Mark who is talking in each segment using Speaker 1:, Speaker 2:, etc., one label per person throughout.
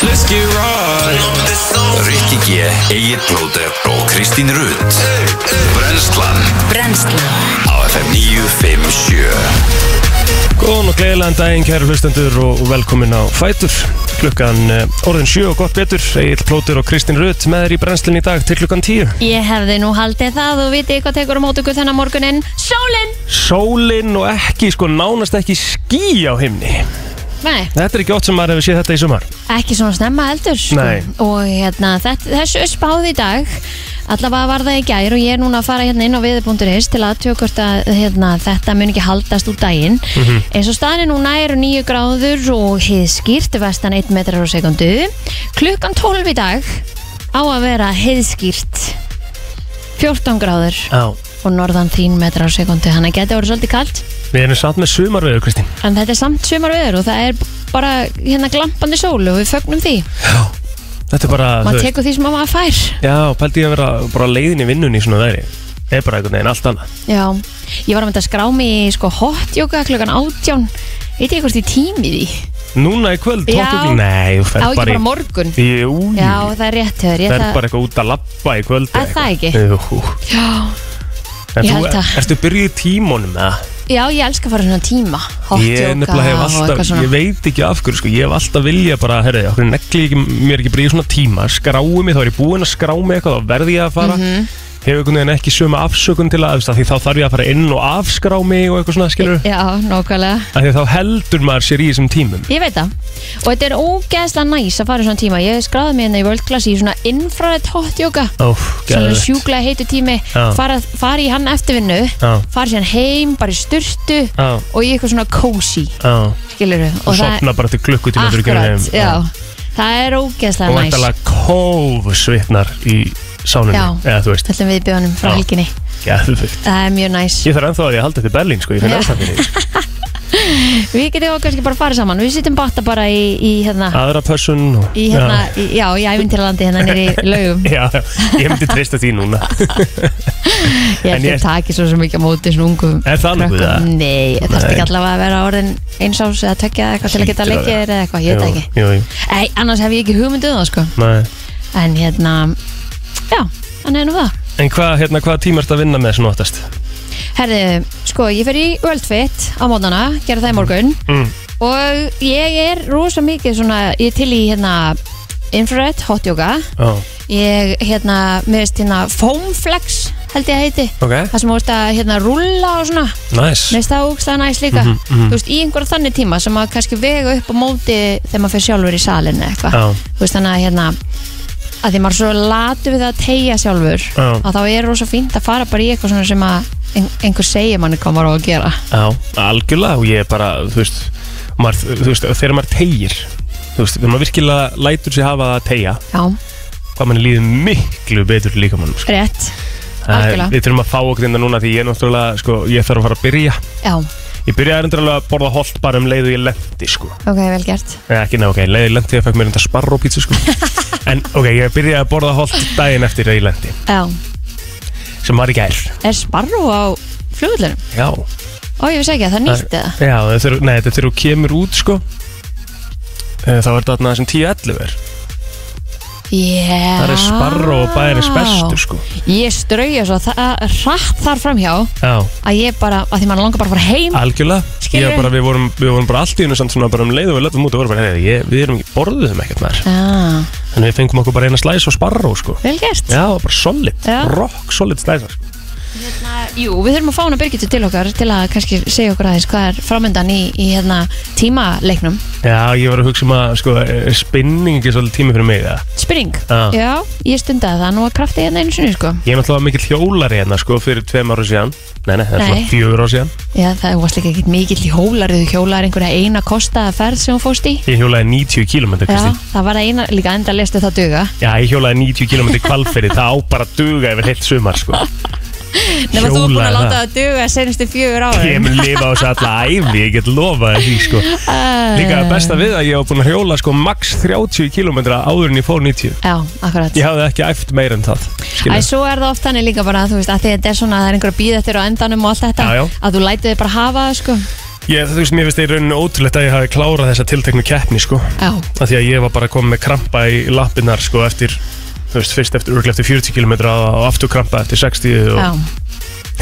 Speaker 1: Let's get right
Speaker 2: Rikki G, Egil Blóter og Kristín Rutt Brenslan
Speaker 3: Brennslan
Speaker 2: á FM 957
Speaker 1: Góðan og gleðilegan daginn kæru hlustendur og velkomin á Fætur Klukkan eh, orðin sjö og gott betur Egil Plótur og Kristín Rutt með þér í brennslinn í dag til klukkan tíu
Speaker 3: Ég hefði nú haldið það og vitið hvað tekur á mót ykkur þennan morguninn Sólinn
Speaker 1: Sólinn og ekki, sko nánast ekki ský á himni
Speaker 3: Nei,
Speaker 1: Þetta er ekki oft sem maður hefur séð þetta í sumar
Speaker 3: ekki svona snemma eldur sko.
Speaker 1: Nei.
Speaker 3: Og hérna, þett, þessu er spáð í dag Allavega var það í gær og ég er núna að fara hérna inn á viður.is til að tjókvort að hérna, þetta mun ekki haldast út daginn eins og staðin er núna eru 9 gráður og heiðskýrt vestan 1 metrar á sekundu klukkan 12 í dag á að vera heiðskýrt 14 gráður
Speaker 1: Já
Speaker 3: og norðan 3 metrar á sekundu þannig að geta voru svolítið kalt
Speaker 1: Við erum satt með sumarveður, Kristín
Speaker 3: En þetta er samt sumar og það er bara hérna glampandi sól og við fögnum því.
Speaker 1: Þetta er bara,
Speaker 3: Maður tekur því sem að maður fær.
Speaker 1: Já, pældi ég að vera bara leiðin í vinnunni í svona veðri Er bara einhvern veginn allt annað
Speaker 3: Já, ég var að mynda að skrá mig í sko hot yoga klukkan átján. Veit ég hvort ég tími því?
Speaker 1: Núna í kvöld,
Speaker 3: Já.
Speaker 1: tóttu Nei, þú
Speaker 3: Á
Speaker 1: ferð
Speaker 3: ekki
Speaker 1: bara
Speaker 3: bara
Speaker 1: í
Speaker 3: morgun.
Speaker 1: Jú,
Speaker 3: Já, það er rétt höfður.
Speaker 1: Það er bara eitthvað út að lappa í kvöld
Speaker 3: Er það ekki?
Speaker 1: Jú
Speaker 3: Já.
Speaker 1: En þú,
Speaker 3: Ég held það.
Speaker 1: ertu byrjuð í tímónum með það?
Speaker 3: Já, ég elska að fara svona tíma. Hot
Speaker 1: Ég
Speaker 3: yoga
Speaker 1: nefnilega hef
Speaker 3: og
Speaker 1: alltaf,
Speaker 3: eitthvað svona.
Speaker 1: ég veit ekki af hverju sko, ég hef alltaf vilja bara, herri, okkur negli ekki, mér ekki bríð svona tíma, skrái mig, þá er ég búinn að skrá mig eitthvað, þá verði ég að fara,
Speaker 3: Mhm.
Speaker 1: hefur einhvern veginn ekki sömu afsökun til að, þú veist, af því þá þarf ég að fara inn og afskrá mig og eitthvað svona, skilur,
Speaker 3: Já, nákvæmlega.
Speaker 1: af því þá heldur maður sér í þessum tímum.
Speaker 3: Ég veit það og þetta er ógeðslega næs að fara í svona tíma Ég skráði mig hérna í World Class í svona infrared hot yoga
Speaker 1: Ó,
Speaker 3: Svona
Speaker 1: geðveikt.
Speaker 3: sjúklega heitu tími
Speaker 1: Já.
Speaker 3: fara, fara í hann eftir vinnu
Speaker 1: Já.
Speaker 3: fara síðan heim, bara í sturtu
Speaker 1: Já,
Speaker 3: og í eitthvað svona cozy
Speaker 1: já,
Speaker 3: skilur við
Speaker 1: og sopna bara til klukkutíma fyrir ekki
Speaker 3: akkurat, já, það er
Speaker 1: Og
Speaker 3: ógeðslega næs
Speaker 1: vantalega kófsvipnar í
Speaker 3: Já.
Speaker 1: sánunni, eða þú veist,
Speaker 3: Þetta er við bjónum frá
Speaker 1: Já.
Speaker 3: helginni
Speaker 1: geðvikt.
Speaker 3: Það er mjög næs
Speaker 1: Ég þarf ennþá að ég haldi þetta í Berlín, sko, ég finn
Speaker 3: Já.
Speaker 1: ennþá fyrir því.
Speaker 3: Við getum okkur kannski bara að fara saman Við sittum batta bara í, í hérna
Speaker 1: aðra pössun og...
Speaker 3: Í hérna, já, í, já, í ævintýralandi hérna nýri laugum
Speaker 1: Já, já, ég myndi treysta því núna
Speaker 3: Ég
Speaker 1: En
Speaker 3: held
Speaker 1: ég-
Speaker 3: ég taki svo sem ekki á móti svona ungum
Speaker 1: Er það nokkuð,
Speaker 3: krökkum.
Speaker 1: eða?
Speaker 3: Nei, það þarf
Speaker 1: Nei.
Speaker 3: ekki allavega að vera orðin eins ás eða tökja eða eitthvað til að geta
Speaker 1: Hlýtur að
Speaker 3: leikir
Speaker 1: vera.
Speaker 3: eða eitthvað, ég veit það ekki
Speaker 1: Jú, jú,
Speaker 3: Ei, annars hef ég ekki hugmyndu um það sko
Speaker 1: nei
Speaker 3: En hérna, já, hann er nú það
Speaker 1: En hvað, hérna, hvað tíma ertu að vinna með svona oftast?
Speaker 3: Herðu, sko, ég fer í World Fit á mótnana, gera það í morgun
Speaker 1: Mm.
Speaker 3: Og ég er rosa mikið svona, ég er til í hérna infrared hot yoga
Speaker 1: Já,
Speaker 3: Ég, hérna, mér veist hérna foam flex held ég að heiti
Speaker 1: ok,
Speaker 3: Það sem þú veist að hérna rúlla og svona
Speaker 1: næs
Speaker 3: Mér finnst það ógstlega næst líka
Speaker 1: Mhm,
Speaker 3: Þú veist, í einhverja þannig tíma sem maður kannski vega upp á móti þegar maður fyrir sjálfur í salinu eða eitthvað
Speaker 1: Já.
Speaker 3: Þú veist, þannig að hérna að því maður er svo latu við að tegja sjálfur
Speaker 1: Já.
Speaker 3: að þá er rosa fínt að fara bara í eitthvað svona sem að ein einhver segir manni hvað maður á að gera
Speaker 1: Já, algjörlega og ég er bara, þú veist, maður, þú veist þegar maður tegir Þú veist, þegar maður virkilega lætur sig hafa að tegja
Speaker 3: Já,
Speaker 1: Hvað manni líður miklu betur líka mannum sko.
Speaker 3: rétt
Speaker 1: Það er-
Speaker 3: algjörlega.
Speaker 1: Við þurfum að fá okkur þetta núna því ég er náttúrulega, sko, ég þarf að fara að byrja
Speaker 3: Já,
Speaker 1: Ég byrjaði erindræðlega að borða holt bara um leið og ég lendi, sko
Speaker 3: ok, vel gert
Speaker 1: Nei, Eh, ekki ná, ok, leiði lendi ég fekk mér þetta sparró pizza sko En ok, ég byrjaði að borða holt daginn eftir að ég lendi
Speaker 3: Já,
Speaker 1: Sem var í gær
Speaker 3: er sparru á flugullunum?
Speaker 1: Já
Speaker 3: Ó, ég vissi ekki að það er nýtt eða
Speaker 1: Já, þetta er, nei, þetta er þegar þú kemur út sko eh, Þá er þetta þarna sem 10-11 er
Speaker 3: Já
Speaker 1: Það er sparró og bæðirins bestu sko
Speaker 3: Ég strauja svo það, rætt þar framhjá
Speaker 1: Já,
Speaker 3: að ég bara, að því maður langar bara að fara heim
Speaker 1: algjörlega Ég
Speaker 3: Skilurðu?
Speaker 1: var bara, við vorum, við vorum bara allt í hennu samt svona bara um leið og við lötum út og vorum bara, hey, ég, við erum ekki, borðuðum ekkert maður
Speaker 3: Já,
Speaker 1: En við fengum okkur bara eina slæs og sparró sko
Speaker 3: Ah, vel gert
Speaker 1: Já, bara solid,
Speaker 3: Já.
Speaker 1: rock solid slæsar sko
Speaker 3: Hérna, Jú, við þurfum að fá hana Birgitu til okkar til að kannski segja okkur aðeins hvað er framöndan í, í hérna, tímaleiknum
Speaker 1: Já, ég var að hugsa um að, sko, er spinning ekki svolítið tími fyrir mig, eða?
Speaker 3: Spring
Speaker 1: Já.
Speaker 3: Já, ég stundaði það nú að krafti hérna einu sinni sko.
Speaker 1: Ég er náttúrulega mikill hjólari hérna sko fyrir tveim ára síðan Nei, nei, það er
Speaker 3: Nei.
Speaker 1: svona fjögur ára síðan
Speaker 3: Já, það varst líka ekkert mikill í hólar eða hjólar einhverja eina kostaða ferð sem hún fóst í
Speaker 1: Ég hjólaði 90 km,
Speaker 3: Já,
Speaker 1: Kristín
Speaker 3: það var það eina, líka enda lestu það duga
Speaker 1: Já, ég hjólaði 90 km kvalferi Það á bara að duga yfir heilt sumar sko
Speaker 3: Nefnir þú var búin að
Speaker 1: Hjólaði
Speaker 3: láta
Speaker 1: það.
Speaker 3: það duga senustu
Speaker 1: Ég
Speaker 3: fjögur ára
Speaker 1: mun lifa á þessu alla æfi, ég get lofað því sko Líka það besta við að ég var búin að hjóla sko max 30 km áður en ég fór 90
Speaker 3: Já, akkurat
Speaker 1: Ég hafði ekki æft meir en það
Speaker 3: Æ,
Speaker 1: skilurðu.
Speaker 3: svo er það oft þannig líka bara, þú veist, að því að þetta er svona, það er einhver að býða eftir á endanum og allt þetta,
Speaker 1: Já, já.
Speaker 3: að þú lætið þig bara hafa það, sko.
Speaker 1: Ég, þú veist, mér finnst það í rauninu ótrúlegt að ég hafi klárað þessa tilteknu keppni, sko.
Speaker 3: Já,
Speaker 1: Af því að ég var bara komið með krampa í lappinnar, sko, eftir, þú veist, fyrst eftir, örglega eftir 40 km og aftur krampa eftir 60 og
Speaker 3: já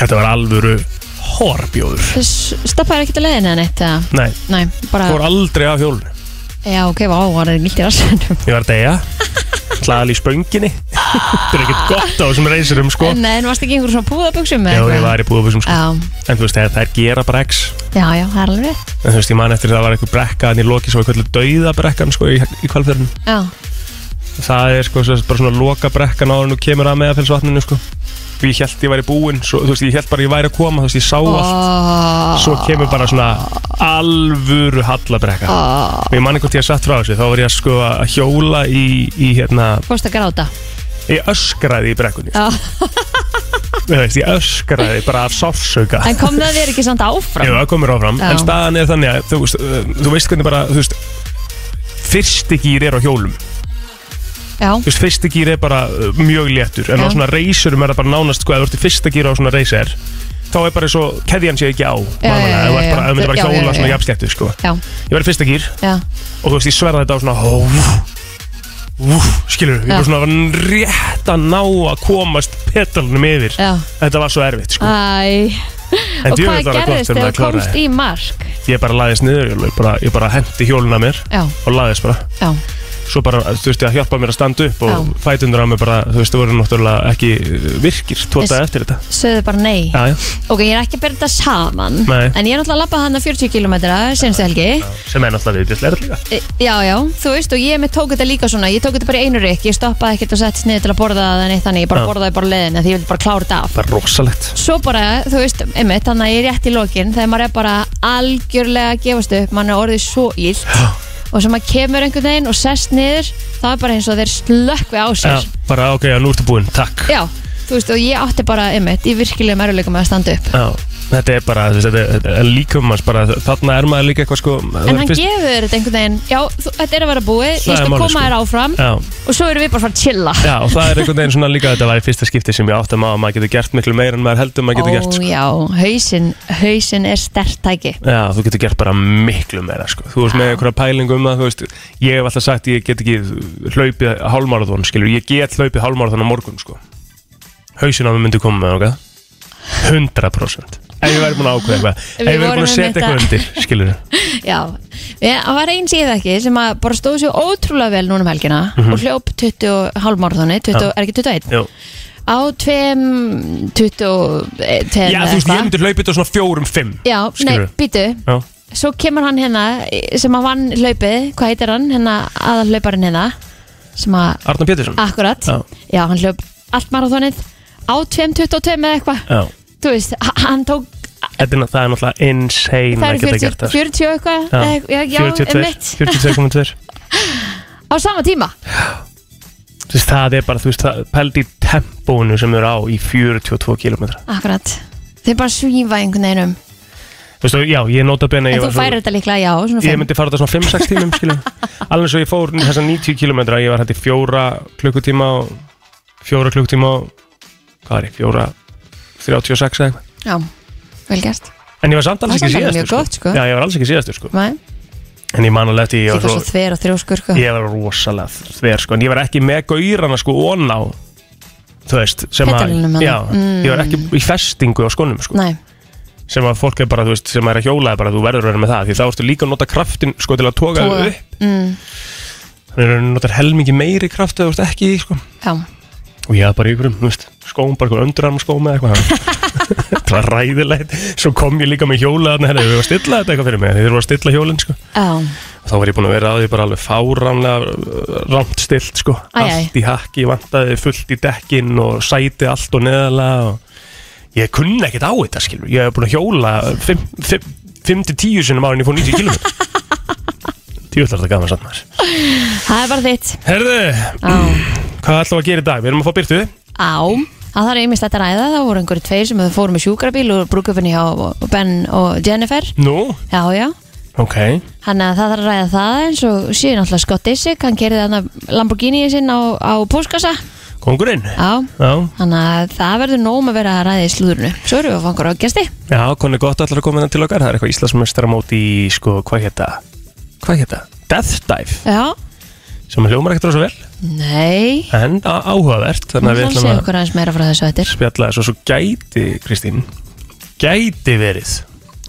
Speaker 1: þetta var alvöru horbjóður.
Speaker 3: Þess stoppaði ekki til leiðin eða neitt eða?
Speaker 1: Nei,
Speaker 3: Nei, bara
Speaker 1: fór aldrei af hjólunum.
Speaker 3: Já, ok, vá, hann er nýtt í rassanum
Speaker 1: Ég var að deyja Hlaðal í spönginni Þetta er ekkert gott á þessum reysirum sko
Speaker 3: En nei, en varstu ekki einhver svona púðabuxum
Speaker 1: Já, ég var í búðabúsum sko
Speaker 3: Já,
Speaker 1: En þú veist, það er gera brex
Speaker 3: já, já, það er alveg rétt
Speaker 1: En þú veist, ég man eftir það var eitthvað brekka En í loki svo eitthvað dauða brekkan sko í, í kvalfjörðin
Speaker 3: Já,
Speaker 1: Það er sko svo, bara svona loka brekkan Áður nú kemur að meðafellsvatninu sko Og ég held ég væri búinn svo, Þú veist, ég held bara ég væri að koma Þú veist, ég sá allt
Speaker 3: oh,
Speaker 1: Svo kemur bara svona alvöru hallabrekka
Speaker 3: Ah.
Speaker 1: Og ég man eitthvað ég satt frá þessu Þá var ég að sko að hjóla í, í hérna
Speaker 3: Fórst að gráta
Speaker 1: Ég öskraði í brekkunni
Speaker 3: Já.
Speaker 1: Þú veist, ég öskraði bara af sársauka
Speaker 3: En kom það þér ekki samt áfram?
Speaker 1: Jú, það komur áfram
Speaker 3: Já.
Speaker 1: En staðan er þannig að þú veist, uh, þú veist hvernig bara þú veist, Fyrsti gýr er á hjólum
Speaker 3: Já,
Speaker 1: Þú veist, Fyrsti gýr er bara uh, mjög léttur En
Speaker 3: Já.
Speaker 1: á svona reysurum er það bara nánast sko, Ef þú ert í fyrsta gýr á svona reysir Þá er bara svo, keðjan sé ekki á
Speaker 3: Já, já, já,
Speaker 1: Þú ert
Speaker 3: já,
Speaker 1: bara, þú myndir
Speaker 3: já,
Speaker 1: bara
Speaker 3: já,
Speaker 1: hjóla
Speaker 3: já,
Speaker 1: svona
Speaker 3: já.
Speaker 1: jafnskettu sko.
Speaker 3: já,
Speaker 1: Ég var í fyrsta gýr
Speaker 3: já
Speaker 1: og þú veist, ég sverða þetta á svona ó, vú, vú, Skilur, ég
Speaker 3: Já.
Speaker 1: var svona var rétt að ná að komast petalunum yfir
Speaker 3: Já.
Speaker 1: Þetta var svo erfitt sko.
Speaker 3: Æ,
Speaker 1: En
Speaker 3: og
Speaker 1: djöfull var það
Speaker 3: hvað
Speaker 1: gott
Speaker 3: gerðist
Speaker 1: þegar
Speaker 3: þegar
Speaker 1: maður
Speaker 3: þú komst
Speaker 1: kláraði.
Speaker 3: í mark?
Speaker 1: Ég bara laðist niður, ég bara, ég bara hendi hjóluna mér
Speaker 3: Já,
Speaker 1: og laðist bara
Speaker 3: já,
Speaker 1: Svo bara þurfti að hjálpa mér að standa upp og
Speaker 3: Já.
Speaker 1: fætundur á mér bara, þú veist, þú voru náttúrulega ekki uh, virkir tótað
Speaker 3: Yes.
Speaker 1: eftir þetta
Speaker 3: sögðu bara nei
Speaker 1: Já, já,
Speaker 3: Ok, ég er ekki að bera þetta saman
Speaker 1: Nei.
Speaker 3: En ég er náttúrulega að labba hann 40 km senstu helgi
Speaker 1: sem er náttúrulega viðbjörnslega líka
Speaker 3: E, Já, já, þú veist og ég með tók þetta líka svona Ég tók þetta bara í einu rykk, ég stoppaði ekkert og settist niður til að borða það neitt Þannig ég bara
Speaker 1: Já.
Speaker 3: borðaði bara leðin Því ég vildi bara klára þetta af
Speaker 1: Það er rosalegt
Speaker 3: Svo bara, þú veist, einmitt, þannig að ég er rétt í lokin Þegar maður er bara algjörlega að gefast upp Mann er orðið svo illt Og sem maður kemur einhvern veginn og sest niður Það er bara eins og þeir slökkvi á
Speaker 1: Já,
Speaker 3: sér
Speaker 1: bara, ok, já, nú ertu búinn, takk
Speaker 3: Já, þú veist, og ég átti bara einmitt í virkilegum eruleikum með að standa upp
Speaker 1: Já, þetta er bara, þú veist, þetta er- þetta er líkum hans bara, þarna er maður líka eitthvað sko
Speaker 3: En hann gefur þér þetta einhvern veginn Já, þú, þetta er að vera búið, ég
Speaker 1: Það er
Speaker 3: skal
Speaker 1: málið,
Speaker 3: koma
Speaker 1: sko.
Speaker 3: þér áfram
Speaker 1: Já,
Speaker 3: Og svo erum við bara að fara að chilla
Speaker 1: já, og það er einhvern veginn svona líka Þetta var í fyrsta skipti sem ég átti að maður maður getur gert miklu meira en maður heldur maður
Speaker 3: Ó
Speaker 1: getur gert sko.
Speaker 3: já, hausinn, hausinn er stert tæki
Speaker 1: Já, þú getur gert bara miklu meira sko. Þú veist með einhverja pælingu um það þú veist, Ég hef alltaf sagt ég get ekki hlaupið hálmarathon, skilur, ég get hlaupið hálmarathon á morgun, sko Hausin á mig myndi koma með okkar 100% Ef ég væri búin að ákveða eitthvað Ef
Speaker 3: Við
Speaker 1: ég væri
Speaker 3: vorum
Speaker 1: búin að setja
Speaker 3: einmitt að-
Speaker 1: eitthvað undir, skilur
Speaker 3: Já, Ég- það var eins í það ekki sem að bara stóð sér ótrúlega vel núna um helgina
Speaker 1: Mhm.
Speaker 3: og hljóp 20 hálfmárðunni, 20, er ekki 21?
Speaker 1: Jú.
Speaker 3: Á 2, 21
Speaker 1: Já, þú veist, ég myndi hlaupið þetta svona fjórum, fimm
Speaker 3: Já, nei,
Speaker 1: skilurðu.
Speaker 3: býtu
Speaker 1: Já,
Speaker 3: Svo kemur hann hérna eh, sem að vann hlaupið, hvað heitir hann, hérna aðallauparinn hérna sem að,
Speaker 1: Arnar Pétursson
Speaker 3: akkurat
Speaker 1: Já.
Speaker 3: Já, hann hljóp allt marathonið á 2.22 eða eitthvað
Speaker 1: Já,
Speaker 3: Þú veist, h- hann tók
Speaker 1: þetta er, ná- það er náttúrulega insane
Speaker 3: það
Speaker 1: að
Speaker 3: eru
Speaker 1: geta gert það,
Speaker 3: 40,
Speaker 1: sko.
Speaker 3: 40 eitthvað eða eitthvað, já, já,
Speaker 1: 42,
Speaker 3: einmitt.
Speaker 1: 42,2
Speaker 3: á sama tíma
Speaker 1: Þú veist, Það er bara, þú veist, það pældi í tempónu sem eru á í 42 kilometra
Speaker 3: Akkurat, þeir bara svífa einhvern veginn um
Speaker 1: Þú veist, já, ég nota benni
Speaker 3: En þú færir þetta líklega, já, svona
Speaker 1: Ég
Speaker 3: fimm
Speaker 1: myndi fara þetta svona 5-6 tímum, skilum Alveg svo ég fór þessa 90 km Ég var hætti fjóra klukkutíma og Fjóra klukkutíma og Hvað er ég? Fjóra 36 eða eitthvað
Speaker 3: Já, vel gert
Speaker 1: En ég var samt alls
Speaker 3: Það
Speaker 1: ekki
Speaker 3: er samt alveg
Speaker 1: síðastur
Speaker 3: mjög gott, sko.
Speaker 1: Já, ég var alls ekki síðastur sko
Speaker 3: Nei,
Speaker 1: En ég man alveg eftir
Speaker 3: Þú
Speaker 1: ég var
Speaker 3: svo
Speaker 1: svo
Speaker 3: þver og þrjóskur, sko
Speaker 1: Ég var rosalega þver sko En ég var ekki með gaurana sko ón á Þú veist sem að-
Speaker 3: Pedalunum,
Speaker 1: Já,
Speaker 3: mm.
Speaker 1: ég var ekki í festingu á skonum sko
Speaker 3: Nei,
Speaker 1: sem að fólk er bara, þú veist, sem er að hjóla er bara, þú verður að vera með það, því þá ertu líka að nota kraftin sko til að toga
Speaker 3: Toga.
Speaker 1: þau upp
Speaker 3: Mm,
Speaker 1: þannig að þú notar helmingi meiri kraft eða þú veist ekki, í því, sko
Speaker 3: já,
Speaker 1: og ég hafði bara í ykkurum, þú veist, skóm, bara ykkur öndurarm skóm eða eitthvað það var ræðilegt, svo kom ég líka með hjóla þarna, herri, þau var að stilla þetta eitthvað fyrir mig þau voru að stilla hjólinn, sko
Speaker 3: já
Speaker 1: og þá var ég búin að vera að því bara alveg fáránlega rámt stilt, sko
Speaker 3: Æ, æ.
Speaker 1: allt í hakki, ég vantaði fullt í dekkin og sæti allt og neðalega og ég kunni ekkert á þetta, skilur ég hef búin að hjóla 5-10 sinum árin ég fór 90 km Tjóðlar þetta gaman samt maður
Speaker 3: Það er bara þitt
Speaker 1: Herðu,
Speaker 3: Á,
Speaker 1: hvað ætlum við að gera í dag? Við erum að fá byrtu
Speaker 3: á Það þarf einmitt að ræða, það voru einhverju tveir sem þau fóru með sjúkrabíl og brúkufinni hjá og Ben og Jennifer
Speaker 1: Nú,
Speaker 3: Já, já,
Speaker 1: ok
Speaker 3: hann að það þarf að ræða það eins og síðan alltaf Scott Disick, hann kerði hann Lamborghini sinn á, á póskassa
Speaker 1: Kongurinn?
Speaker 3: Já,
Speaker 1: Já,
Speaker 3: þannig að það verður nóg um að vera að ræða í slúðurinu. Svo erum við að fangur á gesti.
Speaker 1: já, konni gott allar að koma innan til okkar Það er eitthvað Íslandsmeistaramót í, sko, hvað hétta? Hvað hétta? Death Dive
Speaker 3: Já,
Speaker 1: Sem hljómar ekkert rosa vel
Speaker 3: nei.
Speaker 1: En á- áhugavert Þannig að við
Speaker 3: Þannig að
Speaker 1: ætlum
Speaker 3: segja
Speaker 1: að
Speaker 3: okkur aðeins meira frá þessu eftir.
Speaker 1: spjalla þessu og Svo gæti, Kristín Gæti verið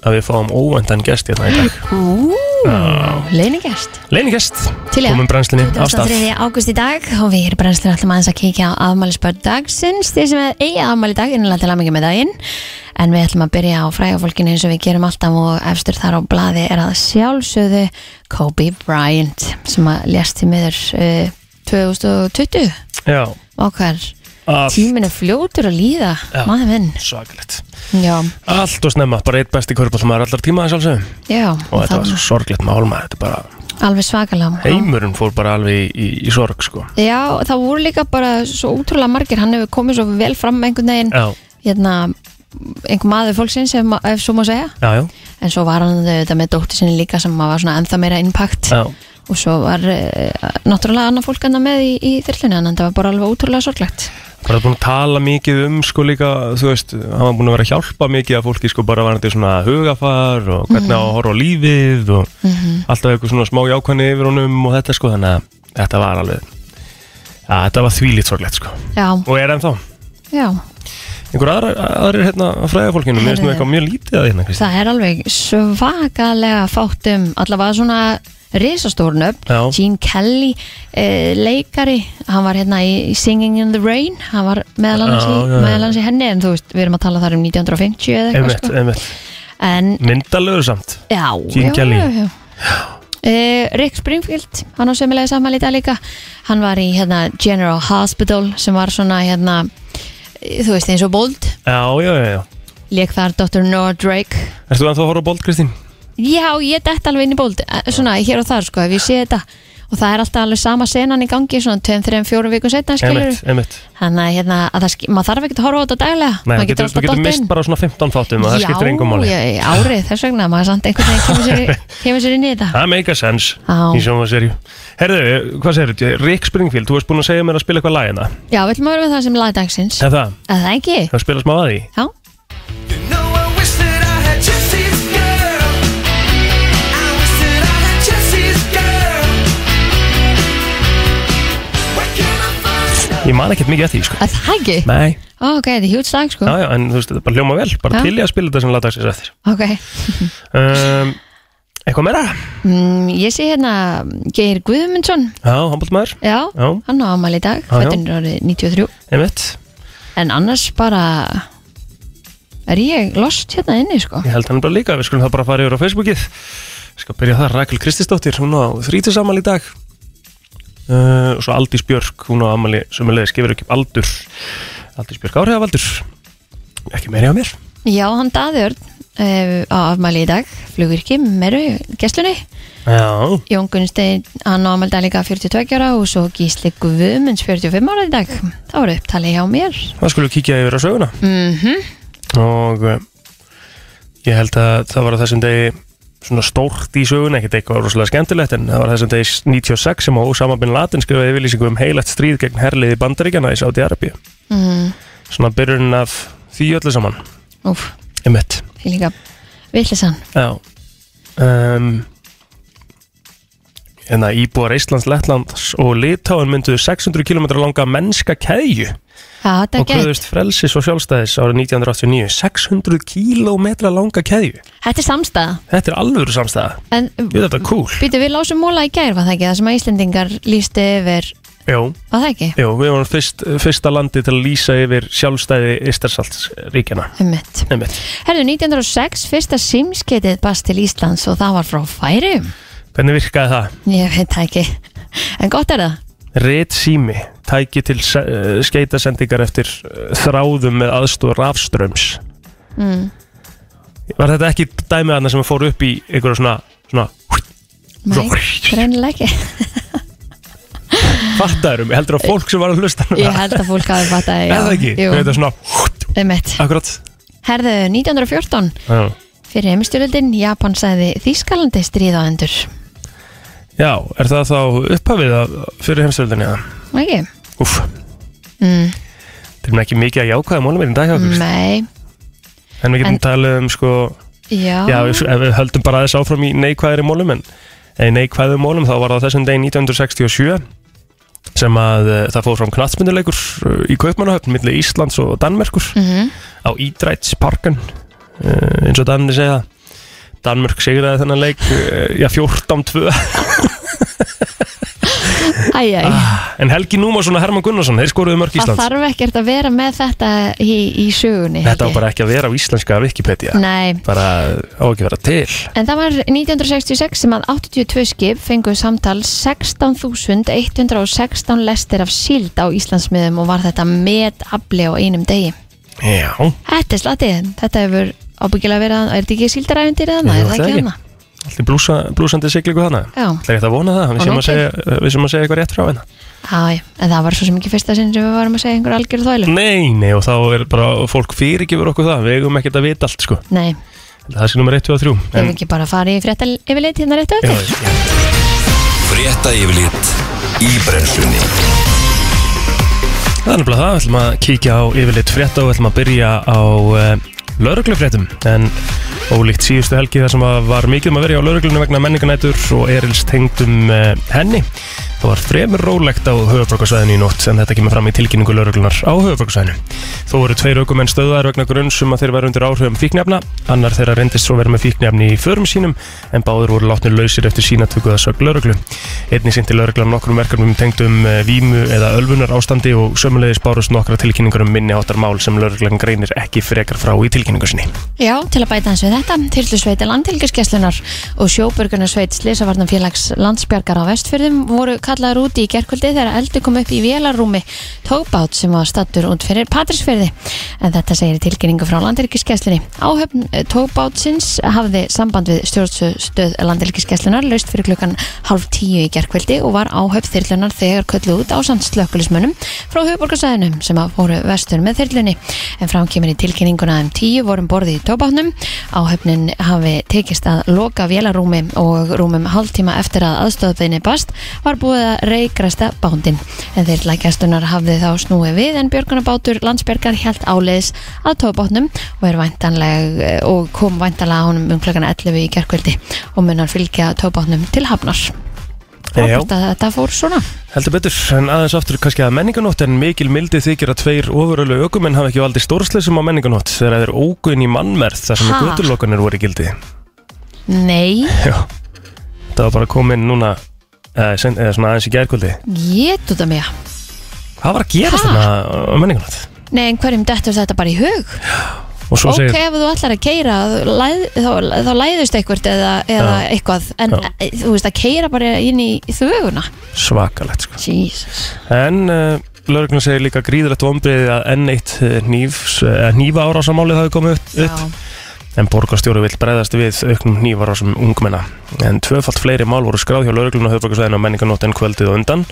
Speaker 1: Að við fáum óvæntan gest hérna í dag
Speaker 3: Ú, leiningest.
Speaker 1: Leiningest
Speaker 3: Til í það.
Speaker 1: Komum brennslinni á stað
Speaker 3: 23. ágúst í dag og við erum brennslur alltaf aðeins að kíkja á afmælisbörn dagsins þeir sem eigi afmæli í dag, innlega til aðmækja með daginn en við ætlum að byrja á fræga fólkinu eins og við gerum alltaf og efstur þar á blaði er að sjálfsögðu Kobe Bryant sem að lést í miður uh, 2020
Speaker 1: Já,
Speaker 3: okkar
Speaker 1: allt
Speaker 3: tíminu fljótur að líða
Speaker 1: Já.
Speaker 3: maður minn
Speaker 1: svakalegt
Speaker 3: já,
Speaker 1: Allt og snemma, bara eitt besti körpallmaður allar tíma að sjálfsögum
Speaker 3: já,
Speaker 1: Og þetta var
Speaker 3: það
Speaker 1: svo sorglegt mál maður Þetta bara,
Speaker 3: var alveg svakalega
Speaker 1: heimurinn fór bara alveg í, í, í sorg, sko
Speaker 3: já, það voru líka bara svo útrúlega margir hann hefur komið svo vel fram einhvern veginn
Speaker 1: Já,
Speaker 3: hérna, einhver maður fólksins ef, ma- ef svo má segja
Speaker 1: já, já,
Speaker 3: en svo var hann þetta með dóttir sinni líka sem var svona ennþá meira impact
Speaker 1: já.
Speaker 3: og svo var e, náttúrulega annað fólk annað með í, í þyrlunni en það var bara alveg ótrúlega sorglegt
Speaker 1: Bara búin að tala mikið um sko líka, þú veist, hann var búin að vera að hjálpa mikið að fólki sko bara varandi svona hugafar og hvernig á að horfa á lífið og
Speaker 3: Mhm.
Speaker 1: alltaf eitthvað svona smá jákvæðni yfir honum og þetta sko, þannig að þetta var alveg, að þetta var þvílít sorglegt sko.
Speaker 3: já,
Speaker 1: Og er ennþá,
Speaker 3: já,
Speaker 1: einhver aðra, aðrir hérna að fræða fólkinu, mér finnst nú
Speaker 3: Heyrðu.
Speaker 1: eitthvað mjög lítið að hérna, Kristi.
Speaker 3: það er alveg svakalega fátt um allavega svona risastórnöfn
Speaker 1: Já.
Speaker 3: Gene Kelly e, leikari, hann var hérna í Singing in the Rain, hann var meðal annars,
Speaker 1: Já,
Speaker 3: í,
Speaker 1: já, já.
Speaker 3: meðal annars í henni en þú veist, við erum að tala þar um 1950 eða eitthvað
Speaker 1: Einmitt,
Speaker 3: sko.
Speaker 1: einmitt,
Speaker 3: en
Speaker 1: myndalögur samt.
Speaker 3: Já,
Speaker 1: Gene
Speaker 3: já,
Speaker 1: Kelly.
Speaker 3: já, já. Uh, Rick Springfield, hann á sömulega sammæli í dag líka hann var í hérna, General Hospital sem var svona hérna, eh, þú veist eins og bold
Speaker 1: Já, já, já, já.
Speaker 3: leik þar Dr. Noah Drake
Speaker 1: Erstu ennþá að horfa á bold, Kristín?
Speaker 3: já, ég dætt alveg inn í bold eh, svona hér og þar sko, ef ég sé þetta og það er alltaf alveg sama senan í gangi svona 2, 3, 4 vikum setna skilur
Speaker 1: Einmitt, einmitt.
Speaker 3: þannig að, hérna, að það sk- maður þarf ekkert að horfa á þetta daglega
Speaker 1: Nei,
Speaker 3: maður
Speaker 1: þú getur,
Speaker 3: alltaf
Speaker 1: þú getur
Speaker 3: dottið
Speaker 1: mist
Speaker 3: inn.
Speaker 1: bara svona 15 þáttum og það skiptir engum máli.
Speaker 3: já, já, árið þess vegna maður samt einhvern veginn kemur sér, kemur sér inn í þetta
Speaker 1: Það make a sense
Speaker 3: Já.
Speaker 1: í sjónvarserju. Herðu, hvað segir þetta? Rick Springfield, þú varst búin að segja mér að spila eitthvað lagina.
Speaker 3: Já, við ætlum að vera með það sem lagdagsins
Speaker 1: Er það?
Speaker 3: Er það ekki?
Speaker 1: Það spila smá að því?
Speaker 3: Já,
Speaker 1: Ég man ekkert mikið að því, sko.
Speaker 3: er það ekki?
Speaker 1: Nei,
Speaker 3: Ó, ok, þetta er hjúts dag sko
Speaker 1: já, já, en þú veist, þetta er bara hljóma vel, bara
Speaker 3: Já.
Speaker 1: til ég að spila þetta sem lagdagsins eftir.
Speaker 3: Ok,
Speaker 1: Um, eitthvað meira?
Speaker 3: mm, ég sé hérna Geir Guðmundsson
Speaker 1: Já, handbóltmaður,
Speaker 3: Já,
Speaker 1: Já.
Speaker 3: hann á ámæli í dag
Speaker 1: Já, já.
Speaker 3: Fættinn er árið 93
Speaker 1: einmitt.
Speaker 3: En annars bara Er ég lost hérna inni sko
Speaker 1: Ég held hann bara líka, við skulum það bara fara yfir á Facebookið. Ég skal byrja þar, Rakel Kristisdóttir, hún á þrítisammal í dag. Uh, og svo Aldís Björk, hún á ammali sömulegis, gefur ekki upp aldur. Aldís Björk áhrifavaldur. Ekki meiri á mér.
Speaker 3: Já, hann daðjörn uh, á afmæli í dag Flugvirki, meru, gestlunni
Speaker 1: Já,
Speaker 3: Jón Gunnstein, hann á ámæli í dag líka 42 ára og svo Gísli Guðmunds 45 ára í dag Það voru upptalið hjá mér
Speaker 1: það skulum kíkja yfir á söguna
Speaker 3: Mhm
Speaker 1: og eh, ég held að það var á þessum degi svona stórt í söguna, ekkert eitthvað rosalega skemmtilegt en það var á þessum degi 96 sem Ósama bin Laden skrifaði yfirlýsingu um heilagt stríð gegn herliði bandaríkjana í Sáti-Arabíu
Speaker 3: Mm,
Speaker 1: svona byrjun af því öllu saman
Speaker 3: úf,
Speaker 1: einmitt
Speaker 3: ég líka Villisann,
Speaker 1: Já um, Hérna íbúar Íslands, Lettlands og Litáin mynduðu 600 km langa mennska keðju
Speaker 3: já þetta er
Speaker 1: og
Speaker 3: gett
Speaker 1: kröðust frelsis og sjálfstæðis árið 1989 600 km langa keðju
Speaker 3: Þetta er samstæða
Speaker 1: Þetta er alvöru samstæða
Speaker 3: En
Speaker 1: Jú, þetta er cool
Speaker 3: býtu, við lásum móla í gær, var það ekki? Það sem að Íslendingar lísti yfir
Speaker 1: Jú,
Speaker 3: Var það ekki?
Speaker 1: jú við varum fyrst, fyrsta landi til að lýsa yfir sjálfstæði Ístarsaltsríkjana
Speaker 3: Ummitt
Speaker 1: Einmitt.
Speaker 3: Herðu, 1906, fyrsta símskeitið bast til Íslands og það var frá færi
Speaker 1: Hvernig virkaði það?
Speaker 3: Ég veit það ekki En gott er það
Speaker 1: Rit sími, tæki til se- eh, skeytasendingar eftir eh, þráðum með aðstóð rafströms
Speaker 3: mm.
Speaker 1: Var þetta ekki dæmið hann sem fór upp í einhverja svona, svona
Speaker 3: Nei, greinilega ekki
Speaker 1: fattaðurum, heldur að fólk sem var að hlusta núna?
Speaker 3: Ég held að fólk hafi fatt að
Speaker 1: Er það ekki? Þetta er svona
Speaker 3: Ummitt
Speaker 1: Akkurat
Speaker 3: Herðu, 1914,
Speaker 1: Já,
Speaker 3: fyrir heimstyrjöldin Japan sagði Þýskalandi stríð á endur
Speaker 1: Já er það þá upphafið af- fyrir heimsveldinni?
Speaker 3: Ekki?
Speaker 1: Úf,
Speaker 3: Mm.
Speaker 1: Þetta er nú ekki mikið að jákvæða málum í dag hjá okkur.
Speaker 3: Nei,
Speaker 1: En við getum
Speaker 3: Mm, En-
Speaker 1: talað um sko,
Speaker 3: já,
Speaker 1: já, ef ef við höldum bara þess áfram í neikvæðri málum en í neikvæðum málum þá var það á þessum degi 1967 sem að uh, það fór fram knatsmynduleikur í Kaupmannahöfn millir Íslands og Danmerkur
Speaker 3: Mhm.
Speaker 1: á Ídrætsparkan uh, eins og Danni segja Danmörk sigraði þennan leik uh, já 14-2
Speaker 3: æj, æj,
Speaker 1: en Helgi Númarsson og Herman Gunnarsson þeir skoruðu mörk
Speaker 3: það
Speaker 1: Ah, Íslands
Speaker 3: þarf ekkert að vera með þetta í, í sögunni
Speaker 1: þetta
Speaker 3: held
Speaker 1: var
Speaker 3: ég.
Speaker 1: bara ekki að vera á íslenska Wikipedia
Speaker 3: Nei,
Speaker 1: bara á ekki að vera til
Speaker 3: En það var 1966 sem að 82 skip fengu samtal 16.116 lestir af síld á Íslandsmiðum og var þetta met afli á einum degi.
Speaker 1: já,
Speaker 3: Þetta er slatið, þetta hefur ábyggilega verið, að- er þetta ekki síldaræfundir eða
Speaker 1: Jú,
Speaker 3: annað, er
Speaker 1: það
Speaker 3: það ekki
Speaker 1: ekki.
Speaker 3: annað?
Speaker 1: allt í blúsa, blúsandi siglingu þannig
Speaker 3: Já,
Speaker 1: Það er ekkert að vona það, við
Speaker 3: Og
Speaker 1: sem að
Speaker 3: nóttin.
Speaker 1: segja, við sem að segja eitthvað rétt frá hérna. hennar.
Speaker 3: já, já, en það var svo sem ekki fyrsta sinn sem við varum að segja einhver algjör þvælu.
Speaker 1: Nei, nei, og þá er bara, fólk fyrirgifur okkur það, við eigum ekkert að vita allt, sko.
Speaker 3: Nei,
Speaker 1: Það er sér nummer 1, 2 og 3.
Speaker 3: við hefum ekki bara farið í frétta yfirleitt hérna rétt á
Speaker 1: já,
Speaker 3: eftir.
Speaker 1: já.
Speaker 2: Frétta yfirlit í brennslunni
Speaker 1: Það er nefnilega það, við ætlum að kíkja á yfirleitt frétta og við ætlum að byrja á uh, lauruglufréttum. En ólíkt síðustu helgi þar sem að var mikið um að verja á lauruglunum vegna menninganætur og erils tengdum uh, henni. Það var fremur rólegt á höfuborgarsvæðinu í nótt en þetta kemur fram í tilkynningu lauruglunar á höfuborgarsvæðinu. Þó voru tveir aukumenn stöðar vegna grunns um að þeir væru undir áhrifum fíknefna. Annar þeirra reyndist svo verið með fíknefni í förum sínum en báður voru látnir lausir eftir sína tökuða sög lauruglu. Einnig sinti lauruglan nokkrum verkefnum tengdum eh, vímu eða ölfunar ástandi og sömulegis bárust nokkra tilkynningar um minni áttar mál sem lauruglan greinir ekki frekar frá í tilkynningu sinni.
Speaker 3: Já, til að bæta hans við þetta, Þyrlusveiti Landhelgiskeslunar og Sjóburgunarsveit Slisavarnanfélags Landsbjargar á Vestfjörðum voru kallaður úti í gerkvöldi þegar eldi kom upp í vélarrúmi tókbát sem var stattur út fyrir Patrísfjörði. En þetta segir í tilkynningu frá Landhelgiskeslinni. Áhöfn eh, tókbátsins hafði samband við stjórnstöð Landhelgiskeslunar laust fyrir klukkan halv tíu í gerkvöldi og var áhöfn þyrlunar þegar kölluð út ásand slökkulismönnum frá höfuborgarsæðinum sem að fóru vestur með þyrlunni. En fram kemur í tilkynninguna um tíu vorum borðið í tóbátnum. Áhöfnin hafi tekist að loka vélarúmi og rúmum hálftíma eftir að aðstofðinni bast var búið að reikræsta bándin. En þyrla gæstunar hafði þá snúið við en björgunabátur landsbjörgar hjælt áleiðis að tóbátnum og, er væntanleg- eh, og kom væntanlega á honum um klokkan 11 í gerkvöldi og munar fylgja tóbátnum til hafnar.
Speaker 1: Eh, Já.
Speaker 3: Frábært að Þetta fór svona.
Speaker 1: Heldur betur, en aðeins aftur kannski að menninganótt en mikil mildi þykir að tveir ofurölu ökumenn hafa ekki valdi stórsleisum á menninganótt þegar þeir óguðin í mannmerð þar sem
Speaker 3: Ha?
Speaker 1: göturlokanir voru í gildi.
Speaker 3: Nei,
Speaker 1: Já, það var bara komin núna eða, sen, eða svona aðeins í gærkvöldi.
Speaker 3: ég tóta mig að.
Speaker 1: Hvað var að gerast
Speaker 3: Ha?
Speaker 1: þarna á menninganótt?
Speaker 3: Nei, en hverjum dettur þetta bara í hug?
Speaker 1: Og svo
Speaker 3: ok,
Speaker 1: segir
Speaker 3: ef þú ætlar að keira læð, þá, þá læðist eitthvað eða, eða
Speaker 1: Já.
Speaker 3: eitthvað en
Speaker 1: Já.
Speaker 3: e, þú veist að keira bara inn í þvöguna
Speaker 1: svakalegt sko.
Speaker 3: Jesus
Speaker 1: En uh, lögreglun segir líka gríðrætt vombriði að enn eitt eh, hnífs, eh, hnífa árásamálið hafi komið upp,
Speaker 3: Já,
Speaker 1: upp en borgarstjóri vill bregðast við auknum hnífarásum ungmenna. En tvöfalt fleiri mál voru skráð hjá lögreglun á höfbrukarsvæðinu á menninganótt en kvöldið og undan.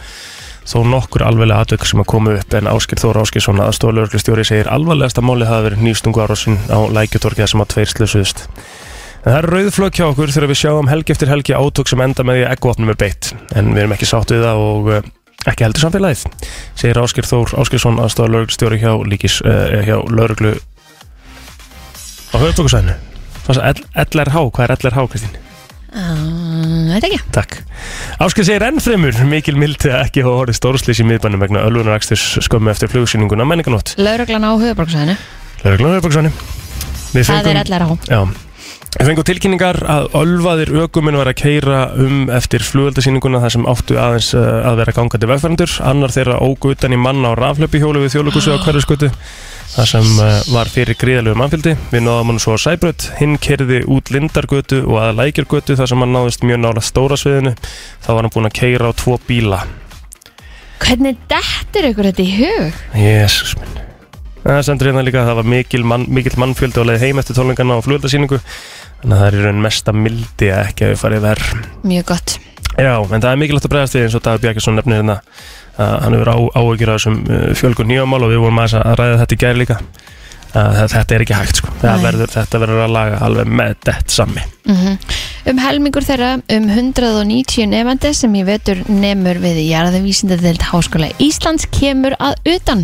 Speaker 1: Þó nokkur alveglega atvök sem að koma upp en Áskir Þóra Áskirsson aðstofa lögreglustjóri segir alvarlegasta málið hafi verið hnífstungu árásin á lækjutorkið sem að tveir slösuðust. En það er rauðflökk hjá okkur þegar við sjáum helgi eftir helgi átök sem enda með því að eggvopnum er beitt. En við erum ekki sátt við það og eh, ekki heldur samfélagið, segir Áskir Þór Áskirsson aðstofa lögreglustjóri hjá, líkis, uh, hjá lögreglu á höfbrukarsvæðinu. Fannst að L- LRH, hvað er LRH Kristín?
Speaker 3: um, veit ekki
Speaker 1: Takk. Áskil segir ennfremur, mikil mildi að ekki hafa horfið stórslýs í miðbænum vegna ölvunaraksturs skömmu eftir flugsýninguna menninganótt.
Speaker 3: Lauruglan á höfuborgsvæðinu
Speaker 1: Lörglanur Höfbruksvæðinu. Við
Speaker 3: Það er
Speaker 1: fengum,
Speaker 3: allar á
Speaker 1: já, við fengum tilkynningar að ölvaðir ökuminn var að keira um eftir flugöldasýninguna þar sem áttu aðeins uh, að vera gangandi vegfærandur. Annar þeirra ógutan í mann á raflöpihjólu við þjóðlugusu á hverjaskutu. Það sem uh, var fyrir gríðalegu mannfjöldi. Við náðum hann svo á Sæbraut, hinn kerði út Lindargötu og að Lækjargötu þar sem hann náðist mjög nála stóra sviðinu. Þá var hann búinn að keira á tvo bíla.
Speaker 3: Hvernig dettur ykkur þetta í hug?
Speaker 1: Jésus minn. Það sendur hérna líka að það var mikil, mann, mikil mannfjöldi á leið heim eftir tónleikana á flugöldasýningu. Þannig að það er í raun mesta mildi að ekki hafi farið verð.
Speaker 3: Mjög gott
Speaker 1: Já, en það er mikilvægt að bregðast við eins og Dagur Bjarkesson nefnir hérna að hann hefur á, áhyggjur af þessum uh, fjölgun nýjumál og við vorum aðeins að ræða þetta í gæri líka að þa- þetta er ekki hægt sko. Það
Speaker 3: Nei.
Speaker 1: verður, þetta verður að laga alveg með dett sami
Speaker 3: Um helmingur þeirra um 190 nefandi sem í vetur nemur við jarðavísindadeild Háskóla Íslands kemur að utan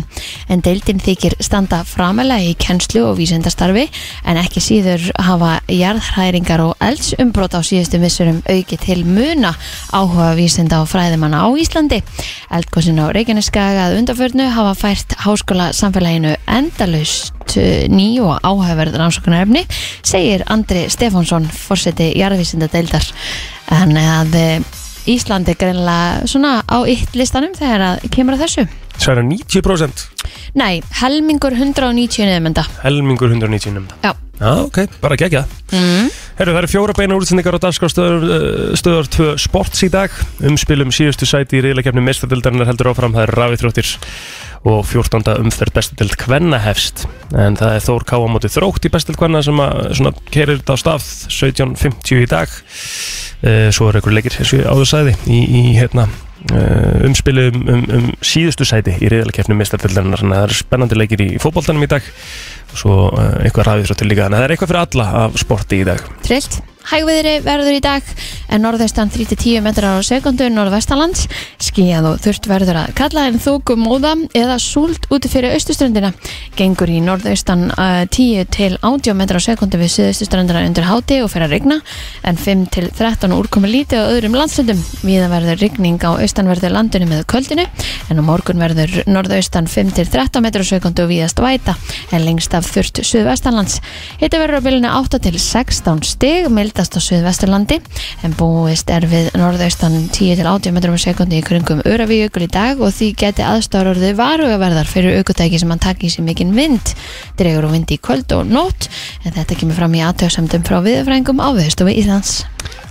Speaker 3: en deildin þykir standa framalega í kennslu og vísindastarfi en ekki síður hafa jarðhræringar og eldsumbrot á síðustu missurum auki til muna áhuga vísinda og fræðimanna á Íslandi. Eldkosin á Reykjaneskaga að undarförnu hafa fært Háskóla samfélaginu endalaust eh, ný og áhæverð rannsóknarefni segir Andri Stefánsson forseti jarðvísinda deildar en að eh, Ísland er greinlega svona á ytt listanum þegar að kemur að þessu
Speaker 1: Særa 90%
Speaker 3: Nei, helmingur 190 nefnda
Speaker 1: helmingur 190 nefnda
Speaker 3: Já,
Speaker 1: Já, ok, bara gegja
Speaker 3: mm.
Speaker 1: Herru, það eru fjóra beina útsendingar á dagskástöðar stöðar 2 sports í dag umspilum síðustu sæti í reyðleikefni mestadildarinnar heldur áfram, það eru rafið þróttir og 14. umferð bestidild kvenna hefst, en það er Þór Ká á móti þrótt í bestidild kvenna sem að svona kerir þetta á stað 17.50 í dag Eh, svo eru ykkur leikir eins og ég áður sæði í, í hérna eh, umspili um, um, um síðustu sæti í reyðalakefni mistardildarinnar þannig að það eru spennandi leikir í fótboltanum í dag og svo eh, eitthvað rafið þróttir líka þannig að það er eitthvað fyrir alla af sporti í dag
Speaker 3: trillt Hægviðri verður í dag en norðaustan 3-10 metrar á sekundu norðvestalands, skíðað og þurft verður að kalla en þóku móða eða súld út fyrir austuströndina gengur í norðaustan uh, 10 til 80 metrar á sekundu við suðaustuströndina undir háti og fyrir að rigna en 5 til 13 úrkomi lítið á öðrum landslundum viða verður rigning á austanverðu landinu með kvöldinu en á morgun verður norðaustan 5 til 13 metrar á sekundu og viðast væta en lengst af þurft suðvestanlands Hitti verður á bylunni 8 til 16 stig, mildast á suðvesturlandi en búist er við norðaustan 10 til 80 metrum á sekundi í kringum Öravíjökul í dag og því geti aðstofurðu varuverðar fyrir aukutæki sem hann takk í sig mikinn vind. Dregur og vind í kvöld og nótt en þetta kemur fram í aðtöðsamdum frá viðfræðingum á viðstofu Íslands.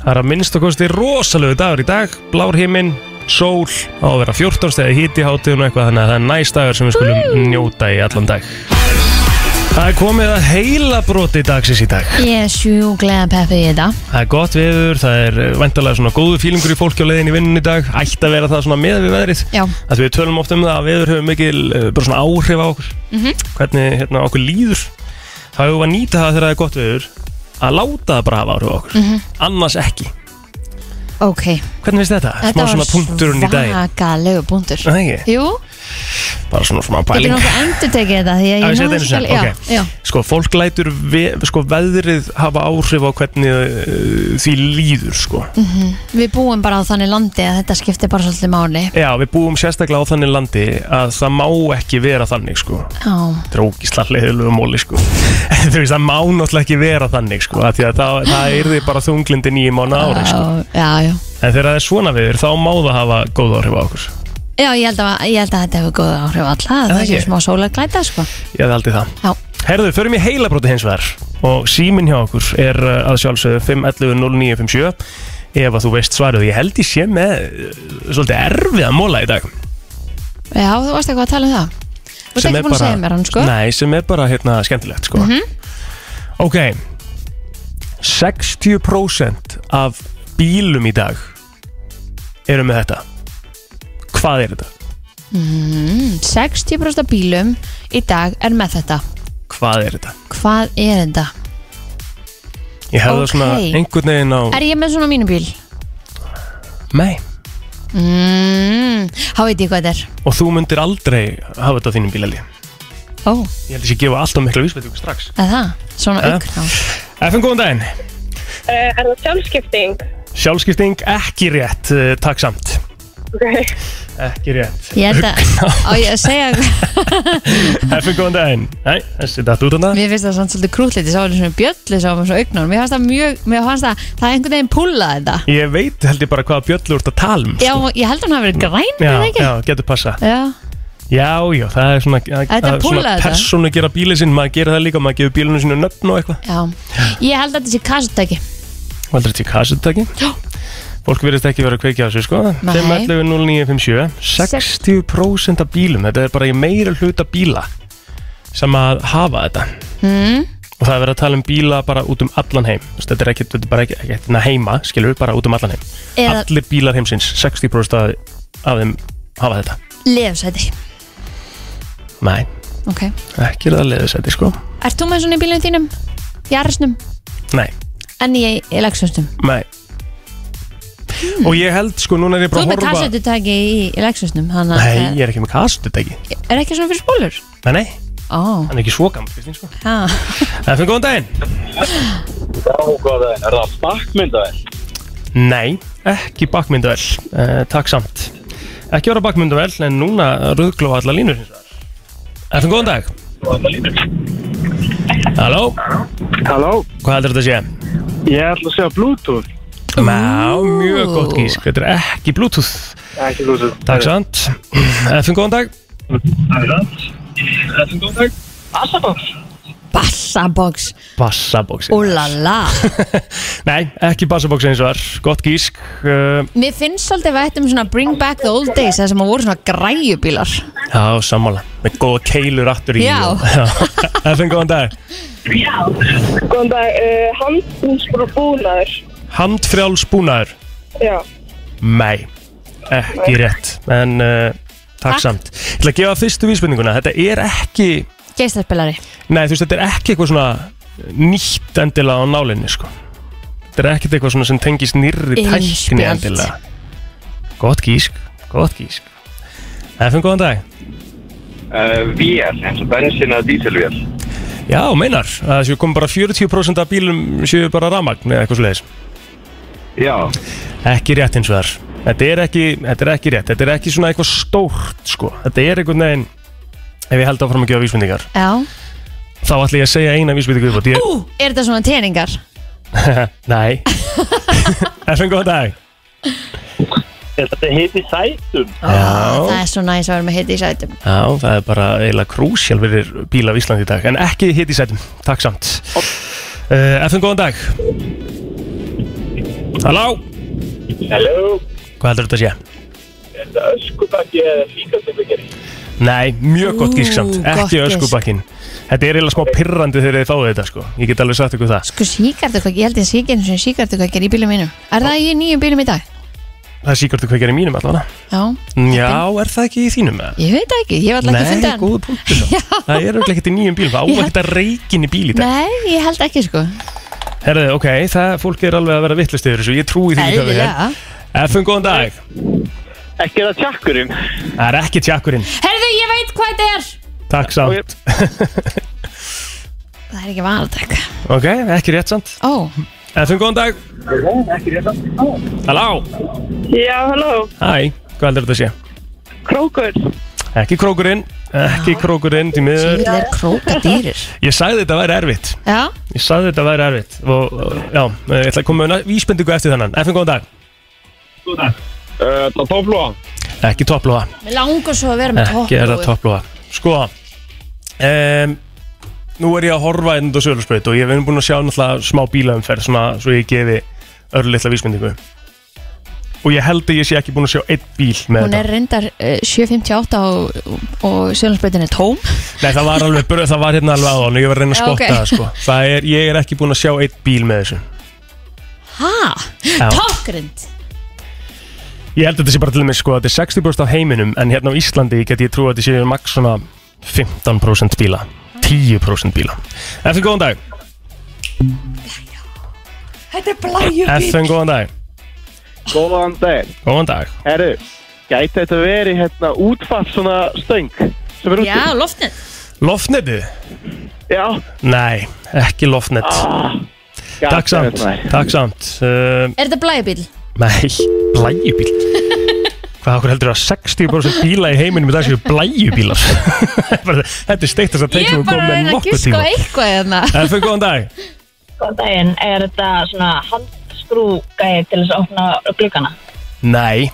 Speaker 1: Það er að minnst og kosti rosalegu dagur í dag blár himinn, sól á að vera 14 stegi híti hátíðun og eitthvað þannig að það er næst dagur sem við skulum njóta í allan dag Það er komið að heila broti dagsins í dag
Speaker 3: Ég er sjúglega peppið í þetta.
Speaker 1: Það er gott veður, það er vendalega svona góðu fílingur í fólki á leiðin í vinnun í dag ætti að vera það svona með við veðrið
Speaker 3: Já.
Speaker 1: að við tölum oft um það að veður hefur mikil eh, bara svona áhrif á okkur hvernig hérna, okkur líður þá hefur við að nýta það þegar það er gott veður að láta það bara hafa áhrif á okkur annars ekki
Speaker 3: Ok,
Speaker 1: Hvernig finnst þetta?
Speaker 3: þetta
Speaker 1: Smá
Speaker 3: var
Speaker 1: svona punkturinn í dag
Speaker 3: svakalegu punktur.
Speaker 1: Það ekki?
Speaker 3: Jú,
Speaker 1: Bara svona smá
Speaker 3: getur
Speaker 1: pæling
Speaker 3: nokkuð endur tekið þetta því að
Speaker 1: Já, ég
Speaker 3: ég
Speaker 1: seti
Speaker 3: náði
Speaker 1: einu sinni,
Speaker 3: ekki- já,
Speaker 1: ok.
Speaker 3: já.
Speaker 1: Sko, fólk lætur ve sko, veðrið hafa áhrif á hvernig uh, því líður, sko
Speaker 3: Mm. Við búum bara á þannig landi að þetta skiptir bara svolítið máli.
Speaker 1: Já, við búum sérstaklega á þannig landi að það má ekki vera þannig, sko
Speaker 3: Já,
Speaker 1: Drókisla leiðilegu móli, sko Þú veist, það má náttúrulega ekki vera þannig, sko af Því að það, það er því bara þunglindi nýjum mánu ári, sko
Speaker 3: já, já.
Speaker 1: En þegar það er svona viður, þá má það hafa góð áhrif á okkur
Speaker 3: Já, ég held að, ég held að þetta hefur góð áhrif alla, að
Speaker 1: Það
Speaker 3: það sé
Speaker 1: ekki?
Speaker 3: smá sólarglæta, sko.
Speaker 1: Ég hef aldrei það
Speaker 3: Já,
Speaker 1: Herðu, förum í heilabróti hins vegar og síminn hjá okkur er uh, að sjálfsögðu 511-0957 ef að þú veist svarið ég held ég sé með uh, svolítið erfiða móla í dag
Speaker 3: já þú varst eitthvað að tala um það. Þú ert
Speaker 1: Sem
Speaker 3: ekki
Speaker 1: er
Speaker 3: búin að
Speaker 1: bara-
Speaker 3: segja mér hann, sko. Mhm.
Speaker 1: Nei, sem er bara hérna skemmtilegt sko Ok 60% af bílum í dag eru með þetta Hvað er þetta?
Speaker 3: Mm, 60% af bílum í dag er með þetta.
Speaker 1: Hvað er þetta?
Speaker 3: Hvað er þetta?
Speaker 1: Ég hefði það
Speaker 3: Ok.
Speaker 1: svona einhvern veginn á
Speaker 3: Er ég með svona á mínu bíl?
Speaker 1: Nei,
Speaker 3: Mm, þá veit ég hvað þetta er.
Speaker 1: og þú myndir aldrei hafa þetta á þínum bílali
Speaker 3: Ó,
Speaker 1: Ég held ég sé að gefa alltaf mikla vísbætingu strax
Speaker 3: er það? Svona
Speaker 1: Ja.
Speaker 3: augná.
Speaker 1: FM, góðan daginn.
Speaker 4: Uh, er það sjálfskipting?
Speaker 1: Sjálfskipting ekki rétt, uh, takk samt.
Speaker 4: Okay.
Speaker 1: Ekki rétt.
Speaker 3: Ég held að, á ég að segja,
Speaker 1: FM, góðan daginn. Nei, þessi datt út af það.
Speaker 3: Mér finnst það samt svolítið krútlítið, sá hann svona bjöllu sá hann svona augnum, mér fannst það mjög, mér fannst það, það einhvern veginn púlaði þetta.
Speaker 1: Ég veit held ég bara hvaða bjöllu úr þetta talum.
Speaker 3: Já, ég held að hann hafi verið græn, er það ekki?
Speaker 1: um. já, getur passa.
Speaker 3: Já.
Speaker 1: Já, já, það er svona, að,
Speaker 3: Þetta
Speaker 1: að svona
Speaker 3: púlaði þetta.
Speaker 1: persónu gera bílið sinn, maður gerir það líka, maður gefur bílunum sinu nöfn og eitthvað.
Speaker 3: já, Ég held að þetta sé kassutæki.
Speaker 1: Valdur þetta í kassutaki.
Speaker 3: Já.
Speaker 1: Fólk virðist ekki vera að kveikja á þessu, sko.
Speaker 3: Nei.
Speaker 1: 511-0957. 60% af bílum, þetta er bara í meira hluta bíla sem að hafa þetta.
Speaker 3: Mm.
Speaker 1: og það er verið að tala um bíla bara út um allan heim Þú veist, þetta er ekki, þetta er bara ekki, ekki hérna heima skilur við bara út um allan heim
Speaker 3: Eða
Speaker 1: allir bílar heimsins, 60% af, af þeim hafa þetta
Speaker 3: lefsæti.
Speaker 1: nei,
Speaker 3: ok.
Speaker 1: Ekki er það leðursæti, sko.
Speaker 3: Ert þú með svona í bílunum þínum? Í arresnum?
Speaker 1: Nei,
Speaker 3: En í, í legsvöstum?
Speaker 1: nei. Og ég held, sko, núna er ég
Speaker 3: Hmm. Þú
Speaker 1: bara að
Speaker 3: ert með
Speaker 1: horfa...
Speaker 3: kassetutæki í, í legsvöstum, þannig að
Speaker 1: Nei, ég er ekki með kassetutæki.
Speaker 3: er ekki svona fyrir spólur?
Speaker 1: Nei, nei,
Speaker 3: Ó,
Speaker 1: hann er ekki svo gammal, Kristín, sko.
Speaker 3: já.
Speaker 1: FM, góðan daginn.
Speaker 5: Já, góða veginn, er það bakkmyndavel?
Speaker 1: Nei, ekki bakmyndavel. Uh, takk samt. Ekki vera bakmyndavel, en núna röðglofa allar línur, hins vegar. FM, góðan dag. Halló,
Speaker 5: Halló,
Speaker 1: hvað heldur þetta að sé?
Speaker 5: ég ætla að segja Bluetooth.
Speaker 1: Má, mjög gott gísk. Þetta er ekki Bluetooth.
Speaker 5: Ekki Bluetooth.
Speaker 1: Takk samt. FM, góðan dag.
Speaker 3: Bassabox,
Speaker 1: Bassabóksin.
Speaker 3: úlala.
Speaker 1: Nei, ekki bassabóks eins og þar, gott gísk uh,
Speaker 3: Mér finnst svolítið vætt um svona bring back the old days, það sem að voru svona græjubílar.
Speaker 1: Já, sammála, með góða keilur aftur í
Speaker 3: Já.
Speaker 1: FN, góðan dag
Speaker 4: Góðan dag, uh, handbúnsbrú búnaður.
Speaker 1: Handfrjáls búnaður
Speaker 4: Já.
Speaker 1: Nei, ekki rétt En uh, takk
Speaker 3: Takk.
Speaker 1: samt Ég ætla að gefa fyrstu vísbendinguna Þetta er ekki,
Speaker 3: Geistaspilari.
Speaker 1: nei þú veist, þetta er ekki eitthvað svona nýtt endilega á nálinni sko. Þetta er ekkert eitthvað svona sem tengist nýrri tækni
Speaker 3: Innspjald.
Speaker 1: endilega Gott gísk, gott gísk FN, góðan dag
Speaker 5: Uh, vél, eins og bensin eða dísilvél.
Speaker 1: Já, meinar, að þessu kom bara 40% af bílum séu bara ramagn eða eitthvað svoleiðis.
Speaker 5: Já.
Speaker 1: Ekki rétt eins og þar. Þetta er ekki, þetta er ekki rétt, þetta er ekki svona eitthvað stórt, sko. Þetta er einhvern veginn, ef ég held áfram að gefa vísbendingar,
Speaker 3: Já.
Speaker 1: þá ætla ég að segja eina vísbendingu upp á því.
Speaker 3: Ú, er þetta svona tjeningar?
Speaker 1: Nei. FN, góðan dag.
Speaker 5: Þetta heiti Sætum.
Speaker 1: Já,
Speaker 3: Það er svo næs að vera með hitt í sætum.
Speaker 1: já, það er bara eiginlega krúsjál fyrir bíla á Íslandi í dag, en ekki hitt í sætum, takk samt. Uh, FN, góðan dag. Halló,
Speaker 5: Halló,
Speaker 1: hvað heldur þetta að sé?
Speaker 5: er þetta öskubakki eða fíkastökubakki?
Speaker 1: Nei, mjög gott
Speaker 3: Ú,
Speaker 1: gísksamt,
Speaker 3: gott
Speaker 1: ekki
Speaker 3: gísk.
Speaker 1: öskubakkin Þetta er eiginlega smá pirrandi þegar þið fáið þetta sko Ég get alveg sagt ykkur það
Speaker 3: Sko síkartu ég held ég sé ekki eins og síkartu í bílum mínum. Er það í nýjum bílum í dag?
Speaker 1: Það er síkortu hvað gerir í mínum allavega
Speaker 3: Já,
Speaker 1: Já, er það ekki í þínum? eða?
Speaker 3: ég veit það ekki, ég hef alltaf ekki
Speaker 1: Nei,
Speaker 3: fundið hann.
Speaker 1: góða punktu
Speaker 3: Já.
Speaker 1: Það er auðvitað ekkert í nýjum bíl, það á
Speaker 3: Ég held-
Speaker 1: ekkert að reikin í bíl í dag
Speaker 3: Nei, ég held ekki sko.
Speaker 1: Herðu, ok, það fólk er alveg að vera vittlust yfir þessu Ég trúi því ekki hvað við
Speaker 3: Eðlilega.
Speaker 1: hér Efum, góðan dag
Speaker 5: Ekki er það tjakkurinn.
Speaker 1: Það er ekki tjakkurinn,
Speaker 3: Herðu, ég veit hvað þetta er.
Speaker 1: takk samt
Speaker 3: Það er ekki vanatek.
Speaker 1: Ok, ekki rétt samt
Speaker 3: Ó,
Speaker 1: Efum, góðan dag Halló,
Speaker 4: Já, halló.
Speaker 1: hæ, hvað heldur þetta að sé?
Speaker 4: Krókur.
Speaker 1: Ekki krókurinn, ekki krókurinn, því miður
Speaker 3: þetta er krókadýrir.
Speaker 1: Ég sagði þetta væri erfitt
Speaker 3: Já,
Speaker 1: Ég sagði þetta væri erfitt og, og já, ég ætla að koma með vísbendingu eftir þannan FN, góðan dag
Speaker 5: Uh, það tóflúa.
Speaker 1: Ekki topplóa
Speaker 3: mér langar svo að vera með
Speaker 1: Ekki er það topplóa Sko um, Nú er ég að horfa inn á sölurspröyt og ég hef einu búin að sjá náttúrulega smá bílaumferð svona, svo ég gefi örlitla vísbendingu og ég held að ég sé ekki búin að sjá einn bíl með
Speaker 3: Hún
Speaker 1: þetta
Speaker 3: er reyndar uh, 7.58 og, og sjölandsbreytin er tóm.
Speaker 1: Nei, það var alveg, burð- það var hérna alveg áðan og ég var að reyna að
Speaker 3: Já,
Speaker 1: spotta
Speaker 3: ok.
Speaker 1: það sko. það er, ég er ekki búin að sjá einn bíl með þessu
Speaker 3: Ha?
Speaker 1: Já.
Speaker 3: Tókrind.
Speaker 1: Ég held að þetta sé bara til dæmis sko að þetta er 60% af heiminum en hérna á Íslandi get ég trú að þetta sé maks svona 15% bíla 10% bíla FN góðan dag
Speaker 3: Þetta er blæjubíl.
Speaker 1: FN góðan dag
Speaker 5: Góðan daginn.
Speaker 1: Góðan dag
Speaker 5: Herru, gæti þetta verið hérna útfatt svona stöng sem er úti?
Speaker 3: Já, loftnett.
Speaker 1: Loftnetið?
Speaker 5: Já.
Speaker 1: Nei, ekki loftnet Takk samt, takk samt uh,
Speaker 3: Er þetta blæjubíl?
Speaker 1: Nei, blæjubíl Hvað okkur heldur að 60% bíla í heiminum í dag séu blæjubílar Bara, Þetta er steiktast að
Speaker 3: Ég
Speaker 1: teiknum
Speaker 3: er bara að reyna að gíska á eitthvað hérna.
Speaker 1: FN góðan dag
Speaker 6: Góðan daginn, er þetta svona handskrúgæði til þess að opna gluggana?
Speaker 1: Nei,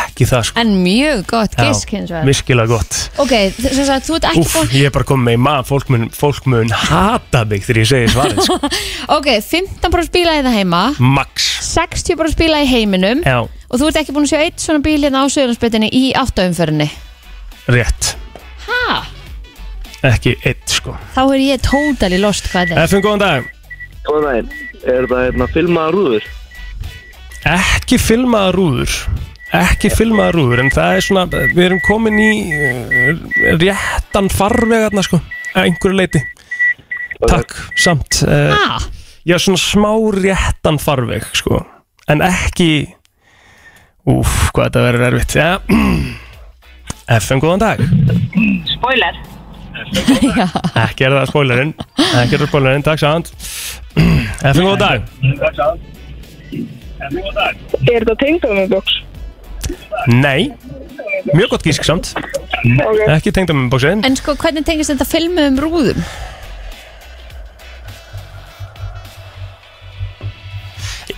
Speaker 1: ekki það sko
Speaker 3: En mjög gott gísk hins vegar.
Speaker 1: Virkilega gott
Speaker 3: Ok, þess að þú ert ekki
Speaker 1: Úf,
Speaker 3: búin...
Speaker 1: ég er bara komið með í maður, fólk mun, fólk mun hata mig þegar ég segi svarið, sko.
Speaker 3: Ok, 15% bíla hérna heima,
Speaker 1: Max.
Speaker 3: 60% bíla í heiminum
Speaker 1: Já,
Speaker 3: og þú ert ekki búin að sjá eitt svona bíl hérna á sjölandsbreytinni í áttaumförinni.
Speaker 1: rétt.
Speaker 3: Ha?
Speaker 1: Ekki eitt, sko.
Speaker 3: Þá er ég tótali lost hvað þetta er.
Speaker 1: Efum, góðan dag.
Speaker 5: Góðan daginn. Er þetta hérna filmaða rúður?
Speaker 1: Ekki filmaða rúður. ekki filmaða rúður en það er svona, við erum komin í eh, réttan farvegarna sko, að einhverju leiti takk, samt uh,
Speaker 3: Ha?
Speaker 1: já, svona smá réttan farveg sko, en ekki úf, hvað þetta verður erfitt ja. FN, góðan dag
Speaker 6: Spoiler
Speaker 3: Já.
Speaker 1: ekki er það spoilerinn ekki er það spoilerinn, takk samt FN, góðan dag
Speaker 4: Er þetta tengdómabóks?
Speaker 1: nei, mjög gott gísk samt
Speaker 4: Ok.
Speaker 1: ekki tengdamennbóksin
Speaker 3: En sko, hvernig tengist þetta filmu um rúðum?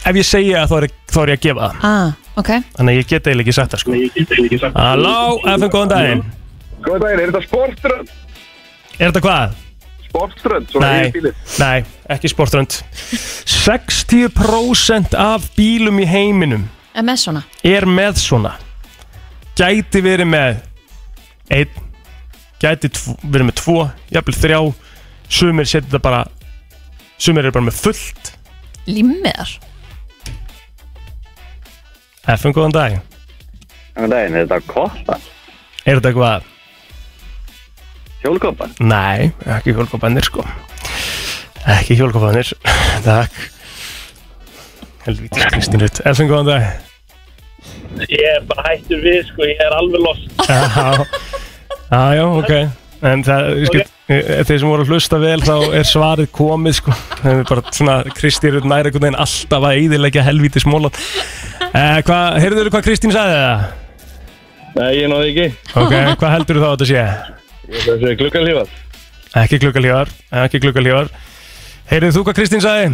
Speaker 1: ef ég segja það þá er, þá er ég að gefa það
Speaker 3: Ah, ok.
Speaker 1: Þannig að ég get eiginlega ekki sagt það sko Halló, FM, góðan daginn
Speaker 5: Góðan daginn, er þetta sportrönd?
Speaker 1: Er þetta hvað?
Speaker 5: Sportrönd,
Speaker 1: Nei, nei, ekki sportrönd 60% af bílum í heiminum
Speaker 3: MS svona.
Speaker 1: er með svona Gæti verið með einn, gæti tvo, verið með tvo, jafnvel þrjá Sumir setja þetta bara Sumir eru bara með fullt
Speaker 3: Limmiðar.
Speaker 1: FM, góðan daginn
Speaker 5: Góðan daginn, er þetta koppa?
Speaker 1: Er þetta hvað?
Speaker 5: Hjólkoppa?
Speaker 1: Nei, ekki hjólkopannir sko Ekki hjólkopannir Takk Helvítis Kristín Rutt Elfin, góðan dag
Speaker 5: Ég er bara hættur við, sko, ég er alveg lost.
Speaker 1: Já, já, já, ok En það, ég skil eh, Þeir sem voru að hlusta vel þá er svarið komið sko Það er bara svona Kristín Rutt næri einhvern veginn alltaf að eyðileggja helvítis mólan eh, Hvað, heyrðurðu hvað Kristín sagði það?
Speaker 5: Nei, ég náði ekki.
Speaker 1: Ok, hvað heldurðu þá að þetta sé?
Speaker 5: Þessi er klukkalífað.
Speaker 1: Ekki klukkalívar, ekki klukkalívar Heyrðu þú hvað Kristín sagði?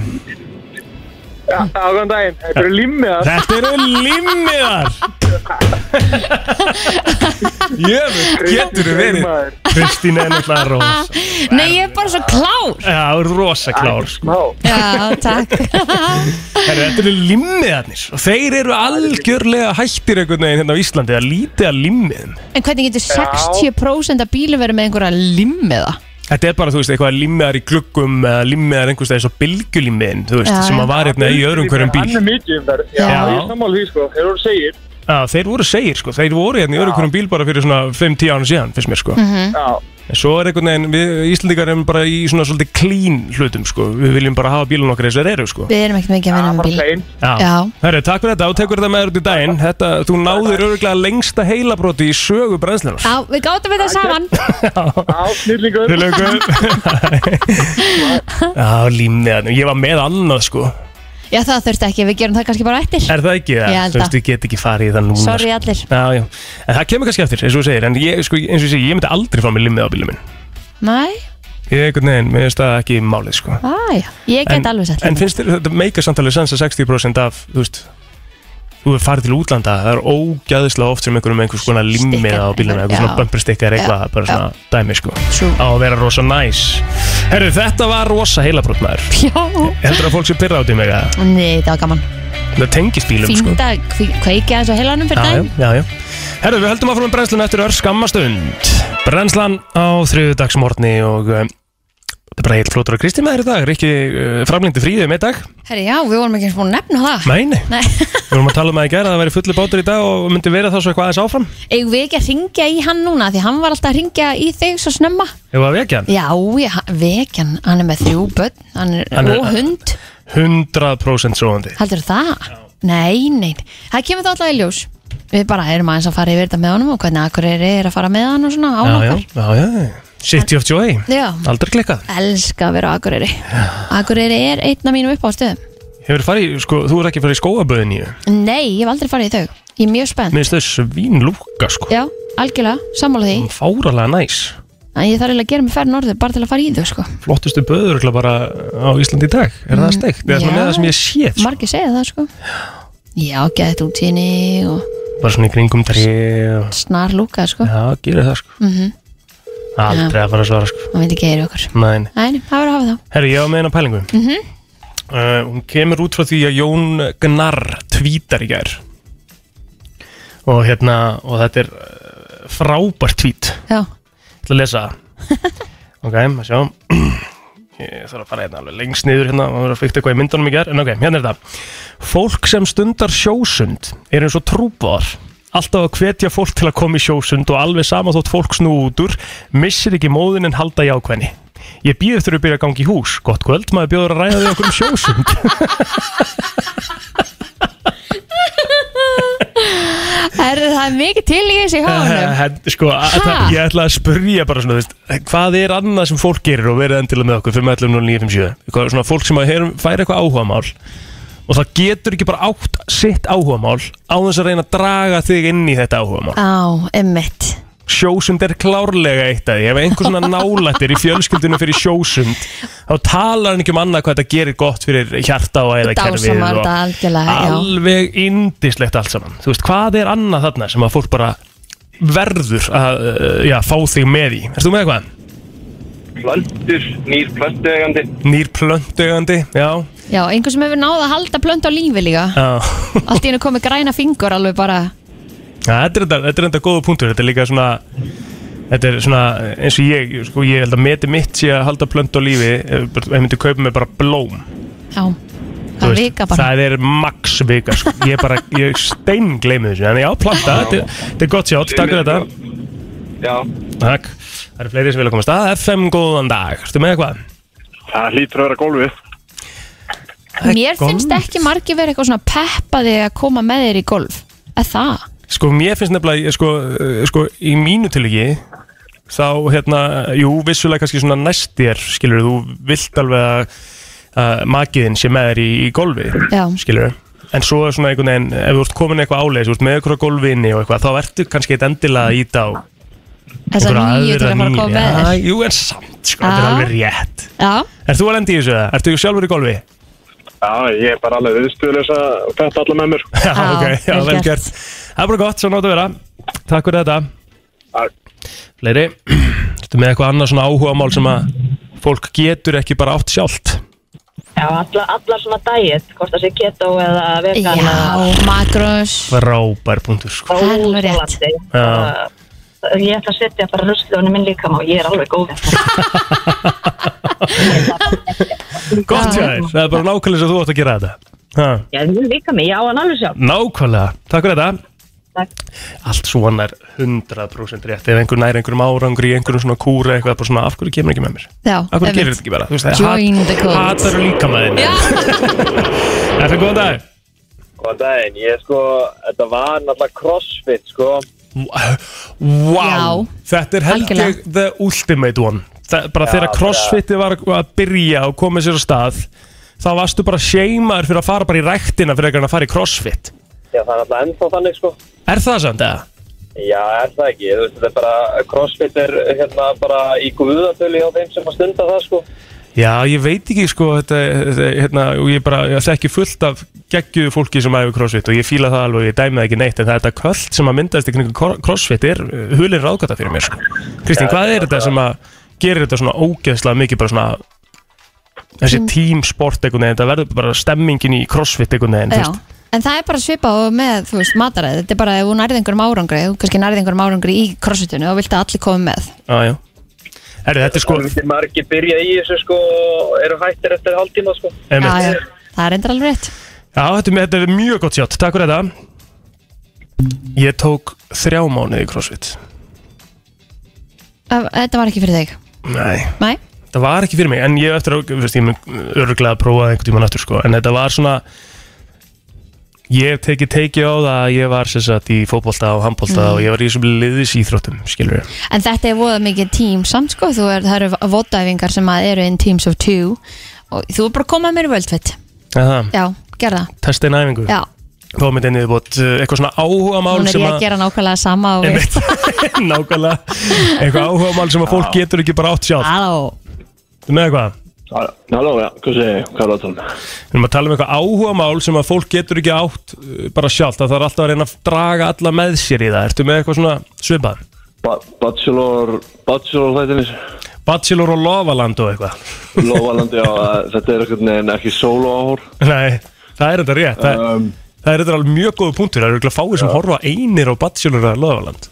Speaker 5: Já, góðan daginn, þetta eru limmiðar.
Speaker 1: Þetta eru limmiðar Jöfn, getur þú verið Kristín er náttúrulega rosa
Speaker 3: Nei, ég er bara svo klár.
Speaker 1: Já, þú er rosa klár sko.
Speaker 5: Ná,
Speaker 3: Já, takk.
Speaker 1: Herru, Þetta eru limmiðarnir Og þeir eru algjörlega hættir einhvern veginn hérna á Íslandi að lítið að limmiðum
Speaker 3: En hvernig getur 60% af bílum verið með einhverja limmiða?
Speaker 1: Þetta er bara, þú veist, eitthvað limmiðar í gluggum eða limmiðar einhvers veginn svo bylgjulimiðin þú veist,
Speaker 3: Já,
Speaker 1: sem að var hérna í öðrum hverjum
Speaker 5: Hann er
Speaker 1: bíl
Speaker 5: mikið um þær. Já,
Speaker 3: Já.
Speaker 5: ég er sammála því, sko. Þegar þú segir,
Speaker 1: Já, þeir voru segir, sko, þeir voru hérna í öðrum hverjum bíl bara fyrir svona 5-10 ánum síðan, finnst mér, sko
Speaker 3: Mhm.
Speaker 5: já,
Speaker 1: En svo er einhvern veginn, við Íslandingar erum bara í svona svolítið clean hlutum sko Við viljum bara hafa bílun okkar eins og þeir eru sko
Speaker 3: Við erum ekkert mikið að vinna
Speaker 5: það
Speaker 3: með
Speaker 5: var
Speaker 3: bíl.
Speaker 5: hrein.
Speaker 3: Já.
Speaker 1: Herru, takk fyrir þetta og tekur þetta með þér út í daginn Þetta, þú náðir örgulega lengsta heilabróti í sögu brennslunar
Speaker 3: Já, við gáttum þetta saman.
Speaker 5: Já, snillingur.
Speaker 1: Til auku. Já, límniðan, ég var með annað sko
Speaker 3: Já, það þurfti ekki. Við gerum það kannski bara eftir.
Speaker 1: Er það ekki það?
Speaker 3: Ég held
Speaker 1: Þú veist,
Speaker 3: það.
Speaker 1: ég get ekki farið í það núna
Speaker 3: Sorry
Speaker 1: sko.
Speaker 3: allir.
Speaker 1: Já, já, en það kemur kannski eftir, eins og þú segir En ég, sko, eins og ég segi, ég myndi aldrei fá mig limmið á bílum minn
Speaker 3: Næ,
Speaker 1: Ég einhvern veginn, mér finnst það ekki málið sko
Speaker 3: aðja. Ég get alveg sett.
Speaker 1: En finnst þér þetta meika samtalið sens að 60% af, þú veist Þú er farið til útlanda, það er ógæðislega oft sem einhverjum einhvers konar limmið á bílunum
Speaker 3: Stikkar,
Speaker 1: eitthvað svona
Speaker 3: já.
Speaker 1: bömbristikkar eitthvað,
Speaker 3: Já,
Speaker 1: bara svona dæmi sko
Speaker 3: True.
Speaker 1: á að vera rosa næs Herru, þetta var rosa heilabrotnaður
Speaker 3: Já.
Speaker 1: Heldur að fólk sé pyrra á því mega
Speaker 3: Nei, það var gaman.
Speaker 1: Það tengist bílum sko
Speaker 3: Fínt að kvi- kveikja þessu á heilanum fyrir
Speaker 1: Já,
Speaker 3: daginn.
Speaker 1: já, já, já. Herru, við höldum áfram með brennslun eftir ör skammastund Brennslan á þriðudagsmorni og um, þetta er bara heilt flótur að Kristi með þér í dag Rikki uh, framlindi fríðið með í dag
Speaker 3: Herri, já, við vorum ekki eins og búin að nefna það.
Speaker 1: Mæni,
Speaker 3: Nei,
Speaker 1: Við vorum að tala um það í gæra, það væri fullu bátur í dag og myndi vera það svo eitthvað aðeins áfram.
Speaker 3: eigum við ekki að ringja í hann núna því hann var alltaf að ringja í þig svo snemma
Speaker 1: Ef að vekja hann.
Speaker 3: Já, ég, vekjan, hann er með þrjú börn hann er,
Speaker 1: Hann er-
Speaker 3: og hund,
Speaker 1: 100% svoandi.
Speaker 3: heldur það? Nei, nei, það kemur þá alltaf í ljós Við bara erum aðeins að fara yfir þetta með honum og hvernig Akureyri er að fara með hann og svona á
Speaker 1: Já, já,
Speaker 3: okkar
Speaker 1: já, já. City of Joy.
Speaker 3: Já.
Speaker 1: Aldrei klikkað.
Speaker 3: Elska að vera á Akureyri Akureyri er einn af mínum upp á stöðum
Speaker 1: Hefur farið, í- sko, þú er ekki farið í skóaböðin í þau.
Speaker 3: Nei, ég hef aldrei farið í þau, ég er mjög spennt
Speaker 1: Minnst þau svín lúka, sko.
Speaker 3: Já, algjörlega, sammála
Speaker 1: Mm.
Speaker 3: því
Speaker 1: Fáralega næs.
Speaker 3: En ég þarf eiginlega að gera mig ferð norður bara til að fara í þau sko
Speaker 1: Flottustu böður örugglega bara á Íslandi í dag. Er það steikt? Það er svona
Speaker 3: Mm. já.
Speaker 1: með það sem ég séð. Sko.
Speaker 3: Margir segja það sko Já, geðið útíni og
Speaker 1: Bara svona í kringum trí og...
Speaker 3: snar lúkað sko
Speaker 1: Já, gerir það, sko.
Speaker 3: Mhm.
Speaker 1: Aldrei að fara að svara, sko.
Speaker 3: Það veit ekki eða okkur
Speaker 1: Mæni.
Speaker 3: Nei, það verður að hafa þá
Speaker 1: Herri, ég var með hennar pælingu
Speaker 3: Mhm.
Speaker 1: uh, Hún kemur út frá því að Jón Gnarr tvítar í gær Og hérna, og þetta er uh, frábært tvít
Speaker 3: Já,
Speaker 1: Ég ætla að lesa það. Ok, að sjá Ég þarf að fara hérna alveg lengst niður hérna og vera að fykta eitthvað í myndunum í ger En ok, hérna er þetta Fólk sem stundar sjósund er eins og trúbáðar Alltaf að hvetja fólk til að koma í sjósund og alveg sama þótt fólk snú út úr Missir ekki móðin en halda í ákveðni Ég býð eftir að byrja að gangi í hús Gott kvöld, maður bjóður að ræða við okkur um sjósund
Speaker 3: Herðu, það er mikið til í þessi háanum
Speaker 1: Hen- Sko, að-
Speaker 3: Ha?
Speaker 1: ég ætla að spyrja bara svona, þú veist, eh, hvað er annað sem fólk gerir og verið endilega með okkur 5.11.09.57 Eitthvað svona fólk sem að heyrum- fær eitthvað áhugamál og það getur ekki bara átt sitt áhugamál á þess að reyna að draga þig inn í þetta áhugamál
Speaker 3: Á, emmitt
Speaker 1: Sjósund er klárlega eitt að því ef einhver svona nálættir í fjölskyldunum fyrir sjósund þá talar hann ekki um annað hvað þetta gerir gott fyrir hjarta og eða kerfið
Speaker 3: Dásamar þetta algjörlega, já.
Speaker 1: alveg indislegt allt saman þú veist, hvað er annað þarna sem að fólk bara verður að uh, já, fá þig með í, erstu með eitthvað?
Speaker 7: Plöntur, nýr plöntuegandi
Speaker 1: Nýr plöntugandi, já,
Speaker 3: Já, einhver sem hefur náð að halda plönd á lífi líka
Speaker 1: já.
Speaker 3: Allt í hennu komið græna fingur alveg bara
Speaker 1: Ja, þetta er enda- þetta er enda góða punktur þetta er líka svona Þetta er svona eins og ég, sko, ég held að meti mitt sé að halda plönt á lífi ef ef ég myndi kaupa mig bara blóm
Speaker 3: Já,
Speaker 1: Þú
Speaker 3: það
Speaker 1: veist,
Speaker 3: vika bara
Speaker 1: Það er max vika sko. Ég er bara, ég stein gleymi þessu En já, planta, þetta, er- þetta er gott sjátt Takk fyrir þetta
Speaker 7: Já,
Speaker 1: Takk. Það eru fleiri sem vilja komast að FM, góðan dag, ertu með eitthvað?
Speaker 5: Það hlýtur að vera gólfið.
Speaker 3: Mér finnst ekki margir verið eitthvað svona peppaði að koma með þér í golf Er það?
Speaker 1: Sko, mér finnst nefnilega, ég, sko, eh, sko í mínu tilviki Þá, hérna, jú, vissulega kannski svona næst þér Skilur, þú vilt alveg að uh, makiðin sé með þér í, í golfi
Speaker 3: Já.
Speaker 1: Skilur, en svo er svona einhvern veginn Ef þú ert komin eitthvað áleiðis, þú ert með eitthvað golfinni og eitthvað Þá ertu kannski eitt endilega í þá
Speaker 3: Þessar nýju til að fara að koma með þér
Speaker 1: Jú, en samt, sko, þetta er
Speaker 3: Já.
Speaker 1: alveg rétt
Speaker 3: Já,
Speaker 1: Er þú að lendi í þessu eða? Ertu sjálfur í golfi?
Speaker 5: Já, ég er bara alveg viðstuðlis að þetta alla með mér.
Speaker 1: Já,
Speaker 3: Já,
Speaker 1: ok, já,
Speaker 3: vel
Speaker 1: vel
Speaker 3: gert.
Speaker 1: gert Það er bara gott, svo náttu að vera Takk fyrir þetta Fleiri, ertu með eitthvað annað svona áhugamál sem að fólk getur ekki bara átt sjálft
Speaker 6: Já, alla, alla svona diet, hvort það sé keto eða vegan
Speaker 3: já,
Speaker 6: eða
Speaker 3: makrós
Speaker 1: Frábær punktur, sko
Speaker 3: Það er alveg rétt.
Speaker 6: óþolandi.
Speaker 1: Já.
Speaker 6: Það- Ég ætla að setja bara ruslunni minn líka og ég er alveg góð eftir það.
Speaker 1: Gott hjá þér, það er bara nákvæmlega sem þú átt að gera þetta ha,
Speaker 6: Já, minn líka mig, já, en alveg sjálf.
Speaker 1: Nákvæmlega, takk fyrir þetta
Speaker 6: Takk.
Speaker 1: Allt svona er 100% rétt Ef einhver nær einhverjum árangri, í einhverjum svona kúra eitthvað, bara svona, af hverju kemur ekki með mér?
Speaker 3: Já,
Speaker 1: Akkur
Speaker 3: einmitt.
Speaker 1: gerir þetta ekki bara, þú veist,
Speaker 3: Join the cult.
Speaker 1: hatar líka maður
Speaker 3: Já.
Speaker 1: Þetta er góðan dag
Speaker 7: góðan daginn Ég sko, þetta var náttúrulega crossfit sko
Speaker 1: Wow,
Speaker 3: Já.
Speaker 1: þetta er held ég
Speaker 3: Algjörlega.
Speaker 1: the ultimate one það, Bara
Speaker 7: Já,
Speaker 1: þegar crossfiti var að byrja og komið sér á stað þá varstu bara seimaður fyrir að fara bara í ræktina fyrir að fara í crossfit
Speaker 7: Já, það er náttúrulega ennþá þannig sko
Speaker 1: Er það samt eða?
Speaker 7: Já, er það ekki, þú veist, þetta er bara crossfit er hérna bara í guðatölu hjá þeim sem að stunda það sko
Speaker 1: Já, ég veit ekki sko þetta, þetta, hérna, og ég bara, ég þekki fullt af geggjuðu fólki sem æfir crossfit og ég fíla það alveg, ég dæmi það ekki neitt en það er þetta kvöld sem að myndast í kringum cro- crossfit er uh, hulin ráðgata fyrir mér sko. Kristín, hvað er þetta sem að gerir þetta svona ógeðslega mikið bara svona þessi
Speaker 3: Mm.
Speaker 1: tímsport einhvern veginn, þetta verður bara stemmingin í crossfit einhvern veginn,
Speaker 3: Já, en það er bara svipa og með, þú veist, mataræði Þetta er bara ef þú nærði einhverjum árangri Þú kannski nærði einhverjum árangri í crossfitinu og vilt að allir koma með
Speaker 1: Já, já. Herri, þetta er sko,
Speaker 7: Það er margir byrja í þessu sko og eru hættir eftir hálftíma sko
Speaker 3: Já, já,
Speaker 1: einmitt.
Speaker 3: það er endur alveg rétt
Speaker 1: Já, þetta er, þetta er mjög gott sjátt, takk fyrir þetta. Ég tók þrjá mánuði í crossfit.
Speaker 3: Ö, Þetta var ekki fyrir þig
Speaker 1: Nei.
Speaker 3: Nei,
Speaker 1: það var ekki fyrir mig en ég hef eftir að, þú veist, ég mun örglega að prófa það einhvern tímann aftur sko, en þetta var svona ég hef tekið tekið á það að ég var sem sagt í fótbolta og handbolta
Speaker 3: Mm.
Speaker 1: og ég var í þessum liðis íþróttum, skilur ég
Speaker 3: En þetta er voða mikið tím samt sko þú er, Það eru vottæfingar sem að eru in teams of two Og þú er bara að koma mér í völdfett
Speaker 1: Aha,
Speaker 3: Já, gerða
Speaker 1: testa einn æfingu,
Speaker 3: Já,
Speaker 1: komið inn í viðbót uh, eitthvað svona áhugamál
Speaker 3: hún er
Speaker 1: sem
Speaker 3: ég að
Speaker 1: að
Speaker 3: gera nákvæmlega sama og við
Speaker 1: Einmitt. nákvæmlega eitthvað áhugamál sem að fólk getur ekki bara átt sjálf
Speaker 3: Halló
Speaker 1: Ertu með eitthvað,
Speaker 5: Halló, já, hvað segir, hvað er það að tala um?
Speaker 1: við erum að tala um eitthvað áhugamál sem að fólk getur ekki átt uh, bara sjálf, það þarf alltaf að reyna að draga alla með sér í það, ertu með eitthvað svona svipað,
Speaker 5: Ba bachelor, bachelor þættinni,
Speaker 1: bachelor og lofaland og eitthvað
Speaker 5: Lóvalandi, já, að þetta er einhvern veginn ekki solo áhór.
Speaker 1: Nei, það er þetta rétt Það,
Speaker 5: Um.
Speaker 1: það er þetta alveg mjög góð punktur Það eru ekki fáið sem horfa einir á Bachelor að Loðaland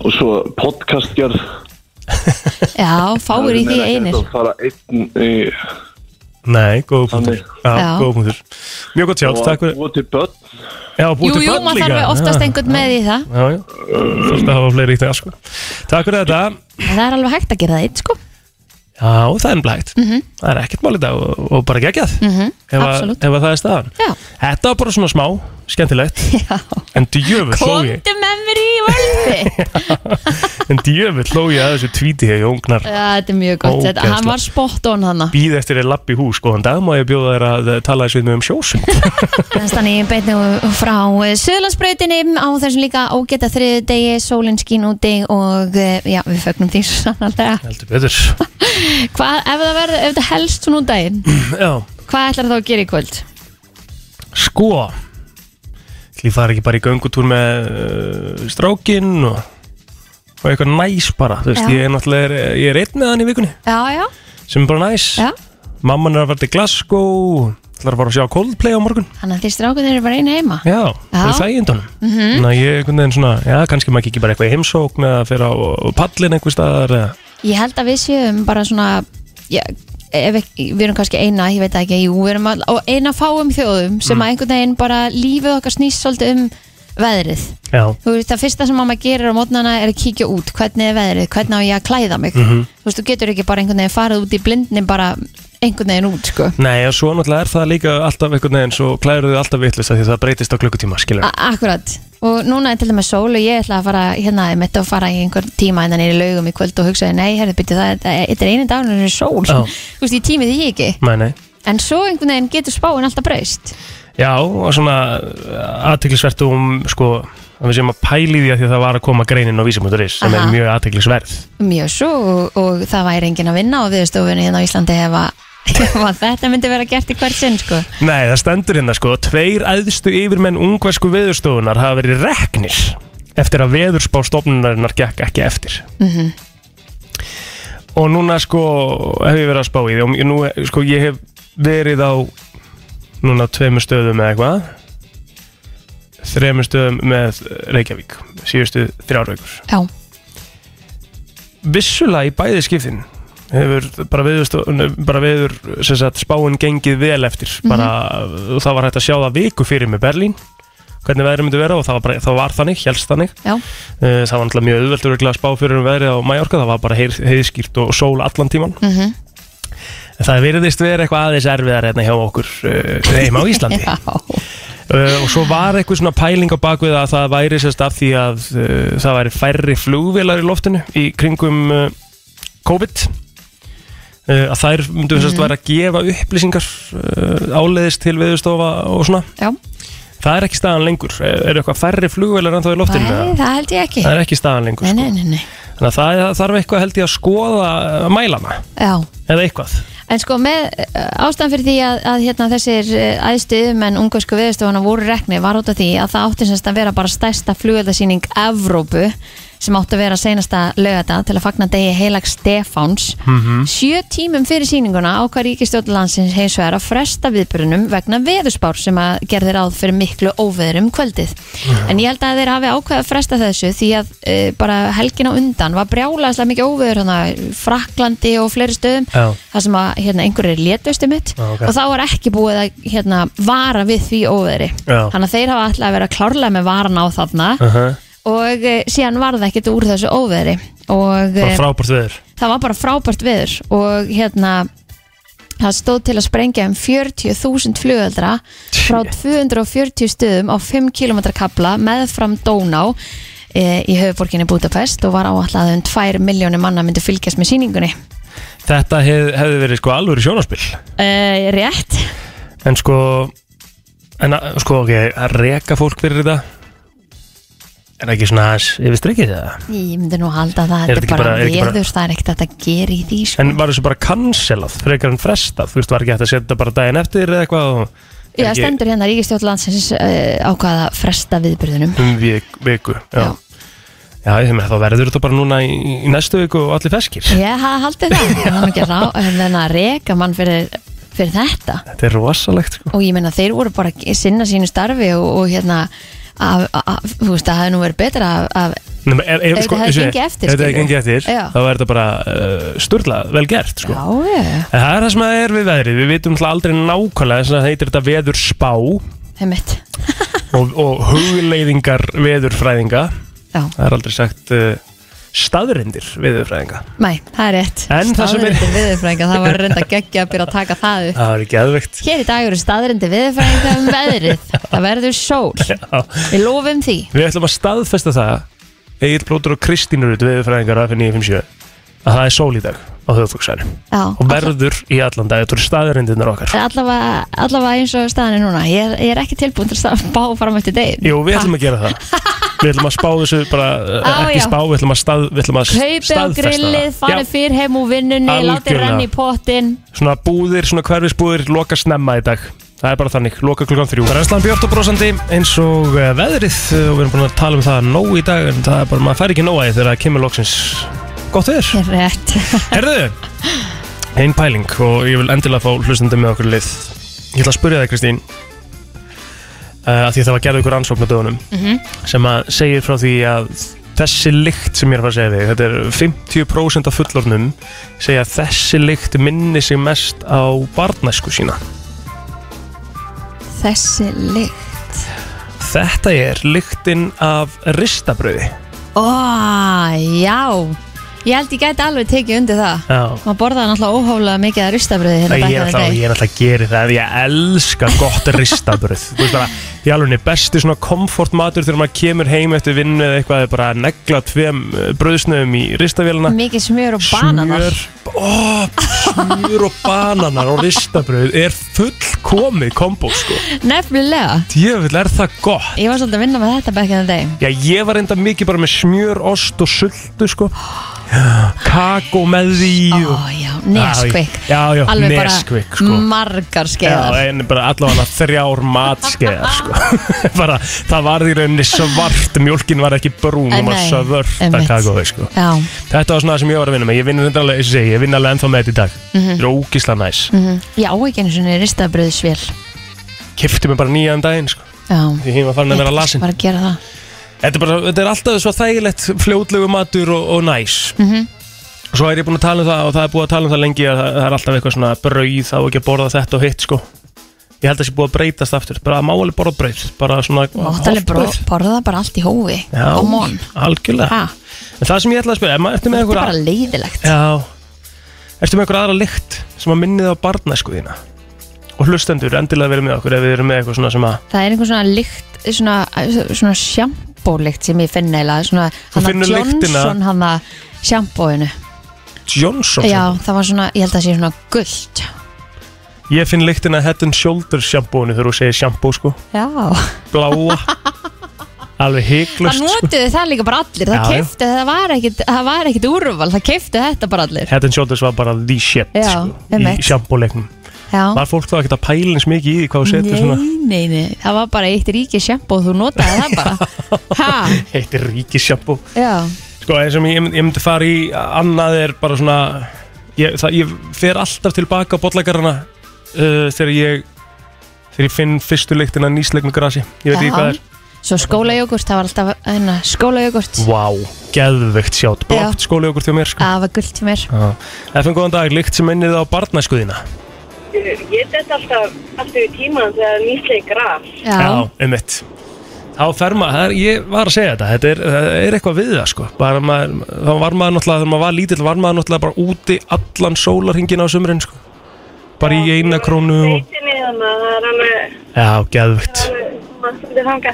Speaker 5: og svo podcastgerð
Speaker 3: Já, fáir í því einir
Speaker 8: Það fara einn í
Speaker 1: Nei, góð punktur
Speaker 8: Þannig.
Speaker 1: Já,
Speaker 3: Já.
Speaker 1: góð punktur Mjög gott sjátt, takk fyrir
Speaker 8: búið til börn
Speaker 1: Já, búið
Speaker 3: Jú,
Speaker 1: til
Speaker 3: jú,
Speaker 1: börn
Speaker 3: maður
Speaker 1: líka
Speaker 3: þarf oftast
Speaker 1: Já,
Speaker 3: einhvern með í það
Speaker 1: Já, já, þurfti að hafa fleiri í það sko Takk fyrir þetta
Speaker 3: En Það er alveg hægt að gera það einn, sko
Speaker 1: Já, það er ennblægt mm -hmm. Það er ekkert mál í dag og, og bara geggjað
Speaker 3: Mhm,
Speaker 1: ef, að-
Speaker 3: Absolutt
Speaker 1: ef að það er staðan
Speaker 3: Já,
Speaker 1: Þetta var bara svona smá, skemmtilegt
Speaker 3: já
Speaker 1: En djöfull hló ég
Speaker 3: Komdu með mér í völdi
Speaker 1: En djöfull hló ég að þessu tvíti Ég ógnar
Speaker 3: Þetta er mjög gott þetta.
Speaker 1: Ógeðslega.
Speaker 3: Hann var spot on hann
Speaker 1: býð eftir þér lapp í hús Góðan dag má ég bjóða þér að eh, tala þessu við mig um sjósund
Speaker 3: Þannig að ég beinu frá Suðlandsbrautinni á þessum líka ógeta þriðu degi, sólinn skín úti og eh, já, við fögnum því svo sannarlega.
Speaker 1: Heldur betur
Speaker 3: Hvað, ef það verður, ef það helst svona út daginn,
Speaker 1: Já,
Speaker 3: hvað ætlar þá að gera í kvöld?
Speaker 1: sko Því það er ekki bara í göngutúr með uh, strákinn og, og eitthvað næs bara Þú veist,
Speaker 3: Já.
Speaker 1: ég er náttúrulega er, ég er einn með hann í vikunni
Speaker 3: Já, já,
Speaker 1: sem er bara næs
Speaker 3: já.
Speaker 1: Mamman er að fara til Glasgow ætlar að fara að sjá Coldplay á morgun
Speaker 3: Þannig að því strákunir eru bara einu heima.
Speaker 1: Já, það er þægindunum mm
Speaker 3: Mhm.
Speaker 1: -hmm. Þannig að ég er einhvern veginn svona Já, kannski maður ekki bara eitthvað í heimsókn eða fyrir á á pallinn einhver staðar eða.
Speaker 3: Ég held að við séum bara svona, já, ef ekki, við erum kannski eina, ég veit það ekki, jú, við erum all, og eina fáum þjóðum sem að einhvern veginn bara lífið okkar snýst svolítið um veðrið.
Speaker 1: Já,
Speaker 3: þú veist, það fyrsta sem mamma gerir á mótnana er að kíkja út, hvernig er veðrið, hvernig á ég að klæða mig þú veist, þú getur ekki bara einhvern veginn farið út í blindni bara einhvern veginn út, sko
Speaker 1: nei og svo náttúrulega er það líka alltaf einhvern veginn svo klæður þau alltaf vitlist því það breytist á klukkutíma, skilur
Speaker 3: A akkurat, og núna er til dæmis sól og ég ætla að fara, hérna, ég mitt að fara í einhver tíma innan í laugum í kvöld og hugsaði nei, herðu, byrju það, þetta þetta er einu dagur en það er sól,
Speaker 1: Já.
Speaker 3: þú veist, ég tími því ekki
Speaker 1: Nei, nei
Speaker 3: en svo einhvern veginn getur spáin alltaf breyst
Speaker 1: Já, og svona aðteglisvert um sko, að við séum að pæli því að því að það var að koma greinin á vísimundurins sem er
Speaker 3: Aha.
Speaker 1: mjög aðteglisverð
Speaker 3: mjög svo og, og það væri enginn að vinna á viðstofunni hérna á Íslandi ef að ef að þetta myndi vera gert í hvert sinn, sko
Speaker 1: Nei, það stendur hérna sko Tveir æðstu yfirmenn ungversku veðurstofunar hafa verið reknir eftir að veðurspá stofnunarinnar gekk ekki eftir -hmm. Og núna sko hef ég verið að spá í því og ég- nú, sko, ég hef verið á núna tveimur stöðum eða eitthvað þreimur stöðum með Reykjavík síðustu þrjár veikur
Speaker 3: Já,
Speaker 1: vissulega í bæði skiptin hefur bara viður, bara viður sem sagt, spáin gengið vel eftir bara, og það var hægt að sjá það viku fyrir með Berlín hvernig veðrið myndi vera og það var, bara, það var þannig, helst þannig
Speaker 3: já,
Speaker 1: Eh, það var náttúrulega mjög auðveldur örugglega að spá fyrir um veðrið á Mallorca, það var bara heið, heiðskýrt og sól allan tíman
Speaker 3: mhm
Speaker 1: en það virðist vera eitthvað aðeins erfiðar hérna hjá okkur uh, heima á Íslandi
Speaker 3: Já,
Speaker 1: Uh, og svo var eitthvað svona pæling á bakvið að það væri sérst af því að uh, það væri færri flugvélar í loftinu í kringum uh, COVID uh, að þær myndum sérst
Speaker 3: Mhm.
Speaker 1: væri að gefa upplýsingar uh, áleiðis til viðustofa og svona
Speaker 3: já,
Speaker 1: það er ekki staðan lengur, er, er eitthvað færri flugvélar en þá í loftinu
Speaker 3: nei,
Speaker 1: eða?
Speaker 3: það held ég ekki
Speaker 1: það er ekki staðan lengur
Speaker 3: Nei,
Speaker 1: sko.
Speaker 3: nei, nei, nei,
Speaker 1: þannig að það það þarf eitthvað held ég að skoða uh, mælana
Speaker 3: já
Speaker 1: eða eitthvað
Speaker 3: En sko með uh, ástæðan fyrir því að, að hérna, þessir uh, æðstu yfirmenn ungarsku viðstofana voru rekni var út af því að það átti semst að vera bara stærsta flugöldasýning Evrópu sem átti að vera seinasta lögata til að fagna degi heilag Stefáns sjö tímum fyrir sýninguna ákvað ríkistjóðlandsins hins vegar að fresta viðbörunum vegna veðurspár sem að gerði ráð fyrir miklu óveðurum kvöldið en ég held að þeir hafi ákveð að fresta þessu því að uh, bara helgin á undan var brjálaðislega mikið óveður hana, fraklandi og fleiri stöðum
Speaker 1: Já.
Speaker 3: þar sem að hérna, einhverjir er létveistum mitt
Speaker 1: Já, ok.
Speaker 3: og þá er ekki búið að hérna, vara við því óveðri
Speaker 1: Já.
Speaker 3: þannig að þeir hafa alltaf að vera klárlega með varan á þarna
Speaker 1: uh -huh.
Speaker 3: og e, síðan var það ekkert úr þessu óveðri og
Speaker 1: bara
Speaker 3: e,
Speaker 1: frábært veður
Speaker 3: það var bara frábært viður og hérna það stóð til að sprengja um 40.000 flugöldra frá 240 stöðum á 5 km kapla meðfram Dóná e, í höfuborginni Budapest og var áallað um 2 miljónir manna myndi fylgjast með síningunni
Speaker 1: þetta hef, hefði verið sko alvöru sjónaspill
Speaker 3: e, rétt
Speaker 1: En sko En að- sko, ok, að reka fólk fyrir þetta Er það ekki svona aðeins yfir strikið það?
Speaker 3: Ég myndi nú halda það,
Speaker 1: Er
Speaker 3: þetta er bara,
Speaker 1: er ekki bara-
Speaker 3: veður, það er ekkert hægt að gera í því sko.
Speaker 1: En var þessu bara cancelað, frekar en frestað Þú veist, var ekki hægt að setja bara daginn eftir eða eitthvað og-
Speaker 3: Já,
Speaker 1: ekki-
Speaker 3: stendur hérna Ríkistjótt landsins uh, ákvaða fresta viðbyrðunum
Speaker 1: um vik, viku Já,
Speaker 3: Já.
Speaker 1: já ég meina, þá verður þetta bara núna í, í næstu viku og allir feskir
Speaker 3: Ég hafði haldið það, það er nú ekki rá, en þannig að reka mann fyrir, fyrir þetta
Speaker 1: Þetta er rosalegt sko
Speaker 3: og ég meina þeir voru bara að sinna sínu starfi og, og hérna að, að, þú veist, það hefði nú verið betra að, að
Speaker 1: Nefnum, ef, ef,
Speaker 3: Ef
Speaker 1: sko,
Speaker 3: þetta hefði
Speaker 1: eins og ég-
Speaker 3: gengið eftir,
Speaker 1: ef þetta hefði
Speaker 3: skilur.
Speaker 1: gengið eftir
Speaker 3: Já.
Speaker 1: þá er þetta bara uh, sturla vel gert sko.
Speaker 3: Já, ég,
Speaker 1: en það er það sem það er við veðrið við vitum náttúrulega aldrei nákvæmlega þess að það heitir þetta veður spá og,
Speaker 3: heimitt
Speaker 1: og hugleiðingar veðurfræðinga
Speaker 3: Já,
Speaker 1: það er aldrei sagt uh, staðrindir veðurfræðinga
Speaker 3: mæ, það er rétt
Speaker 1: En það sem er-
Speaker 3: Staðreyndir viðurfræðinga, það var reynda geggja að byrja að taka það upp
Speaker 1: það er ekki aðvegt
Speaker 3: Hér í dag eru staðrindi viðurfræðinga um veðrið Það verður sól, við lofum því
Speaker 1: við ætlum að staðfesta það Egil Plótur og Kristínurut veðurfræðingar af 957 að það er sól í dag á höfuðfóksæri
Speaker 3: Já,
Speaker 1: og verður í allan dag þetta eru staðrindirnar okkar
Speaker 3: allavega, allavega eins og staðan er núna Ég er, ég er ekki tilbúin til að spá fram eftir deg
Speaker 1: Jú, við ætlum að gera það Við ætlum að spá þessu bara eh,
Speaker 3: Á,
Speaker 1: ekki
Speaker 3: já.
Speaker 1: spá, við ætlum að, stað, við ætlum að
Speaker 3: Kaupið á
Speaker 1: staðfesta
Speaker 3: grillið,
Speaker 1: það
Speaker 3: farið fyrr heim úr vinnunni Látið
Speaker 1: Algjörlega.
Speaker 3: renni í pottin
Speaker 1: Svona búðir, svona hverfisbúðir, loka snemma í dag Það er bara þannig, loka klukkan þrjú Brennslan Björn og brosandi eins og eh, veðrið eh, og við erum búin að tala um það nóg í dag en það er bara, maður fær ekki nóg að því þegar það kemur loksins Gott veður
Speaker 3: Rétt
Speaker 1: Herðu, einn pæling og ég vil endilega fá hlustandi með okkur lið Ég ætla að spyrja það Kristín uh, að því að það var gerð ykkur ansókn á dögunum sem að segir frá því að þessi lykt sem ég er að fara að segja þig þetta er 50% af fullornum segja að þessi lykt minni sig mest á barnæsku sína
Speaker 3: Þessi lykt
Speaker 1: Þetta er lyktin af ristabröði
Speaker 3: Ó, já Ég held ég gæti alveg tekið undir það
Speaker 1: Já
Speaker 3: Maður borðaði náttúrulega óhóflega mikið að ristabröði hérna
Speaker 1: Ég er
Speaker 3: back in the
Speaker 1: alltaf,
Speaker 3: day.
Speaker 1: ég er alltaf að gera það Ég elska gott ristabröð Þú veist bara, ég alveg niður besti svona komfortmatur Þegar maður kemur heim eftir vinnu eða eitthvað er Bara að negla tveim bröðsnöðum í ristavélina
Speaker 3: Mikið smjör og bananar
Speaker 1: ó, Smjör og bananar og ristabröð Er fullkomið kombo sko
Speaker 3: Nefnilega
Speaker 1: Djöfull er það gott
Speaker 3: Ég var svolítið að vinna með þetta back in the day
Speaker 1: Já, ég var enda mikið bara með smjör, ost og sultu sko Kakó með því
Speaker 3: Ó,
Speaker 1: og...
Speaker 3: já, neskvik
Speaker 1: Já, já,
Speaker 3: Alveg bara
Speaker 1: Nesquik, sko.
Speaker 3: margar
Speaker 1: Já,
Speaker 3: skeiðar
Speaker 1: eh. en bara allavega þrjár matskeiðar sko. bara, það var í rauninni svart mjólkin var ekki brún
Speaker 3: Nei,
Speaker 1: og maður
Speaker 3: nei,
Speaker 1: svört að
Speaker 3: einmitt.
Speaker 1: kakói sko.
Speaker 3: Já,
Speaker 1: þetta var svona það sem ég var að vinna með ég vinn alveg, eins og ég segi, ég vinn alveg ennþá með þetta í dag mm -hmm. rókisla næs mm.
Speaker 3: mhm. ég á ekki einu svona ristabröðsvél
Speaker 1: kifti mig bara nýjan daginn sko.
Speaker 3: Já,
Speaker 1: því ég var farin að vera lasin
Speaker 3: bara að gera það
Speaker 1: þetta er, bara, þetta er alltaf svo þægilegt fljótlegu matur og, og næs mm
Speaker 3: Mhm.
Speaker 1: -hmm. Svo er ég búin að tala um það og það er búið að tala um það lengi að það það er alltaf eitthvað svona brauð á ekki að borða þetta og hitt sko Ég held að það sé búið að breytast aftur, bara að má alveg borða brauð, bara svona
Speaker 3: Máttalega
Speaker 1: holt brauð.
Speaker 3: borða bara allt í hófi
Speaker 1: Já,
Speaker 3: um Come on
Speaker 1: algjörlega
Speaker 3: Ha,
Speaker 1: En það sem ég ætla að spyrja, er maður- ertu
Speaker 3: Þetta
Speaker 1: með
Speaker 3: er
Speaker 1: einhver
Speaker 3: bara leiðilegt
Speaker 1: Já Ertu með einhver aðra lykt sem að minnið á barnæsku þína Og hlustendur, endilega verið með okkur Ef við erum með eitthvað svona sem að
Speaker 3: Það er einhver svona lykt, svona, svona sjampólykt sem ég finn eiginlega Svona hann
Speaker 1: finnur
Speaker 3: að Johnson
Speaker 1: lyktina?
Speaker 3: hann að sjampóinu
Speaker 1: Johnson
Speaker 3: Já, það var svona, ég held að það sé svona gullt
Speaker 1: Ég finn lyktina af Head and Shoulders sjampóinu Þegar þú segir sjampó sko
Speaker 3: Já
Speaker 1: Bláa Alveg
Speaker 3: Það
Speaker 1: heiklust sko.
Speaker 3: notuðu það líka bara allir Það
Speaker 1: Já, já.
Speaker 3: keifti, það var ekkit, það var ekkit úrval Það keifti þetta bara allir
Speaker 1: Head and Shoulders var bara the shit
Speaker 3: Já,
Speaker 1: sko, Í
Speaker 3: einmitt.
Speaker 1: sjampóleiknum
Speaker 3: Já
Speaker 1: Var fólk þá ekkert að pæla eins mikið í því hvað þú setur svona
Speaker 3: Nei, nei, nei, það var bara eitt ríki sjampo og þú notaði það bara Hæ,
Speaker 1: Heitir ríkissjampó
Speaker 3: já,
Speaker 1: Sko, eins og ég, mynd- ég myndi fara í annað er bara svona ég, það, ég fer alltaf tilbaka á bollakarana uh, þegar ég þegar ég finn fyrstu lyktina af nýslegnu grasi ég veit ekki
Speaker 3: Já.
Speaker 1: hvað er
Speaker 3: Svo skólajógurt, það var alltaf hérna, skólajógurt
Speaker 1: Vá, wow, geðveikt sjátt blátt skóliðokur til mér sko.
Speaker 3: Það var gullt hjá mér
Speaker 1: Já. FM, góðan dag, lykt sem minnið á barnæskuðina
Speaker 4: Ég dætt alltaf alltaf í tíman þegar nýsleik gras.
Speaker 3: Já,
Speaker 1: um mitt Þá fer maður, það er, ég var að segja þetta, þetta er, það er eitthvað við það sko bara maður, þá var maður náttúrulega, þegar maður var lítill var maður náttúrulega bara úti allan sólarhingin á sumrin sko bara í eina krónu og
Speaker 4: Sveitinni þannig að það er alveg,
Speaker 1: Já, geðvögt.
Speaker 4: maður stundir þanga.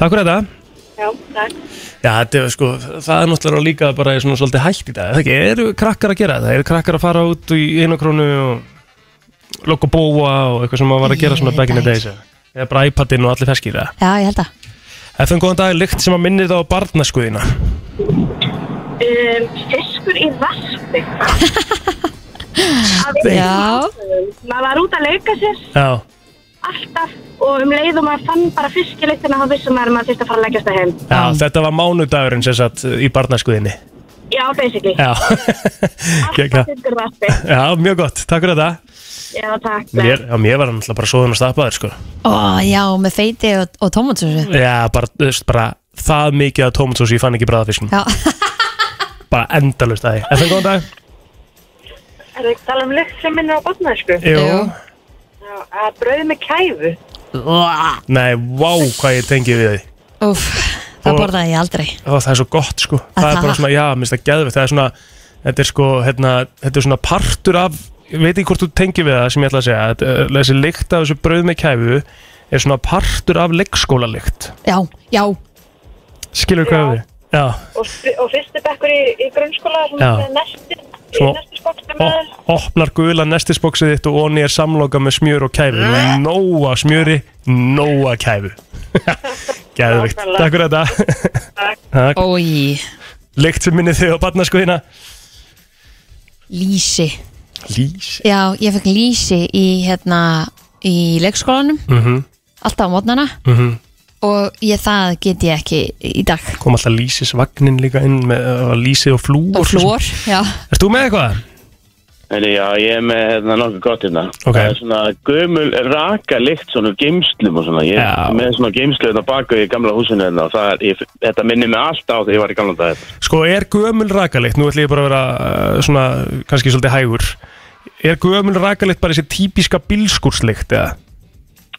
Speaker 1: Takk fyrir þetta.
Speaker 4: Já, takk.
Speaker 1: Já, þetta er sko, það er náttúrulega líka bara svona svolítið hægt í dag. Það ekki, eru krakkar að gera þetta? Eru krakkar að fara út í einu krónu og lokka bóa og eitthvað sem maður var að gera
Speaker 3: Ég
Speaker 1: svona
Speaker 3: veit
Speaker 1: back in the
Speaker 3: það
Speaker 1: days? eða? Eða bara iPadin og allir feskir það.
Speaker 3: já, ég held að
Speaker 1: FM, góðan dag, lykt sem að minnir það á barnaskuðina.
Speaker 4: Um, fiskur í varpi.
Speaker 3: Já,
Speaker 4: Maður var út að leika sér
Speaker 1: Já,
Speaker 4: alltaf og um leið og maður fann bara fiskileiktina þá vissum maður að maður þurfti að fara að leggjast að heim.
Speaker 1: já, þetta var mánudagurinn sem sagt í barnaskuðinni.
Speaker 4: Já, basically.
Speaker 1: Já,
Speaker 4: Alltaf
Speaker 1: Gekka.
Speaker 4: fiskur í
Speaker 6: um
Speaker 4: varpi.
Speaker 1: já, mjög gott, takk fyrir þetta.
Speaker 4: Já, takk.
Speaker 1: Mér, já, mér var náttúrulega bara svoðun og stappaður, sko.
Speaker 3: ó, já, með feiti og, og tómatsósu
Speaker 1: Já, bara, þú veist, bara það mikið að tómatsósi, ég fann ekki bræðafiskum
Speaker 3: Já,
Speaker 1: bara endalust aðeins Er það góðan dag?
Speaker 4: Er það ekki tala um lykt sem minnir á botnæsku?
Speaker 3: Jú.
Speaker 4: Að brauð með kæfu.
Speaker 1: Nei, vá hvað ég tengi við því
Speaker 3: úf, það
Speaker 1: Og-
Speaker 3: borðaði ég aldrei
Speaker 1: Ó, Það er svo gott sko Það er
Speaker 3: það?
Speaker 1: bara svona, já, minnst það geðvitt Það er svona, þetta er sko, hérna Þetta er svona partur af, ég veit ekki hvort þú tengi við það sem ég ætla að segja Þetta, eh, Þessi lykt af þessu brauð með kæfu er svona partur af leikskólalykt
Speaker 3: Já, já,
Speaker 1: Skilur hvað við? Já,
Speaker 4: Og, fy- og fyrsti bekkur í, í grunnskóla,
Speaker 1: Já.
Speaker 4: svona næsti, í
Speaker 1: Svo-
Speaker 4: næsti skókstum
Speaker 1: Ó, opnar gula nestisboksið þitt og onni er samloka með smjör og kæfu Nóa smjöri, nóa kæfu Geðvikt, takk fyrir þetta Takk.
Speaker 3: ói,
Speaker 1: Lykt sem minni þig á barnaskuðina
Speaker 3: lísi
Speaker 1: Lís
Speaker 3: Já, ég fekk lísi í hérna í leikskólanum
Speaker 1: Mhm.
Speaker 3: alltaf á mótnana
Speaker 1: Mhm.
Speaker 3: og ég, það get ég ekki í dag
Speaker 1: Kom alltaf lísisvagnin líka inn með uh, lísi og flúor
Speaker 3: og flór, já,
Speaker 1: Erst þú með eitthvað?
Speaker 5: Heri, já, ég er með hérna, nokkuð gott hérna
Speaker 1: Ok.
Speaker 5: Það er svona gömul raka lykt svona úr geimslum og svona Ég
Speaker 1: Já.
Speaker 5: er með svona geimslu hérna baku í gamla húsinu hérna og það er, ég, þetta minnir mig allt á þegar ég var í gamla hérna. dag
Speaker 1: Sko, er gömul rakalikt, nú ætlum ég bara að vera uh, svona, kannski svolítið hægur Er gömul rakalikt bara þessi típiska bílskúrslikt eða?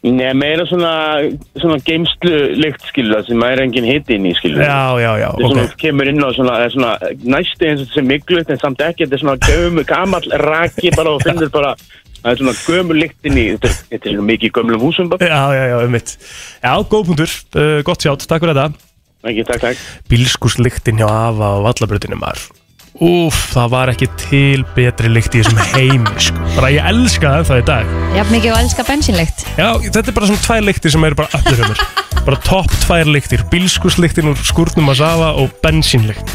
Speaker 5: Nei, meira svona, svona geimslu lykt skilur það sem maður er engin hitt inn í skilur
Speaker 1: Já, já, já,
Speaker 5: Það er
Speaker 1: ok
Speaker 5: svona, kemur inn á svona, er svona næstu eins og þessi miglut en samt ekki, þetta er svona gömul, gamall raki bara og finnur bara, það er svona gömul lykt inn í, þetta er- þetta er svona mikið í gömulum húsum bara.
Speaker 1: Já, já, já, um mitt Já, góð punktur, uh, gott sjátt, takk fyrir þetta
Speaker 5: Ekki, takk, takk.
Speaker 1: Bílskúrsliktin hjá afa og vallabrutinu maður Úf, það var ekki til betri lykt í þessum heimi, sko Bara ég elska það ennþá í dag
Speaker 3: jafn mikið og elska bensínlegt
Speaker 1: Já, þetta er bara svona tvær lyktir sem eru bara öllir ömur Bara topp tvær lyktir Bílskuslyktin úr skúrnum að safa og bensínlykt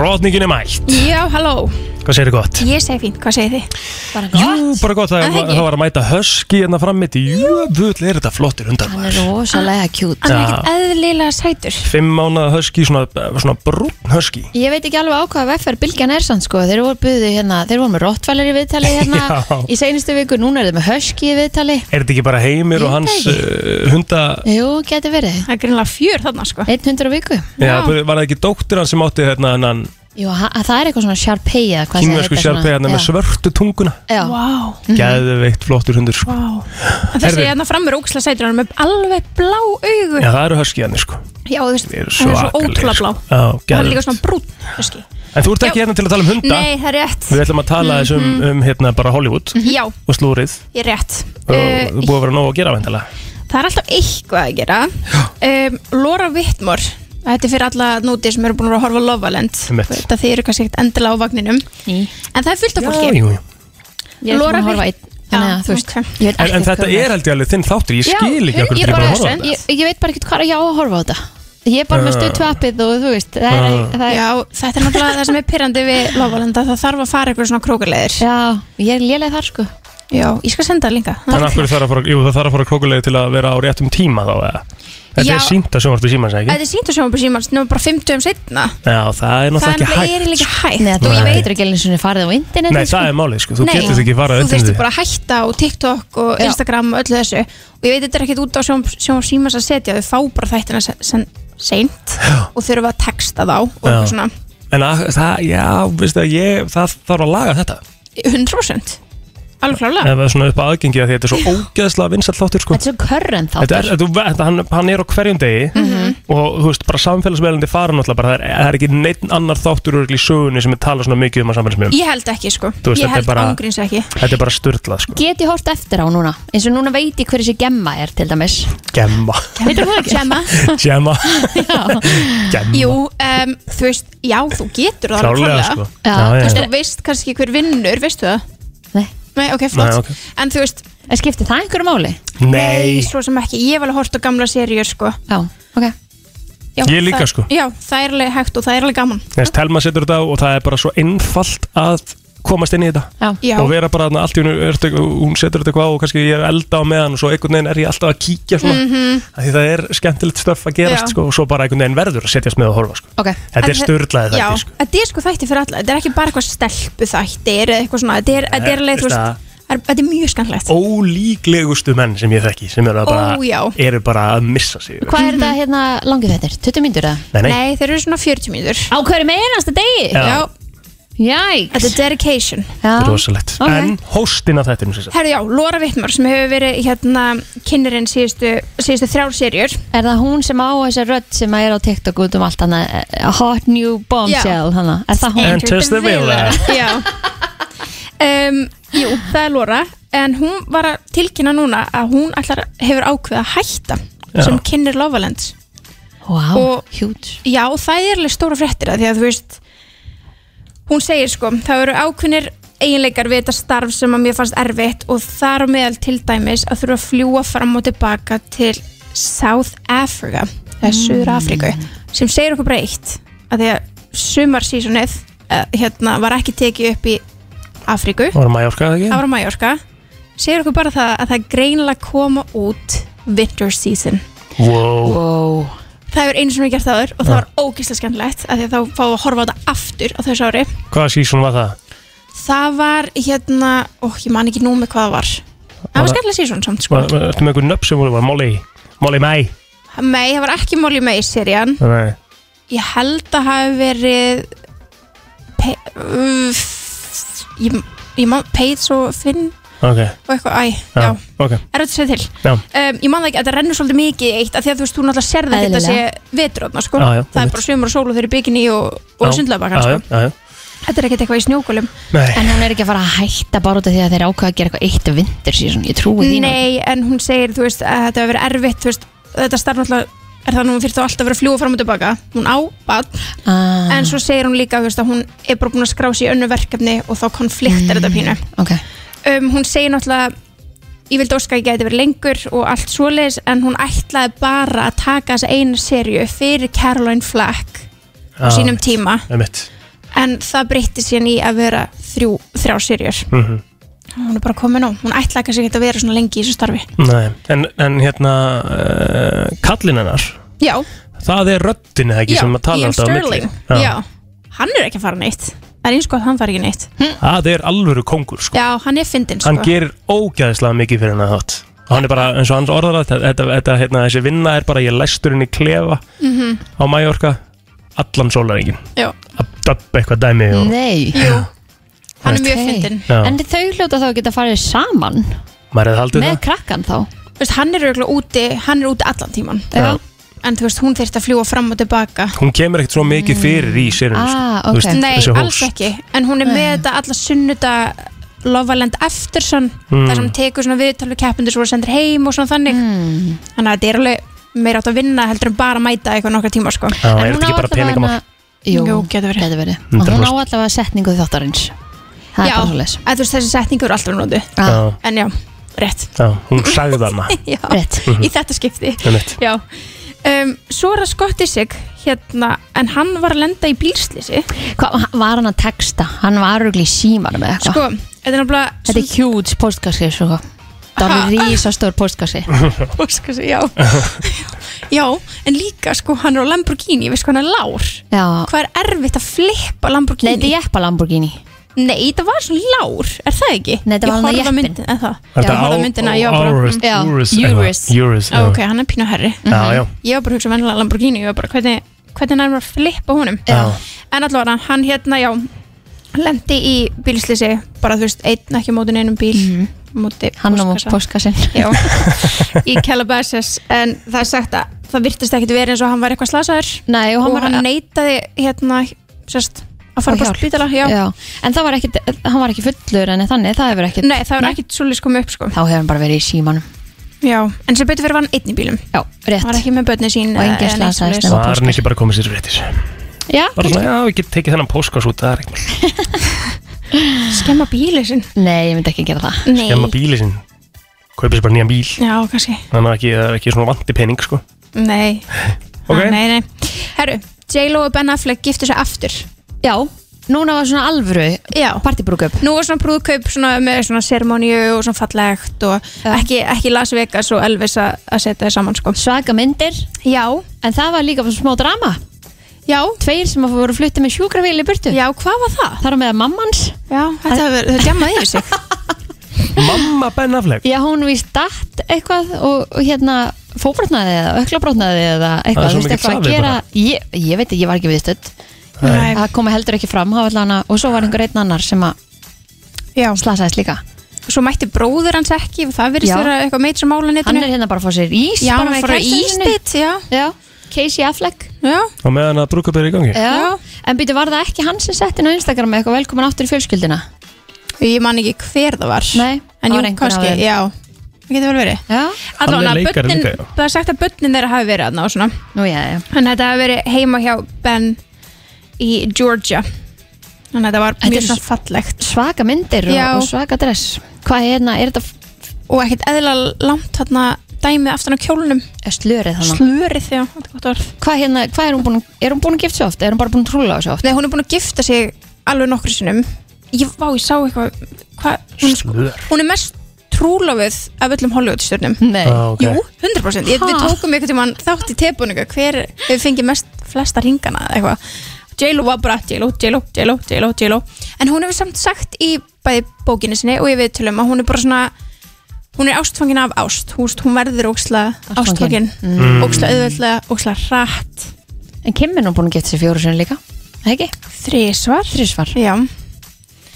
Speaker 1: Rótningin er mætt
Speaker 8: Já, halló,
Speaker 1: Hvað segir þið gott?
Speaker 8: ég segi fínt, hvað segir þið?
Speaker 3: bara gott,
Speaker 1: Jú, bara gott, það,
Speaker 8: Það
Speaker 1: var-
Speaker 8: ekki.
Speaker 1: það var að mæta höski hérna fram mitt Jöfull er þetta flottir hundar
Speaker 3: hann er
Speaker 1: maður.
Speaker 3: rosalega kjút
Speaker 8: Hann er
Speaker 1: Já.
Speaker 8: ekkert eðlilega sætur
Speaker 1: Fimm mánaða höski, svona, svona brún höski
Speaker 3: Ég veit ekki alveg á hvaða veffar bylgjan er sann sko. þeir voru buðu hérna, þeir voru með rottvælir í viðtali hérna
Speaker 1: Já.
Speaker 3: í seinustu viku, núna er þeir með höski í viðtali
Speaker 1: Er þetta ekki bara heimir og
Speaker 3: Ég
Speaker 1: hans
Speaker 3: veit
Speaker 1: uh, hunda
Speaker 3: Jú, geti verið,
Speaker 8: Það er greinlega fjör þarna, sko
Speaker 3: 100 viku
Speaker 1: Já, var það ekki dóttir hann sem átti hérna hennan
Speaker 3: Jú, ha- það er eitthvað svona sharpei eða hvað sem
Speaker 1: kínversku
Speaker 3: heitir svona-
Speaker 1: sjálfpegi hérna með
Speaker 3: Já.
Speaker 1: svörtu tunguna
Speaker 3: Já.
Speaker 8: Vá,
Speaker 1: Geðveikt flottur hundur sko.
Speaker 8: vá En Þessi
Speaker 1: Herðu.
Speaker 8: hérna framur ókslega sætur hann er með alveg blá augu
Speaker 1: Já, það eru höski hérna sko
Speaker 8: Já, þú veist,
Speaker 1: Þeir eru
Speaker 8: hann er svo
Speaker 1: svakalegir,
Speaker 8: ótrúlega
Speaker 1: sko.
Speaker 8: blá
Speaker 1: Já,
Speaker 8: Og hann er líka
Speaker 1: geðveikt.
Speaker 8: svona brún, veist
Speaker 1: En þú ert ekki
Speaker 8: Já.
Speaker 1: hérna til að tala um hunda
Speaker 8: Nei, það er rétt
Speaker 1: Við ætlum að tala þess um, um hérna bara Hollywood
Speaker 8: Já,
Speaker 1: og slúrið
Speaker 8: ég er rétt
Speaker 1: og
Speaker 8: Eh,
Speaker 1: þú búið að vera nóg að gera vendala
Speaker 8: Það er alltaf eitthvað að gera um, Laura Whitmore Þetta er fyrir alla núti sem eru búin að horfa á Love Island
Speaker 1: Einmitt.
Speaker 8: Þetta þið eru kannski ekkert endilega á vagninum
Speaker 3: Ný.
Speaker 8: En það er fullt af fólki
Speaker 1: jú, jú.
Speaker 3: Ég er svona
Speaker 8: Laura
Speaker 3: að horfa
Speaker 8: Whit-
Speaker 3: einn Þannig að
Speaker 8: Já,
Speaker 3: þú veist
Speaker 8: ok.
Speaker 3: ég veit
Speaker 1: en, en
Speaker 3: ekkert
Speaker 1: þetta
Speaker 3: hvað hún
Speaker 1: er held ég alveg þinn þáttur Ég skil ekki okkur
Speaker 8: ég
Speaker 1: til
Speaker 8: bara
Speaker 1: bara að horfa á
Speaker 8: þessu.
Speaker 1: þetta
Speaker 3: ég, ég veit bara ekkert hvað er ég á að horfa á þetta Ég er bara með
Speaker 1: Já.
Speaker 3: stöð tvappið og þú veist Það er,
Speaker 1: Já.
Speaker 3: það er
Speaker 8: Já, þetta er náttúrulega það sem er pyrrandi við Love Island að Það þarf að fara eitthvað svona krókulegir
Speaker 3: Já, ég er lélega þar sko
Speaker 8: Já, ég skal senda það linka
Speaker 1: Þannig að hverju þarf að fara, jú, það þarf að fara krókulegi til að vera á réttum tíma þá eða Þetta
Speaker 8: Já.
Speaker 1: er sínt að sjónvarpi síma, ekki?
Speaker 8: Þetta er sínt að sjóma på símans, nefnum bara 50 um setna
Speaker 1: Já, það er
Speaker 8: Það er
Speaker 1: náttúrulega
Speaker 8: náttúrulega er
Speaker 1: ekki
Speaker 8: líka
Speaker 1: hægt
Speaker 8: hægt
Speaker 3: Nei, þú
Speaker 1: Nei.
Speaker 3: veitur ekki eins og niður farið á internet
Speaker 1: Nei, það er málið, sko, þú getur ekki fara
Speaker 8: Þú þurftir bara að hætta á TikTok og
Speaker 3: Já.
Speaker 8: Instagram og öllu þessu og ég veit þetta er ekkert út á sjón, sjón símans að setja þau fá bara þættina se- sen- seint og þurfa að texta þá og
Speaker 1: Já.
Speaker 8: eitthvað svona
Speaker 1: En að, það, já, veistu að ég, það þarf að laga þetta
Speaker 8: 100% alveg
Speaker 1: En
Speaker 8: klálega
Speaker 1: það er svona upp að aðgengi að því þetta er svo ógeðslega vinsall þáttur, sko
Speaker 3: Þetta er svo körrend
Speaker 1: Þetta er,
Speaker 3: þáttur
Speaker 1: þú, þetta, hann, hann er á hverjum degi og þú veist, bara samfélagsmeðlandi fara náttúrulega bara, það er, það er ekki neitt annar þáttur örugglega í sögunni sem er talað svona mikið um að samfélagsmeðlum
Speaker 8: Ég held ekki sko,
Speaker 1: Þú veist, þetta
Speaker 8: ég
Speaker 1: er
Speaker 8: held
Speaker 1: bara-
Speaker 8: ángríns ekki
Speaker 1: Þetta er bara styrlað, sko
Speaker 3: Get ég hort eftir á núna eins og núna veit ég hver þessi gemma er til dæmis
Speaker 1: Gemma,
Speaker 3: Veitur það ekki?
Speaker 8: Gemma,
Speaker 1: gemma, gemma
Speaker 8: jú, um, þú veist, já, þú getur það alveg
Speaker 1: Klárlega, sko
Speaker 8: klálega
Speaker 1: Já,
Speaker 3: Já,
Speaker 8: Þú
Speaker 1: já, já.
Speaker 8: veist, þú veist kannski hver vinnur, veistu það?
Speaker 3: Nei,
Speaker 8: Nei, ok, flott
Speaker 1: Nei, ok.
Speaker 8: En þú veist,
Speaker 3: en skiptir það einhverju máli?
Speaker 1: Nei,
Speaker 8: svo sem ekki, ég var alveg hort á gamla seríur sko
Speaker 3: Já, ok
Speaker 8: já,
Speaker 1: Ég líka,
Speaker 8: það-
Speaker 1: sko.
Speaker 8: Já, það er alveg hægt og það er alveg gaman
Speaker 1: þess telma setur þetta á og það er bara svo einfalt að komast inn í þetta
Speaker 3: Já,
Speaker 8: Já,
Speaker 1: og vera bara þarna allt í hennu, ertu, hún setur þetta eitthvað á og kannski ég er elda á meðan og svo einhvern veginn er ég alltaf að kíkja svona mm því það er skemmtilegt stöf að gerast
Speaker 8: Já.
Speaker 1: sko, og svo bara einhvern veginn verður að setjast með og horfa sko.
Speaker 3: ok
Speaker 1: Þetta er
Speaker 8: En þe-
Speaker 1: störðlaðið
Speaker 8: já,
Speaker 1: þetta sko.
Speaker 8: þetta er sko þætti fyrir alla Þetta er ekki bara eitthvað stelpu þættir eða eitthvað svona Þetta er, þetta er alveg, þú
Speaker 1: veist
Speaker 8: veist,
Speaker 1: það.
Speaker 8: það er- þetta er mjög skanlegt
Speaker 1: ólíklegustu menn sem ég þekki sem eru að bara,
Speaker 8: Ó, já.
Speaker 1: eru bara að missa sig yfir.
Speaker 3: Hvað er þetta hérna langið þetta? 20 myndur það?
Speaker 1: Nei, nei,
Speaker 8: Nei, þeir eru svona 40 mínútur
Speaker 3: Á hverju meinasta degi?
Speaker 1: Já.
Speaker 8: Já, þetta
Speaker 3: Jæks
Speaker 8: er dedication
Speaker 3: Já.
Speaker 1: þetta er rosalegt
Speaker 3: Ok.
Speaker 1: En hóstin af þetta er
Speaker 8: Herðu já, Lóra Vittmar sem hefur verið hérna kynnerinn síðustu, síðustu þrjár serjur
Speaker 3: Er það hún sem á þessa rödd sem er á TikTok út um allt hana eh, Hot New Bombshell hana Er það hún?
Speaker 1: And just the villa.
Speaker 8: Já um, Jú, það er Lóra En hún var að tilkynna núna að hún ætlar, hefur ákveða að hætta
Speaker 1: Já.
Speaker 8: sem kynner Lovaland
Speaker 3: Wow,
Speaker 8: Og-
Speaker 3: huge
Speaker 8: Já, það er alveg stóra fréttir að því að þú veist hún segir sko, það eru ákveðnir eiginleikar við þetta starf sem að mér fannst erfitt og þar á meðal til dæmis að þurfa að fljúa fram og tilbaka til South Africa eða Suður Afriku sem segir okkur bara eitt að því að sumarsísunnið hérna, var ekki tekið upp í Afriku
Speaker 1: Það var Mallorca, eða ekki?
Speaker 8: ára Mallorca segir okkur bara það að það er greinlega koma út winter season
Speaker 1: Wow.
Speaker 3: Wow
Speaker 8: Það hefur einu sem við gert það áður og það var ógeðslega skemmtilegt af því að þá fáum við að horfa á þetta aftur á þessu ári.
Speaker 1: Hvaða sísun var það?
Speaker 8: Það var hérna, ó, ég man ekki nú með hvað það var. Það
Speaker 1: Var
Speaker 8: var
Speaker 1: það-
Speaker 8: skemmtilega sísón samt, sko.
Speaker 1: Var- var- Ertu með einhver nöpp sem voru var Molly Molly May
Speaker 8: Nei, það var ekki Molly May serían.
Speaker 1: Nei.
Speaker 8: Ég held að hafi verið Pe uh, ég, ég man Paige og Finn
Speaker 1: Ok,
Speaker 8: og eitthvað, æ,
Speaker 1: já,
Speaker 8: já.
Speaker 1: ok
Speaker 8: Er þetta að segja til?
Speaker 1: Já.
Speaker 8: Um, ég man það ekki að þetta rennur svolítið mikið í eitt af því að þú veist, þú náttúrulega sérði þetta sé
Speaker 3: Eðlilega.
Speaker 8: veturotna, sko.
Speaker 1: Já, já,
Speaker 8: það
Speaker 1: einmitt.
Speaker 8: er bara sömur og sól og þeir eru bygginni og, og
Speaker 1: Já,
Speaker 8: sundlöfbakar,
Speaker 1: já,
Speaker 8: sko.
Speaker 1: já, já.
Speaker 8: Þetta er ekkert eitthvað í snjókulum.
Speaker 1: Nei,
Speaker 3: En hún er ekki að fara að hætta bara út af því að þeir ákveða að gera eitthvað eitt vindur síðan, ég trúi því nú ekki.
Speaker 8: Nei, en hún segir, þú veist, að þetta hefur verið erfitt, þú veist, þetta starf náttúrulega, er það nú fyrir þá alltaf að vera að fljúa fram og tilbaka, hún á bad,
Speaker 3: ah,
Speaker 8: en svo segir hún líka, þú veist, að hún er bara búin að skrá sig í önnu verkefni og þá konfliktar
Speaker 3: Mm.
Speaker 8: þetta pínu.
Speaker 3: Ok,
Speaker 8: Um, hún segir náttúrulega, ég vildi óska að ég gæti verið lengur og allt svoleiðis, en hún ætlaði bara að taka þessa einu serju fyrir Caroline Flack á
Speaker 1: Já,
Speaker 8: sínum tíma,
Speaker 1: einmitt
Speaker 8: en það breytti síðan í að vera þrjú, þrjá serjur.
Speaker 1: Mhm.
Speaker 8: Hún er bara komin á, hún ætlaði kannski ekki að vera svona lengi í þessu starfi.
Speaker 1: Nei, en, en hérna uh, kallinn hennar
Speaker 8: Já,
Speaker 1: það er röddin eða ekki
Speaker 8: Já,
Speaker 1: sem að tala
Speaker 8: Ian
Speaker 1: alltaf á milli.
Speaker 8: Sterling já. hann er ekki að fara neitt Það er eins gott að hann fara ekki neitt
Speaker 1: það er alvöru kongur sko.
Speaker 8: Já, hann er fyndin sko
Speaker 1: hann gerir ógæðislega mikið fyrir hennar þátt og hann er bara eins og hans orðar að þetta, þetta, þetta, hérna, þessi vinna er bara ég læstur henni klefa á Mallorca allan sólaringin
Speaker 8: Já,
Speaker 1: að dabba eitthvað dæmi og,
Speaker 3: nei
Speaker 8: hann er mjög
Speaker 3: Ok.
Speaker 8: fyndin
Speaker 1: já,
Speaker 3: En þau hljóta þá að geta farið saman
Speaker 1: maður hefði haldið
Speaker 3: með
Speaker 1: það
Speaker 3: krakkan þá
Speaker 8: Þú veist, Hann er auðvitað úti, hann er úti allan tíman
Speaker 1: Já.
Speaker 8: En þú veist, hún þyrfti að fljúa fram og tilbaka
Speaker 1: hún kemur ekkert svo mikið fyrir í sérinu
Speaker 3: Ah,
Speaker 1: sko. Þú
Speaker 3: ok.
Speaker 1: veist,
Speaker 8: Nei,
Speaker 1: þessi
Speaker 8: alls
Speaker 1: host.
Speaker 8: ekki En hún er með þetta alla sunnuda Lovaland Efterson
Speaker 1: Hmm.
Speaker 8: mm. þar sem hún tekur svona viðtalvi keppundur sem voru sendir heim og svona þannig
Speaker 3: Hmm.
Speaker 8: Þannig að þetta er alveg meira átt að vinna heldur en bara að mæta eitthvað nokkra tíma sko
Speaker 1: Já,
Speaker 3: En
Speaker 1: er
Speaker 3: hún
Speaker 1: þetta
Speaker 3: á
Speaker 1: ekki bara
Speaker 3: allavega
Speaker 1: peningamál
Speaker 3: hana- Jú,
Speaker 8: Jú, getur verið.
Speaker 3: getur verið. Og
Speaker 1: 100%.
Speaker 3: hún á allavega setningu þáttarins Það er
Speaker 8: Já,
Speaker 3: bara svoleiðis
Speaker 8: að þú veist, þessi setningur er alltaf nótu
Speaker 1: já,
Speaker 8: En já, rétt
Speaker 1: já, hún sagði það maður
Speaker 8: Já,
Speaker 3: Ah, Rétt
Speaker 8: í þetta skipti
Speaker 1: Einmitt.
Speaker 8: Já um, Svo er það skotti sig hérna, en hann var að lenda í bílslýsi
Speaker 3: Hvað var hann að texta? Hann var örgli í símanum með eitthvað
Speaker 8: Sko, þetta er náttúrulega
Speaker 3: Þetta er huge postkassi sko. Það
Speaker 8: Ha?
Speaker 3: var rísastór postkassi
Speaker 8: kjóskasi, já Já, en líka sko, hann er á Lamborghini, veist hvað hann er lár
Speaker 3: Já,
Speaker 8: Hvað er erfitt að
Speaker 3: nei,
Speaker 8: flippa
Speaker 3: þetta
Speaker 8: Lamborghini?
Speaker 3: er jeppa Lamborghini
Speaker 8: Nei, það var svona lár, er það ekki?
Speaker 3: Nei, þetta var hann að
Speaker 8: Ég horfði á
Speaker 3: jeppinn.
Speaker 8: myndin, eða það
Speaker 1: Er
Speaker 3: Já,
Speaker 1: þetta
Speaker 8: ég horfði á
Speaker 1: á-
Speaker 8: myndina,
Speaker 1: á-
Speaker 8: já, bara,
Speaker 1: Eurus-
Speaker 3: mm. Já,
Speaker 1: Eurus eitthvað.
Speaker 3: Eurus.
Speaker 1: Eurus,
Speaker 8: Á,
Speaker 1: já.
Speaker 8: Ok, hann er pínu herri
Speaker 1: Já, já,
Speaker 8: Ég var bara að hugsa vennilega Lamborghini, ég var bara hvernig, hvernig nærmur að flippa honum
Speaker 1: já
Speaker 8: En allavega, hann hérna, já lendi í bílslýsi bara þú veist, einn ekki á móti neinum bíl mm. móti
Speaker 3: Mhm. Hann á
Speaker 8: póstkassa.
Speaker 3: postkassin
Speaker 8: Já, í Calabasas en það er sagt að það virtist ekkit verið eins og hann var eitthvað slasaður
Speaker 3: Nei, og hann
Speaker 8: og
Speaker 3: var
Speaker 8: hann neitaði hérna sérst, að fara
Speaker 3: Og
Speaker 8: bara
Speaker 3: hjálp.
Speaker 8: spítala já.
Speaker 3: Já. En það var ekki, hann var ekki fullur en þannig, það hefur ekki
Speaker 8: Nei, það var ekkit svolítið komið upp sko
Speaker 3: Þá hefur hann bara verið í símanum
Speaker 8: já. en sem betur fyrir var hann einn í bílum
Speaker 3: Já, rétt
Speaker 8: hann var ekki með börni sín
Speaker 3: Og enginn
Speaker 8: eða neitt
Speaker 3: slasaðist,
Speaker 8: svoleiðis.
Speaker 3: nema-
Speaker 1: Var hann ekki bara komið sér réttir?
Speaker 3: Já,
Speaker 1: Bara svona, já, ég get tekið þennan póskás út, það er eitthvað
Speaker 8: skemma bíli sinn
Speaker 3: nei, ég myndi ekki gera það
Speaker 8: Nei.
Speaker 1: Gemma bíli sinn Kaupið sér bara nýjan bíl
Speaker 8: já, kannski
Speaker 1: Þannig að ekki, það er ekki svona vandi pening, sko
Speaker 8: Nei,
Speaker 1: Ok,
Speaker 8: ah, nei, nei. Herru, J-Lo og Ben Affleck giftu sér aftur
Speaker 3: Já, núna var svona alvöru
Speaker 8: Já.
Speaker 3: Partibrúkup
Speaker 8: Nú var svona brúðkaup svona með svona sermoníu og svona fallegt og ekki, ekki Las Vegas og Elvis að að setja það saman sko.
Speaker 3: Svaga myndir
Speaker 8: Já,
Speaker 3: En það var líka smá drama
Speaker 8: já,
Speaker 3: Tveir sem voru fluttið með sjúkravíl í burtu
Speaker 8: já, hvað var það?
Speaker 3: Þar á meða mammans
Speaker 8: Já, þetta hefur, þau djammaði yfir sig.
Speaker 1: Mamma Ben Affleck
Speaker 3: Já, hún víst datt eitthvað og, og hérna fóbrotnaði eða öklabrotnaði eða
Speaker 1: Það er
Speaker 3: eitthvað,
Speaker 1: svo
Speaker 3: þú veist
Speaker 1: mikill
Speaker 3: eitthvað að
Speaker 1: safi
Speaker 3: gera ég, ég veit ekki, ég var ekki viðstödd
Speaker 8: Nei.
Speaker 3: það komi heldur ekki fram, það var allan að og svo var einhver einn annar sem að
Speaker 8: Já.
Speaker 3: slasaðist líka
Speaker 8: Svo mætti bróður hans ekki Það verðist
Speaker 3: Já.
Speaker 8: vera eitthvað meitt sem
Speaker 3: hann
Speaker 8: málanetinu
Speaker 3: er hérna bara að fá sér ís
Speaker 8: Já,
Speaker 3: bara
Speaker 8: hann
Speaker 3: með
Speaker 8: fór að
Speaker 3: kæristunni sinni.
Speaker 8: ístitt Já,
Speaker 3: Já, Casey Affleck
Speaker 8: já
Speaker 1: Á meðan að brúka byrja í
Speaker 8: Eh,
Speaker 1: gangi
Speaker 3: Já. En býtu, var það ekki hann sem sett inn á Instagram með eitthvað velkomin aftur í fjölskyldina?
Speaker 8: Ég man ekki hver það var
Speaker 3: Nei, það
Speaker 8: En
Speaker 3: var
Speaker 8: jú,
Speaker 3: einhver af
Speaker 8: kannski,
Speaker 3: þeim.
Speaker 8: já Það getur vel verið
Speaker 3: Já,
Speaker 1: Hann er
Speaker 8: Allavega,
Speaker 1: leikari
Speaker 8: börnin-
Speaker 1: líka, já.
Speaker 8: Það er sagt að börnin þeirra hafi verið aðna og svona
Speaker 3: nú já, já
Speaker 8: Þannig að þetta hafi verið heima hjá Ben í Georgia Þannig að þetta var
Speaker 3: Þetta
Speaker 8: mjög
Speaker 3: er
Speaker 8: svona
Speaker 3: s-
Speaker 8: fallegt
Speaker 3: Svaka myndir og,
Speaker 8: Já.
Speaker 3: og svaka dress Hvað er hérna, er þetta
Speaker 8: og ekkert eðlilega langt þarna dæmið aftan á kjólunum
Speaker 3: er slörið þannig?
Speaker 8: slörið þegar, þetta er gott orð
Speaker 3: hvað hérna, hvað er hún búin, er hún búin að gifta sig oft? Er hún bara búin að trúla á sig oft?
Speaker 8: Nei, hún er búin að gifta sig alveg nokkru sinnum ég, vá, ég sá eitthvað hva, hún, er sko,
Speaker 1: Slör.
Speaker 8: hún er mest trúlofið af öllum Hollywoodstjörnum
Speaker 3: Nei.
Speaker 1: Ah, ok.
Speaker 8: Jú, 100% ég, Við
Speaker 3: Ha?
Speaker 8: tókum einhvern tímann þátt í tebúningu hver hefur fengið mest flesta ringana eða eitthvað J-Lo var bara J-Lo, J-Lo, J-Lo, J-Lo, J-Lo en hún hefur samt sagt í bæði bókinni sinni og ég við tölum að hún er bara svona hún er ástfangin af ást húst, hún verður óksla ástfangin
Speaker 3: Ástfangin.
Speaker 1: Mm.
Speaker 8: óksla auðveldlega, óksla rætt
Speaker 3: En Kim er nú búin að gifta sig fjóru sinni líka? Er það Ekki?
Speaker 8: þrísvar
Speaker 3: Þrísvar.
Speaker 8: já,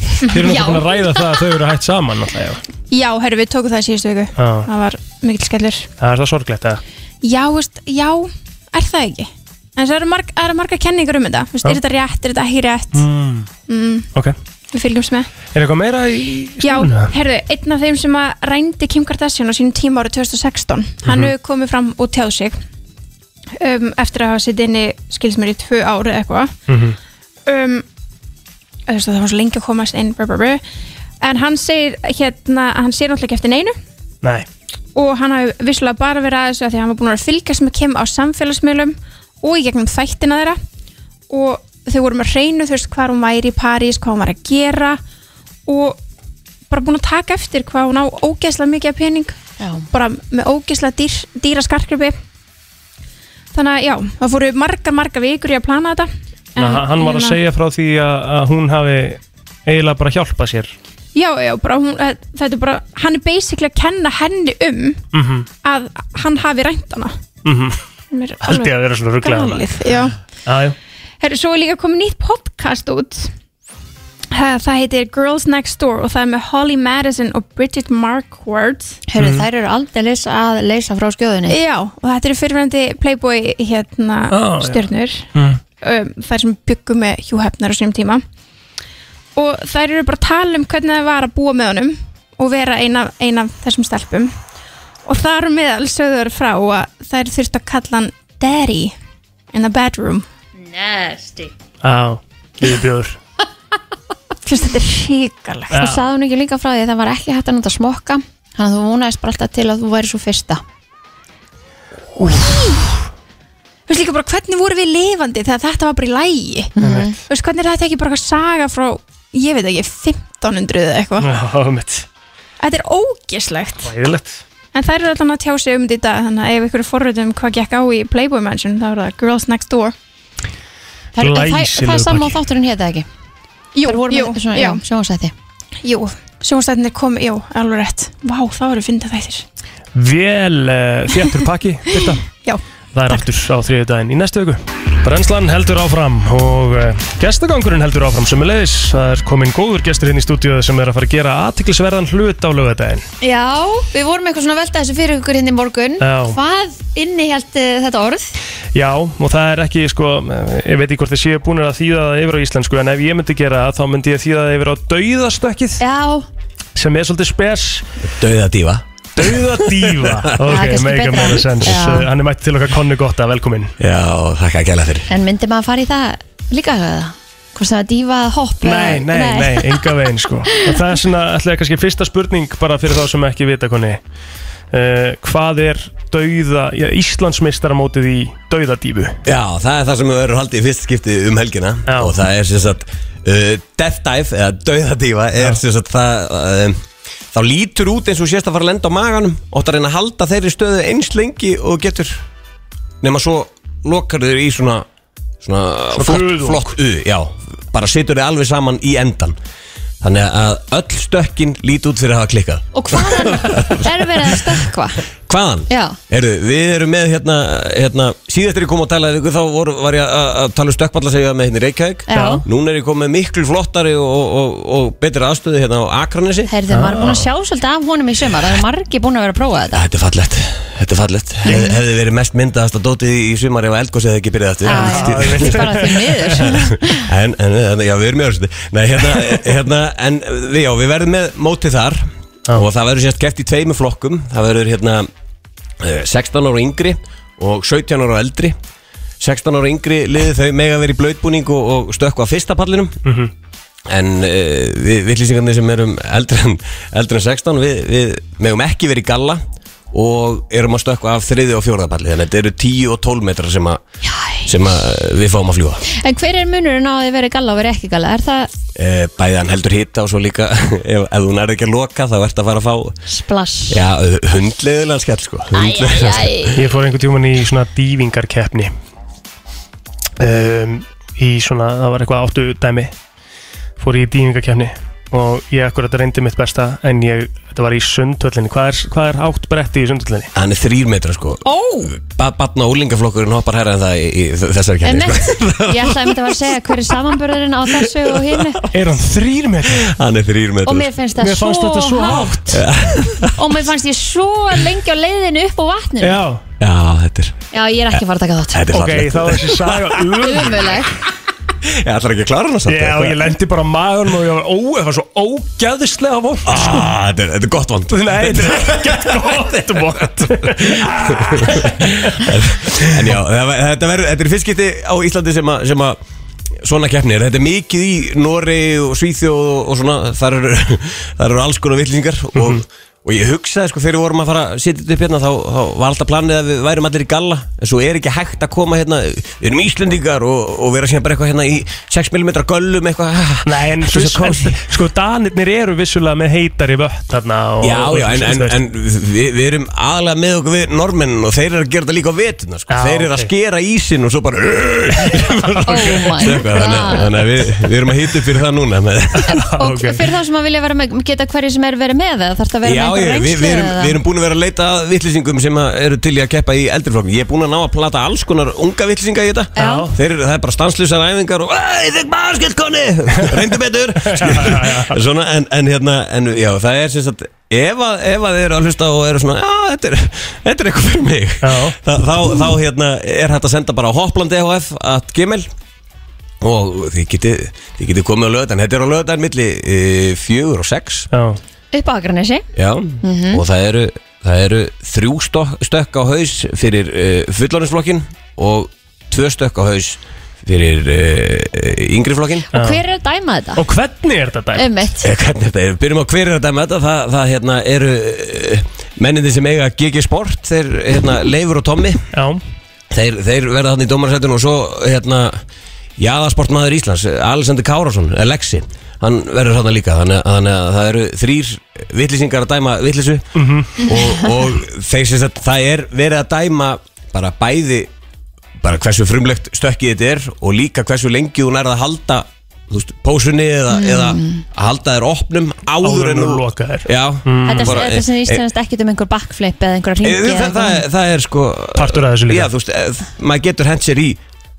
Speaker 1: Þeir eru
Speaker 3: Já.
Speaker 1: náttúrulega búin að ræða það að þau eru hægt saman náttúrulega já.
Speaker 8: já herru, við tókum það í síðustu viku
Speaker 1: Já.
Speaker 8: það var mikill skellur
Speaker 1: Það er það sorglegt að
Speaker 8: já, veist, já, er það ekki en það eru marg, það eru margar kenningar um þetta veist,
Speaker 1: Já.
Speaker 8: er þetta rétt, er þetta ekki rétt
Speaker 1: mm.
Speaker 8: mm,
Speaker 1: Ok,
Speaker 8: við fylgjumst með
Speaker 1: er eitthvað meira í
Speaker 8: já,
Speaker 1: stúkunni?
Speaker 8: herðu, einn af þeim sem að rændi Kim Kardashian á sínum tíma árið 2016
Speaker 1: Mhm.
Speaker 8: hann hefur komið fram og tjáð sig um, eftir að hafa sitt inni skilsmér í tvö ári eða eitthvað
Speaker 1: Mhm.
Speaker 8: um, þú veist, það var svo lengi að komast inn brr, brr, brr. en hann segir hérna, að hann sér náttúrulega ekki eftir neinu
Speaker 1: Nei,
Speaker 8: og hann hafi vissulega bara verið að þessu af því að hann var búin að vera að fylgjast með Kim á samfélagsmiðlum og í gegnum þættina þeirra og þau voru með hreinu þú veist hvað hún væri í París, hvað hún var að gera og bara búin að taka eftir hvað hún á ógeðslega mikið af pening
Speaker 3: Já.
Speaker 8: bara með ógeðslega dýr, dýra skarkripi þannig að já, það fóru margar margar vikur í að plana þetta
Speaker 1: en, hann var að
Speaker 8: hérna-
Speaker 1: segja frá því að, að hún hafi eiginlega bara hjálpað sér
Speaker 8: já, já, bara hún, eh, þetta er bara hann er basically að kenna henni um
Speaker 1: mm -hmm.
Speaker 8: að hann hafi rænt hana Sem er
Speaker 1: Haldi
Speaker 8: alveg
Speaker 1: Mhm. að vera svona Ah, rugglega
Speaker 8: galið, já
Speaker 1: Jájú,
Speaker 8: Herru, svo er líka komið nýtt podcast út Ha, Það heitir Girls Next Door og það er með Holly Madison og Bridget Marquardt
Speaker 3: Hörru,
Speaker 1: Mm.
Speaker 3: þær eru aldeilis að leysa frá skjóðunni.
Speaker 8: Já, og þetta eru fyrirvændi Playboy
Speaker 1: Ó,
Speaker 8: hérna
Speaker 1: já.
Speaker 8: stjörnur
Speaker 1: Mm.
Speaker 8: um, þær sem byggu með Hugh Hefner á sínum tíma og þær eru bara að tala um hvernig það var að búa með honum og vera eina, eina af þessum stelpum og þar á meðal sögður frá að þær þurftu að kalla hann Daddy in the bedroom
Speaker 1: á, viðbjóður
Speaker 8: Þú veist, þetta er hrikalegt
Speaker 3: Og sagði hún ekki líka frá því að það var ekki hægt að nota smokka, þannig að þú vonaðist bara alltaf til að þú væri svo fyrsta.
Speaker 8: Þú veist líka bara hvernig voru við lifandi þegar þetta var bara í lægi Þú veist hvernig er þetta ekki bara eitthvað saga frá ég veit ekki 1500 eða eitthvað
Speaker 1: Já, mitt,
Speaker 8: Þetta er ógeslegt
Speaker 1: hæðilegt
Speaker 8: En þær eru alltaf að tjá sig um þetta í dag þannig að ef ykkur er forröðum um hvað gekk á í Playboy Mansion þá er það Girls Next Door
Speaker 3: Þær, en þær-
Speaker 1: Glæsilegur
Speaker 3: það er saman á
Speaker 1: pakki.
Speaker 3: þátturinn hér það ekki.
Speaker 8: Jú,
Speaker 3: Þær voru
Speaker 8: jú,
Speaker 3: með svona, já,
Speaker 8: já,
Speaker 3: sjónsætti.
Speaker 8: jú Sjónstættinir komi, jú, alveg rétt Vá, þá eru fyndið þættir
Speaker 1: Vel uh, þjættur pakki, Birta
Speaker 8: Já,
Speaker 1: Það er aftur á þriðu daginn í næstu viku Brennslan heldur áfram og uh, gestagangurinn heldur áfram sem er leiðis Það er komin góður gestur hérna í stúdíu sem er að fara að gera aðtiklisverðan hlut á lögadaginn
Speaker 3: Já, við vorum eitthvað svona að velta þessu fyrir ykkur hinn í morgun.
Speaker 1: Já.
Speaker 3: Hvað innihjalt þetta orð?
Speaker 1: Já, og það er ekki, sko, eh, ég veit ekki hvort þið séu búin að þýða það yfir á íslensku en ef ég myndi gera það þá myndi ég þýða það yfir á dauðastökkið
Speaker 3: Já,
Speaker 1: sem er svolítið spes
Speaker 9: Dauða dífa
Speaker 1: Dauðadíva
Speaker 3: Það er
Speaker 1: Ok,
Speaker 3: kannski
Speaker 1: mega
Speaker 3: betra.
Speaker 1: meira sens
Speaker 3: Já.
Speaker 1: Eh, Hann er mætti til okkar konni gott að velkomin
Speaker 9: Já, þakka að gæla fyrir
Speaker 3: En myndi maður fara í það líka eða? Hvort sem að dífa hopp
Speaker 1: Nei, nei, nei, enga veginn sko Og það er svona, ætlaði kannski fyrsta spurning bara fyrir þá sem ekki vita konni uh, Hvað er dauða ja, Íslandsmeistaramótið í dauðadífu
Speaker 9: Já, það er það sem við verðum haldið í fyrst skipti um helgina
Speaker 1: Já.
Speaker 9: Og það er sem sagt uh, Death Dive, eða dauða dífa Er sem sagt það uh, Þá lítur út eins og sést að fara að lenda á maganum Og það reyna að halda þeirri stöðu eins lengi og getur Nefna svo lokar þeir í svona Svona,
Speaker 1: Svona
Speaker 9: flott,
Speaker 1: kuðung.
Speaker 9: flott U, já Bara situr þeir alveg saman í endan Þannig að öll stökkin lít út fyrir að hafa klikkað
Speaker 3: Og hvaðan er verið að stökkva?
Speaker 9: Hvaðan?
Speaker 3: Já.
Speaker 9: Heyrðu, við erum með hérna, hérna síðast er ég kom að tala við ykkur þá voru, var ég að- að tala um stökkballa segja með hérna í Reykjavík
Speaker 3: Já.
Speaker 9: Núna er ég komið með miklu flottari og, og, og, og betri aðstöðu hérna á Akranesi
Speaker 3: Herðu, maður er búin að sjá svolítið af honum í sumar Það er margi búin að vera að prófa þetta
Speaker 9: Þetta er fallegt, þetta er fallegt Hef, Hefði verið mest myndaðast að dótið í sumar ef að eldgósið hefði ekki byrjað aftur
Speaker 3: Já, já, já, Ah, bara því miður.
Speaker 9: en, en, en, já, við erum í öðru Nei, hérna, hérna en við, já, við verðum með mótið þar
Speaker 1: Já.
Speaker 9: og það verður sérst keft í tveimur flokkum það verður hérna eh, 16 ára yngri og 17 ára eldri 16 ára yngri liði þau mega verið í blöytbúning og, og stökkva á fyrsta pallinum en uh, við vittlýsingarnir sem erum eldri en, eldri en 16 við, við megum ekki verið í galla og erum að stökkva af þriði og fjórðapalli þannig að þetta eru 10 og 12 metrar sem, að, sem að eh, við fáum að fljúa
Speaker 3: En hver er munurinn á að þið verið galla og verið ekki galla? Er það
Speaker 9: uh, bæði hann heldur hitta og svo líka ef, ef þú nærði ekki að loka þá ertu að fara að fá
Speaker 3: splass?
Speaker 9: já, hundleðilega skell sko hundleiðilegan skell.
Speaker 1: Ég fór einhvern tíman í svona dývingarkeppni um, Í svona, það var eitthvað áttu dæmi Fór ég í dývingarkeppni Og ég akkurat reyndi mitt besta En ég, þetta var í sundhöllinni Hvað er, hvað er átt bretti í sundhöllinni?
Speaker 9: hann er þrýr metrar sko
Speaker 3: Ó,
Speaker 9: ba batna og úlingaflokkurinn hoppar herra en það í, í þessari
Speaker 3: en
Speaker 9: kemni
Speaker 3: neitt
Speaker 9: sko.
Speaker 3: Ég ætlaði að mynda að segja hver er samanbörðurinn á þessu og hinnu
Speaker 1: Er hann þrýr með þetta?
Speaker 9: sko. hann er þrýr metrar
Speaker 3: Og mér finnst það
Speaker 1: Mér fannst þetta svo hátt
Speaker 3: Og mér fannst ég svo lengi á leiðinu upp á vatninu Já,
Speaker 1: Já,
Speaker 9: já, þetta er,
Speaker 3: ég er ekki að fara að taka þátt
Speaker 9: þetta er
Speaker 1: ok,
Speaker 9: fallegt
Speaker 1: þá er þessi saga um
Speaker 3: Umöðleg
Speaker 9: ég ætlar ekki að klára hann að
Speaker 1: Já, og ég lendi bara á maðurum og ég var ó, það var svo ógæðislega vond
Speaker 9: Ah, þetta, er, þetta er gott vond
Speaker 1: sko. Nei, þetta er ekkert gott vond
Speaker 9: En já, það var- þetta, verður, þetta er fyrstskipti á Íslandi sem að, sem að svona keppnir Þetta er mikið í Noregi og Svíþjóð og, og svona Þar eru, þar eru alls konar villingar og,
Speaker 1: Mhm.
Speaker 9: og ég hugsaði sko þegar við vorum að fara að setja þetta upp hérna Þá, þá var alltaf planið að við værum allir í galla En svo er ekki hægt að koma hérna Við erum Íslendingar og, og vera síðan bara eitthvað hérna í 6mm göllum eitthvað
Speaker 1: Nei, en,
Speaker 9: Þetta er svo
Speaker 1: en
Speaker 9: kósí.
Speaker 1: sko danirnir eru vissulega með heitari vött þarna og,
Speaker 9: Já, já, en, en,
Speaker 1: og-
Speaker 9: en við, við erum aðalega með okkur við normenn og þeir eru að gera þetta líka á vetuna sko.
Speaker 1: Já,
Speaker 9: Þeir eru að
Speaker 1: ok.
Speaker 9: skera ísin og svo bara
Speaker 3: Oh my
Speaker 9: Stökkva, þannig, að-
Speaker 3: god
Speaker 9: þannig að við, við erum að hýta upp fyrir það núna með,
Speaker 3: Og
Speaker 1: ok.
Speaker 3: fyrir þá sem að vilja vera með Geta hverju sem er verið með það Þarf það að vera
Speaker 9: Já,
Speaker 3: með
Speaker 9: ég,
Speaker 3: einhver
Speaker 9: við, við,
Speaker 3: reynslu
Speaker 9: erum, við erum búin að vera að leita að vittlýsingum sem að eru til í að keppa í eldriflokkum Ég er búin að ná að plata alls konar unga vittlýsinga í þetta
Speaker 3: Já.
Speaker 9: Þeir, eru- Það er bara stanslisar æfingar og Æ, þig maður skell koni, reyndu betur Svona, en, en hérna, en já, það er sem sagt Ef að, ef að þið eru að hlusta og eru svona Já, þetta er, þetta er eitthvað fyrir mig
Speaker 1: Já.
Speaker 9: Þá, þá, þá hérna er hægt að senda bara á hoplandi EHF at gmail Og þið getið, þið getið komið á löðan Þetta er á löðan milli e, fjögur og sex
Speaker 1: Já,
Speaker 3: Upp á Akranesi
Speaker 9: Já, og það eru, það eru þrjú stokk, stökk á haus fyrir uh, fullorðinsflokkin og tvö stökk á haus fyrir uh, yngri flokkin.
Speaker 3: Og hver er að dæma þetta? Um
Speaker 1: og hvernig er þetta dæmi?
Speaker 3: Ummitt
Speaker 9: Eh, Hvernig er þetta er, byrjum á hverju þetta með þetta, það, það hérna, eru uh, menninni sem eiga GG Sport, þeir hérna, Leifur og Tommi,
Speaker 1: Já,
Speaker 9: þeir, þeir verða þannig í dómarasættinu og svo hérna, jaðarsportmaður Íslands, Alexander Kárásson, Alexi, hann verður þarna líka, þannig, að- þannig að það eru þrýr vittlýsingar að dæma vittlýsu
Speaker 1: Mhm.
Speaker 9: og, og þeir sem sagt, það er verið að dæma bara bæði, bara hversu frumlegt stökkið þetta er og líka hversu lengi þú nærða að halda þú veist, pósunni eða,
Speaker 3: Mm.
Speaker 9: eða að halda þér opnum áður,
Speaker 1: Áður en
Speaker 9: en
Speaker 1: þú lokar Mm. þér.
Speaker 9: Já,
Speaker 3: Þetta
Speaker 9: bara-
Speaker 3: þetta sem
Speaker 9: e-
Speaker 3: ístæðast ekkit um einhver backflip eða
Speaker 9: Eh,
Speaker 3: einhverja hringi
Speaker 9: það, það, er- það er sko
Speaker 1: Partur af þessu líka.
Speaker 9: Já, þú veist, eh, maður getur hent sér í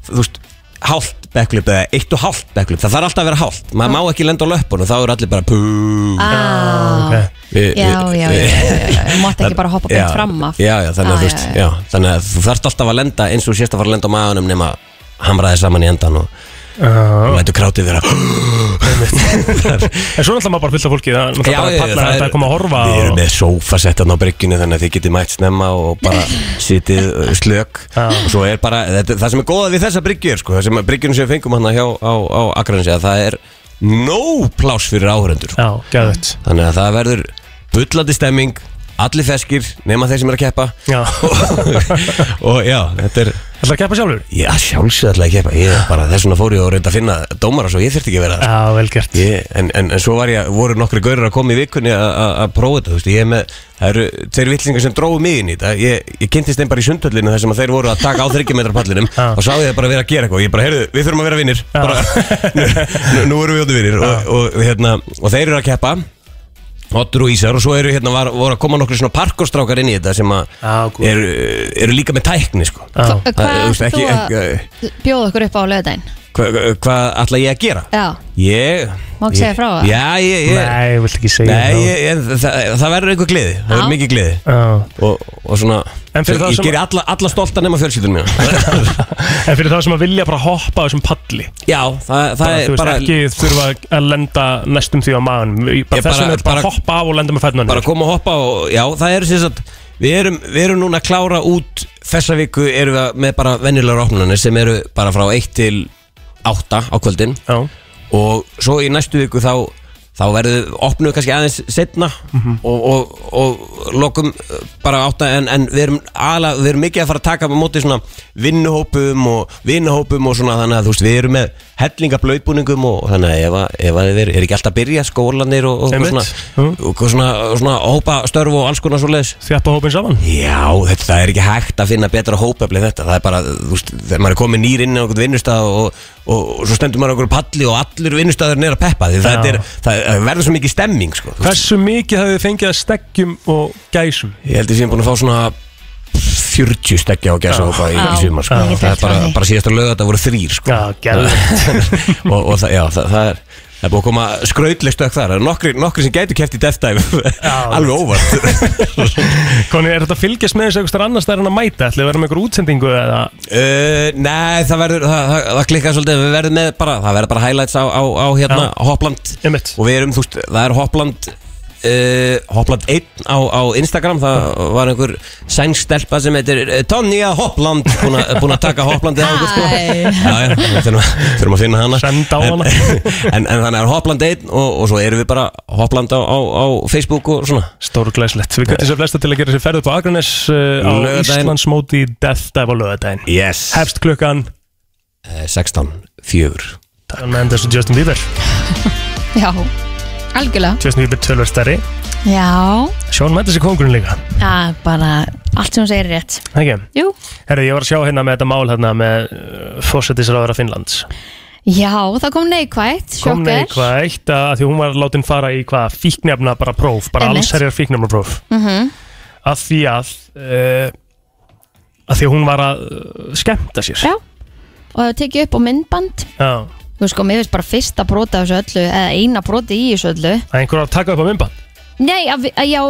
Speaker 9: Þú veist, hálft backlip eða eitt og hálft backlip Það þarf alltaf að vera hálft Maður má ekki lenda á löppunum, þá eru allir bara pú
Speaker 3: Ah,
Speaker 1: ok.
Speaker 9: Við-
Speaker 3: já, já,
Speaker 9: við-
Speaker 3: já, já, já, já. Þú mátt ekki bara hoppa beint
Speaker 9: Já,
Speaker 3: fram af
Speaker 9: Já, já, þannig að
Speaker 3: Ah,
Speaker 9: þú veist
Speaker 3: já, já.
Speaker 9: já, Þannig að þú þarft alltaf að lenda eins og þú sést að fara að lenda á maðunum nema hamra þér saman í endan og
Speaker 1: Já.
Speaker 9: lætur krátið vera
Speaker 1: En svo er alltaf maður bara fyllt af fólki Það er náttúrulega bara
Speaker 9: það er-
Speaker 1: pallar þetta að koma að horfa
Speaker 9: Við erum
Speaker 1: og-
Speaker 9: með sófasett hann á bryggjunni þannig að þið getið mætt snemma og bara sitið uh, slök
Speaker 1: Já.
Speaker 9: og svo er bara, þetta, það sem er góða við þessa bryggju er sko, það sem að bryggjunni sem við fengum hann hjá á, á Akranesi að það er nóg pláss fyrir áhörendur
Speaker 1: Já, gæðvett
Speaker 9: þannig að það verður bullandi stemming allir feskir, nema þeir sem er að keppa
Speaker 1: Já.
Speaker 9: og já, þetta er
Speaker 1: Ætlar að keppa sjálfur?
Speaker 9: já, sjálfsög ætla að keppa, ég er bara þess vegna fór ég og reyndi að finna dómara svo ég þyrfti ekki að vera það
Speaker 1: Já, vel gert
Speaker 9: Ég, en, en, en svo var ég, voru nokkri gaurar að koma í vikunni að- að að prófa þetta, þú veist, ég er með það eru tveir vittlingar sem dróðu mig inn í þetta ég, ég kynntist þeim bara í sundhöllinu þar sem að þeir voru að taka á 30 metrar pallinum
Speaker 1: Já.
Speaker 9: og sá ég þeir bara vera að gera eitthvað, og ég bara, heyrðu, við þurfum að vera vinnir
Speaker 1: Já.
Speaker 9: bara, nú, nú- nú erum við óttu vinnir og, og, hérna, og þeir eru að keppa Otur og Ísar og svo eru hérna, var, voru að koma nokkri svona parkostrákar inn í þetta sem að
Speaker 1: Já, góð.
Speaker 9: eru, eru líka með tækni, sko
Speaker 1: Já.
Speaker 3: Hva- Hvað
Speaker 9: Það- þú veist,
Speaker 3: ætlar þú
Speaker 9: ekki-
Speaker 3: að bjóða okkur upp á löðdæn?
Speaker 9: Hvað hva, hva ætla ég að gera?
Speaker 3: Já,
Speaker 9: Ég...
Speaker 3: Má ekki
Speaker 9: ég-
Speaker 3: segja frá það?
Speaker 9: Já, ég... ég
Speaker 1: Nei, ég vilt ekki segja
Speaker 9: Nei,
Speaker 1: það.
Speaker 9: ég, ég, það, það verður einhver gleði Það verður
Speaker 3: Já.
Speaker 9: mikið gleði
Speaker 1: Já.
Speaker 9: og, og svona
Speaker 1: En fyrir það
Speaker 9: Ég
Speaker 1: sem-
Speaker 9: gerir alla, alla stolta nema fjölskyldunum mína
Speaker 1: En fyrir það sem að vilja bara hoppa á þessum palli
Speaker 9: Já, það, það
Speaker 1: bara, Þú
Speaker 9: er
Speaker 1: veist
Speaker 9: bara
Speaker 1: ekki þurfa að lenda næstum því á maðan
Speaker 9: Ég
Speaker 1: Bara
Speaker 9: bara-
Speaker 1: þessum er bara
Speaker 9: bara-
Speaker 1: að hoppa á og lenda með fætnan
Speaker 9: Bara koma og hoppa og já, það er sem sagt Við erum, við erum núna að klára út Þessa viku erum við með bara venjulegar opnunir sem eru bara frá 1 til 8 á kvöldin
Speaker 1: Já,
Speaker 9: og svo í næstu viku þá þá verður opnuð kannski aðeins setna og, og, og lokum uh, bara átta en, en við erum aðla, við erum mikið að fara að taka á móti svona vinnuhópum og vinnuhópum og svona þannig að þú veist við erum með hellinga blöytbúningum og, og þannig að ef, að- ef að þeir eru ekki alltaf að byrja skólanir og, og, og
Speaker 1: Einmitt.
Speaker 9: svona,
Speaker 1: Mhm.
Speaker 9: og svona, svona hópa störf og alls konar svo leiðis
Speaker 1: þjappa hópin saman
Speaker 9: Já, þetta það er ekki hægt að finna betra hópefli en þetta, það er bara, þú veist, þegar maður er komin nýr inn á einhvern vinnustaf og, og, og svo stendur maður á einhverju palli og allur vinnustafurinn er að peppa því það
Speaker 1: Já.
Speaker 9: er, það það verður svo mikið stemming, sko þú veist.
Speaker 1: Hversu mikið hafið þið fengið að steggjum og gæsum?
Speaker 9: Ég held að ég sé búin að fá svona 40 stekja og gæsa hópa í, í
Speaker 3: Já.
Speaker 9: sumar, sko
Speaker 3: Já.
Speaker 9: það er bara,
Speaker 3: Mikið
Speaker 9: bara síðasta lög þetta voru þrýr, sko
Speaker 1: Já, gæðið
Speaker 9: og, og það, já, það, það er Það er búið að koma skrautlegst ökk þar Það eru nokkri, nokkri sem gætu kæft í Death Dive
Speaker 1: Já.
Speaker 9: Alveg óvart
Speaker 1: Konni, er þetta að fylgjast með þessu eitthvað annars þær en að mæta? Ætlaðu að vera með einhver útsendingu eða
Speaker 9: Uh, nei, það verður, það, það, það klikkar svolítið Við verðum með bara, það verður bara highlights á, á, á hérna,
Speaker 1: Já.
Speaker 9: Hopland
Speaker 1: Einmitt.
Speaker 9: Og við erum, þú veist, það er Hopland uh, Hopland 1 á, á Instagram Það var einhver sængstelpa sem heitir uh, Tonja Hopland Búin að búin að taka Hoplandið á okkur sko Já,
Speaker 3: Æ.
Speaker 9: já, við þurfum að, þurfum að finna hana
Speaker 1: Senda á hana.
Speaker 9: en, en, en þannig er Hopland 1 og, og svo erum við bara Hopland á, á, á Facebook og svona
Speaker 1: Stóru glæslegt. Við getum sér flesta til að gera sér ferð upp á Akranes uh, á
Speaker 9: Laugardaginn.
Speaker 1: Íslandsmóti í Death Dive á lögadaginn.
Speaker 9: Yes uh,
Speaker 1: Hefst klukkan,
Speaker 9: 16, 4
Speaker 1: Don Mendes og Justin Bieber.
Speaker 3: já, algjörlega
Speaker 1: Justin Bieber tölver stærri.
Speaker 3: Já,
Speaker 1: Sean Mendes er kongurinn líka.
Speaker 3: já, bara allt sem hún segir er rétt
Speaker 1: Ekki?
Speaker 3: Jú
Speaker 1: Herru, ég var að sjá hérna með þetta mál hérna með uh, fósettisráðara Finnlands.
Speaker 3: Já, það kom neikvætt,
Speaker 1: Kom
Speaker 3: sjokker
Speaker 1: neikvægt að því hún var látin fara í hvað fíknefna bara próf, bara
Speaker 3: Einmitt.
Speaker 1: allsherjar fíknefna próf. Mm
Speaker 3: Mhm.
Speaker 1: -hmm. Að því að... Uh, að því að hún var að uh, skemmta sér
Speaker 3: Já. Og það var tekið upp á myndband
Speaker 1: Já.
Speaker 3: Þú veist sko, mér finnst bara fyrsta brota af þessu öllu Eða eina broti í þessu öllu
Speaker 1: að einhver var að taka upp á myndband
Speaker 3: Nei, að, vi- að, já,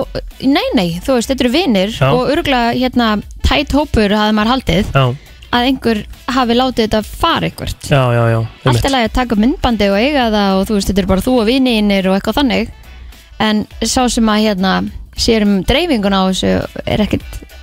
Speaker 3: nei, nei, þú veist, þetta eru vinir
Speaker 1: Já.
Speaker 3: Og örgulega, hérna, tætt hópur hafði maður haldið
Speaker 1: Já,
Speaker 3: Að einhver hafi látið þetta fara ykkvert
Speaker 1: já, já, já einmitt.
Speaker 3: Allt er lagi að taka upp myndbandi og eiga það Og þú veist, þetta er bara þú og vinir og eitthvað þannig En sá sem að, hérna, sér um dreifinguna á þessu Er ekkert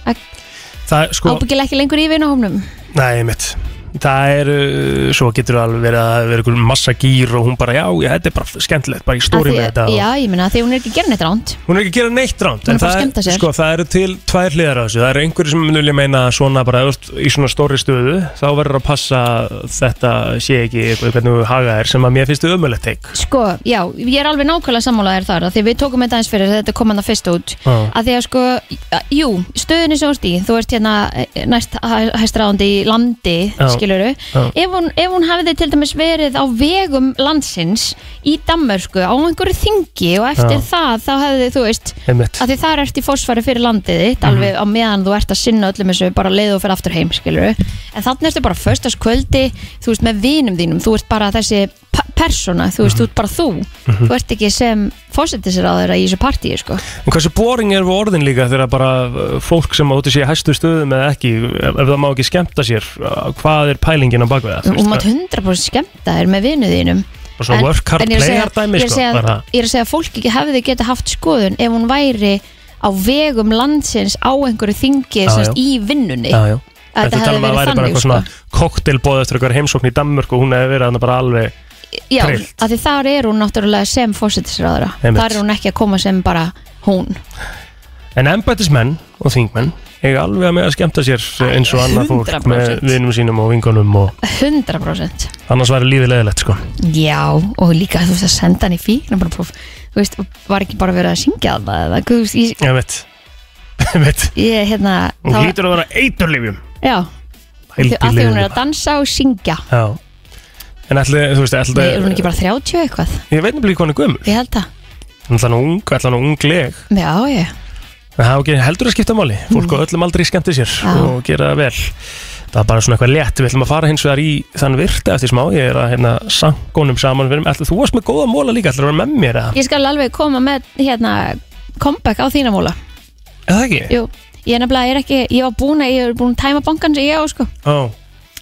Speaker 1: Það, er, sko,
Speaker 3: ábyggilega ekki lengur í vinahómnum
Speaker 1: nei, mitt Það er, uh, svo getur alveg verið að vera einhver massa gýr og hún bara, já, já, þetta er bara skemmtilegt, bara í stóri
Speaker 3: Af því-
Speaker 1: með þetta
Speaker 3: Já,
Speaker 1: og,
Speaker 3: ég meina, af því hún er ekki að gera neitt ránt
Speaker 1: Hún er ekki að gera neitt ránt
Speaker 3: Hún er
Speaker 1: en
Speaker 3: bara að
Speaker 1: það
Speaker 3: skemmta sér.
Speaker 1: Sko, það eru til tvær hliðar á þessu Það eru einhverju sem vilja meina að svona bara ef þú ert í svona stóri stöðu, þá verður að passa að þetta sé ekki eitthvað hvernig þú haga þér sem að mér finnst ömulegt teik
Speaker 3: Sko, já, ég er alveg nákvæmlega sammálaðir þar af Því við tókum þetta eins fyrir, þetta kom hann að fyrst út
Speaker 1: Já.
Speaker 3: að Því að sko, jú, stöðunni sem þú ert í Þú ert hérna eh, næst hæstráðandi í landi,
Speaker 1: Já.
Speaker 3: skiluru
Speaker 1: Já.
Speaker 3: ef hún, ef hún hafiði til dæmis verið á vegum landsins í Danmörku á einhverju þingi og eftir
Speaker 1: Já.
Speaker 3: það þá hefði, þú veist
Speaker 1: Einmitt.
Speaker 3: að því þar ert í fósfæri fyrir landið þitt
Speaker 1: Mhm.
Speaker 3: alveg á meðan þú ert að sinna öllum þessu bara leið og fyrir aftur heim, skilur en þannig ertu bara föstaskvöldi, þú veist, með vinum þínum, þú ert bara þessi pe- persóna, þú
Speaker 1: Mhm.
Speaker 3: veist, þú ert bara þú þú ert ekki sem fósettisráðara í þessu partíi, sko
Speaker 1: En hversu boring er við orðin líka þegar bara uh, fólk sem átti sé í hæstu stöðum eða ekki, ef, ef það má ekki skemmta sér uh, hvað er pælingin á bakvið það? þú
Speaker 3: og
Speaker 1: veist,
Speaker 3: maður 100% skemmta þér með vinu þínum
Speaker 1: Bara svona work hard,
Speaker 3: en ég er að
Speaker 1: play
Speaker 3: segja-
Speaker 1: hard dæmi,
Speaker 3: ég er að
Speaker 1: sko,
Speaker 3: segja-
Speaker 1: bara.
Speaker 3: Ég er að segja að fólk ekki hefði geta haft skoðun ef hún væri á vegum landsins á einhverju þingi
Speaker 1: Já,
Speaker 3: semst,
Speaker 1: já.
Speaker 3: í vinnunni
Speaker 1: Já, já.
Speaker 3: Að þetta
Speaker 1: Þetta
Speaker 3: hefði
Speaker 1: tala um að
Speaker 3: verið
Speaker 1: væri bara
Speaker 3: þannig,
Speaker 1: eitthvað
Speaker 3: sko.
Speaker 1: svona koktelbóð eftir eitthvað heimsókn í Danmörk og hún hefði verið hann bara alveg
Speaker 3: Já,
Speaker 1: Trillt.
Speaker 3: af því þar er hún náttúrulega sem fósittisráðara
Speaker 1: Einmitt.
Speaker 3: Þar er hún ekki að koma sem bara hún
Speaker 1: En embættismenn og þingmenn eiga alveg að með að skemmta sér eins og annað fólk
Speaker 3: 100%.
Speaker 1: með vinum sínum og vingunum og
Speaker 3: 100%
Speaker 1: annars væri lífið leðilegt sko.
Speaker 3: Já, og líka þú veist að senda hann í fíknabróf Þú veist, var ekki bara verið að syngja þarna eða, þú veist, ég,
Speaker 1: Ég veit, ég veit.
Speaker 3: ég hérna
Speaker 1: Hún
Speaker 3: þá-
Speaker 1: hlýtur að vera eiturlifjum.
Speaker 3: Já, af því að hún er að dansa og syngja
Speaker 1: Já. En ætli, þú veist, ætli,
Speaker 3: Nei, er hún ekki bara 30 eitthvað?
Speaker 1: ég veit nefnilega hvað hann er gömul.
Speaker 3: Ég held að,
Speaker 1: Hún ætla hann ung, ætla hann ungleg.
Speaker 3: já, ég
Speaker 1: En það er ekki heldur að skipta máli. Fólk á öllum aldrei skemmti sér
Speaker 3: Mm. Já.
Speaker 1: og gera það vel. Það er bara svona eitthvað létt. Við ætlum að fara hins vegar í þann virta eftir smá. Ég er að hérna, sangunum saman. Við erum, ætli, þú varst með góða móla líka. Ætlar að vera með mér eða?
Speaker 3: Ég skal alveg koma með hérna comeback á þína múla
Speaker 1: Eða ekki?
Speaker 3: Jú, ég er nefnilega, ég er ekki, ég var búin að, ég er búin að tæma bankan sem ég á, sko
Speaker 1: Ó,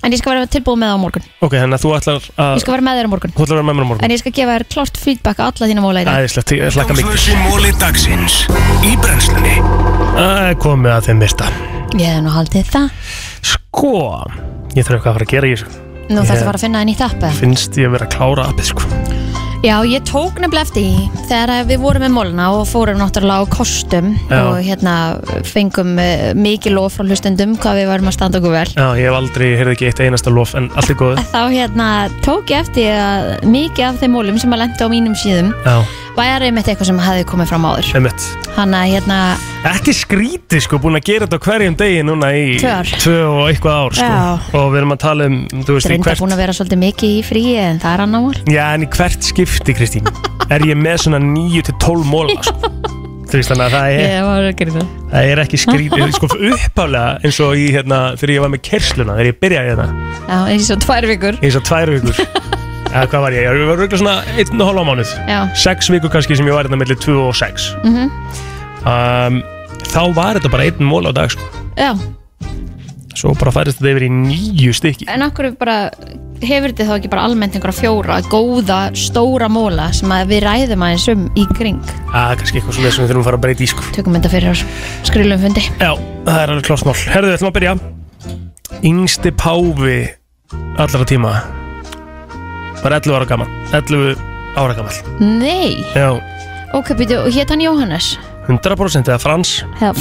Speaker 3: En ég skal vera tilbúið með það á morgun
Speaker 1: ok, þannig að þú ætlar að,
Speaker 3: Ég skal vera með þér á morgun
Speaker 1: þú ætlar að vera með mér á morgun.
Speaker 3: En ég skal gefa þér klart feedback á alla þína múla í dag
Speaker 1: Æðislegt, ég hlakka mikið.
Speaker 2: Flössi móli dagsins í brennslunni
Speaker 1: Það er komið að þeim virta.
Speaker 3: Ég hef nú haldið það
Speaker 1: Sko, ég þarf eitthvað að fara að gera í þessu.
Speaker 3: Nú
Speaker 1: Ég-
Speaker 3: þarftu bara að finna það nýtt app eða?
Speaker 1: Finnst ég vera að klára appið, sko.
Speaker 3: Já, ég tók nefnilega eftir því þegar að við vorum með mólna og fórum náttúrulega á kostum
Speaker 1: Já.
Speaker 3: og hérna fengum uh, mikið lof frá hlustendum hvað við varum að standa okkur vel
Speaker 1: Já, ég hef aldrei, ég heyrði ekki eitt einasta lof, en allt er góð.
Speaker 3: þá hérna tók ég eftir því að mikið af þeim mólum sem að lenda á mínum síðum
Speaker 1: Já,
Speaker 3: væri mitt eitthvað sem hefði komið fram áður
Speaker 1: einmitt.
Speaker 3: hann að hérna,
Speaker 1: Ekki skrítið, sko, búin að gera þetta á hverjum degi núna í
Speaker 3: Tvö ár.
Speaker 1: tvö og eitthvað ár, sko.
Speaker 3: Já.
Speaker 1: Og við erum að tala um, þú veist, í
Speaker 3: reynda
Speaker 1: hvert...
Speaker 3: búin að vera svolítið mikið í fríi en það er annar mál
Speaker 1: Já, en í hvert skipti, Kristín, er ég með svona 9-12 móla, sko. Þú veist, þannig að það er,
Speaker 3: var ekki það
Speaker 1: það er ekki skrítið, sko, uppálega eins og í, hérna, þegar ég var með kersluna, þegar ég byrjaði hérna.
Speaker 3: Já, eins og tvær vikur
Speaker 1: eins og tvær vikur eða hvað var ég, ég var röglega svona einn og halva mánuð
Speaker 3: Já,
Speaker 1: sex vikur kannski sem ég var hérna mellir 2 og 6
Speaker 3: Mhm.
Speaker 1: um, þá var þetta bara einn mól á dag sko.
Speaker 3: já,
Speaker 1: svo bara færist þetta yfir í nýju stykki
Speaker 3: en okkur bara hefur þetta þá ekki bara almennt einhverja fjóra góða, stóra móla sem að við ræðum aðeins um í kring
Speaker 1: að kannski eitthvað svona sem við þurfum að fara að breyta í sko.
Speaker 3: tökum þetta fyrir ás skrýlum fundi
Speaker 1: já, það er alveg klart mál herðu, við ætlum að byrja yngsti páfi allra tíma var 11 ára gammal 11 ára gammal
Speaker 3: Nei,
Speaker 1: já,
Speaker 3: ok, býtu, og hétt hann Jóhannes
Speaker 1: 100% eða frans
Speaker 3: Já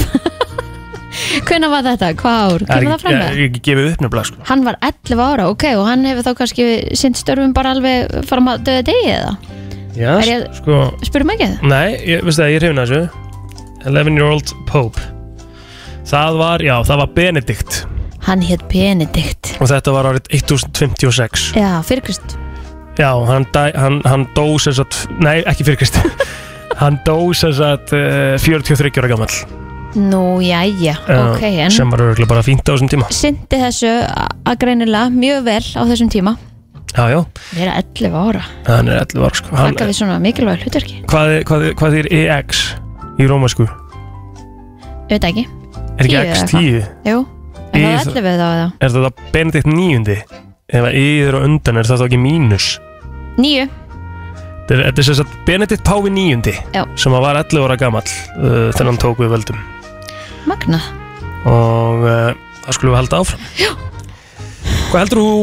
Speaker 3: Hvenær var þetta? Hvað ár? Kemur það fram
Speaker 1: ég,
Speaker 3: með?
Speaker 1: ég, ég gefið upp nefnilega sko.
Speaker 3: Hann var 11 ára, ok, og hann hefur þá kannski sinnt störfum bara alveg fram að döða degi eða?
Speaker 1: já,
Speaker 3: Er ég-
Speaker 1: sko
Speaker 3: Spurum ekki það?
Speaker 1: Nei, ég, veistu það, ég er hrifin að þessu 11 year old pope Það var, já, það var Benedikt
Speaker 3: Hann hétt Benedikt
Speaker 1: og þetta var árið 1056
Speaker 3: Já, fyrir Krist
Speaker 1: Já, hann, dæ, hann, hann dó sem sagt, nei, ekki fyrir Kristi Hann dó sem sagt eh, 43 ára gamall
Speaker 3: Nú, jæja,
Speaker 1: eh,
Speaker 3: ok, en
Speaker 1: sem var örgulega bara fínt á þessum tíma
Speaker 3: Sinti þessu a- að greinilega mjög vel á þessum tíma
Speaker 1: Já, já,
Speaker 3: Vera 11 ára,
Speaker 1: hann er 11 ára sko. hann,
Speaker 3: taka við svona mikilvæg hlutverki
Speaker 1: hvað, er- hvað, er- hvað er EX í rómasku?
Speaker 3: Ég veit ekki,
Speaker 1: Er ekki
Speaker 3: Tíu eða
Speaker 1: X10?
Speaker 3: jú En það
Speaker 1: Í-
Speaker 3: var 11 þá eða?
Speaker 1: Er þetta Benedikt 9? Ef að yður og undan er það þá ekki mínus?
Speaker 3: Níu,
Speaker 1: Þetta er- þetta er sem sagt Benedikt Páfi nýjundi
Speaker 3: Já.
Speaker 1: sem að var 11 ára gamall uh, þegar hann tók við völdum
Speaker 3: magnað
Speaker 1: og uh, það skulum við halda áfram Já Hvað heldur þú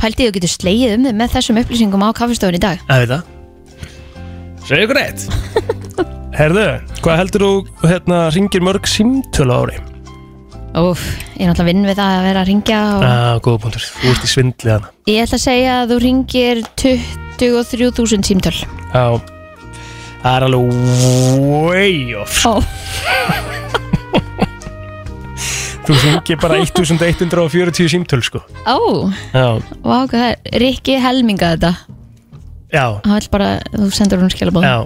Speaker 3: Pældið þú getur slegið um þig með þessum upplýsingum á kaffestofun í dag
Speaker 1: að veit það Segðu ykkur eitt Herðu, hvað heldur þú hérna ringir mörg símtölu á ári?
Speaker 3: Úf, ég er náttúrulega vinn við það að vera að ringja og
Speaker 1: ah, góða punktur, þú ert í svindli hana
Speaker 3: ég ætla að segja að þú ringir 23.000 símtöl
Speaker 1: Já Það er alveg way off
Speaker 3: Ó,
Speaker 1: Þú ringir bara 1140 símtölu sko
Speaker 3: ó,
Speaker 1: Já,
Speaker 3: vá, hvað það er Rikki helminga þetta
Speaker 1: já,
Speaker 3: Hann vil bara, þú sendur hún skilabóð
Speaker 1: já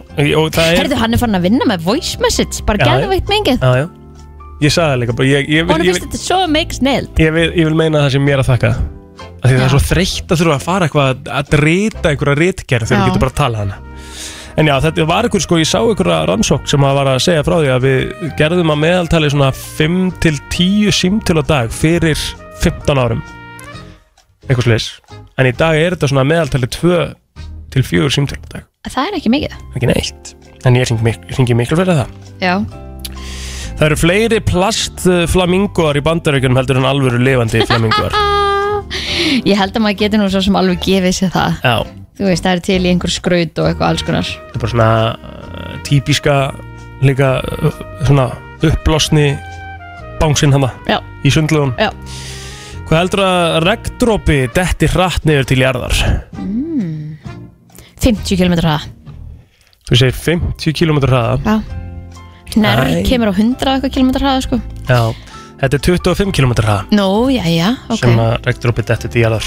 Speaker 1: og það er
Speaker 3: Herðu, hann er farin að vinna með voice message bara
Speaker 1: Já,
Speaker 3: gæða veitt mengið
Speaker 1: Já, já Ég sagði það líka bara ég, ég,
Speaker 3: Hún
Speaker 1: vil, ég,
Speaker 3: finnst
Speaker 1: vil,
Speaker 3: þetta svo make snill
Speaker 1: ég, vil, ég vil meina það sem mér að þakka Af Því það
Speaker 3: Já.
Speaker 1: er svo þreytt að þurfa að fara eitthvað að- að rita einhverja ritgerð þegar
Speaker 3: Já.
Speaker 1: við getum bara að tala hana En já, þetta var einhver sko, ég sá einhverja rannsókn sem að var að segja frá því að við gerðum að meðaltali svona 5-10 símtöl á dag fyrir 15 árum eitthvað sliðis En í dag er þetta svona að meðaltali 2-4 símtöl á dag,
Speaker 3: Það er ekki mikið
Speaker 1: ekki neitt En ég hringi mik hringi miklu fyrir það
Speaker 3: Já,
Speaker 1: Það eru fleiri plastflamingoar í bandaríkjunum heldur en alvöru lifandi flamingoar.
Speaker 3: Ah, ég held að maður getur nú svo sem alveg gefið sér það
Speaker 1: Já,
Speaker 3: Þú veist, það er til í einhver skraut og eitthvað alls konar
Speaker 1: eh, þetta er bara svona uh, típiska líka uh, svona uppblásni bánsinn hana
Speaker 3: Já.
Speaker 1: í sundlugun
Speaker 3: Já.
Speaker 1: Hvað heldur að regndrópi detti hratt niður til jarðar?
Speaker 3: 50 km hraða
Speaker 1: Þú segir 50 km hraða
Speaker 3: Já Nær
Speaker 1: Æ.
Speaker 3: kemur á 100 eitthvað km hraða sko
Speaker 1: Já, þetta er 25 km hraða
Speaker 3: Nú, jæja, ok
Speaker 1: sem að regndrópi detti til jarðar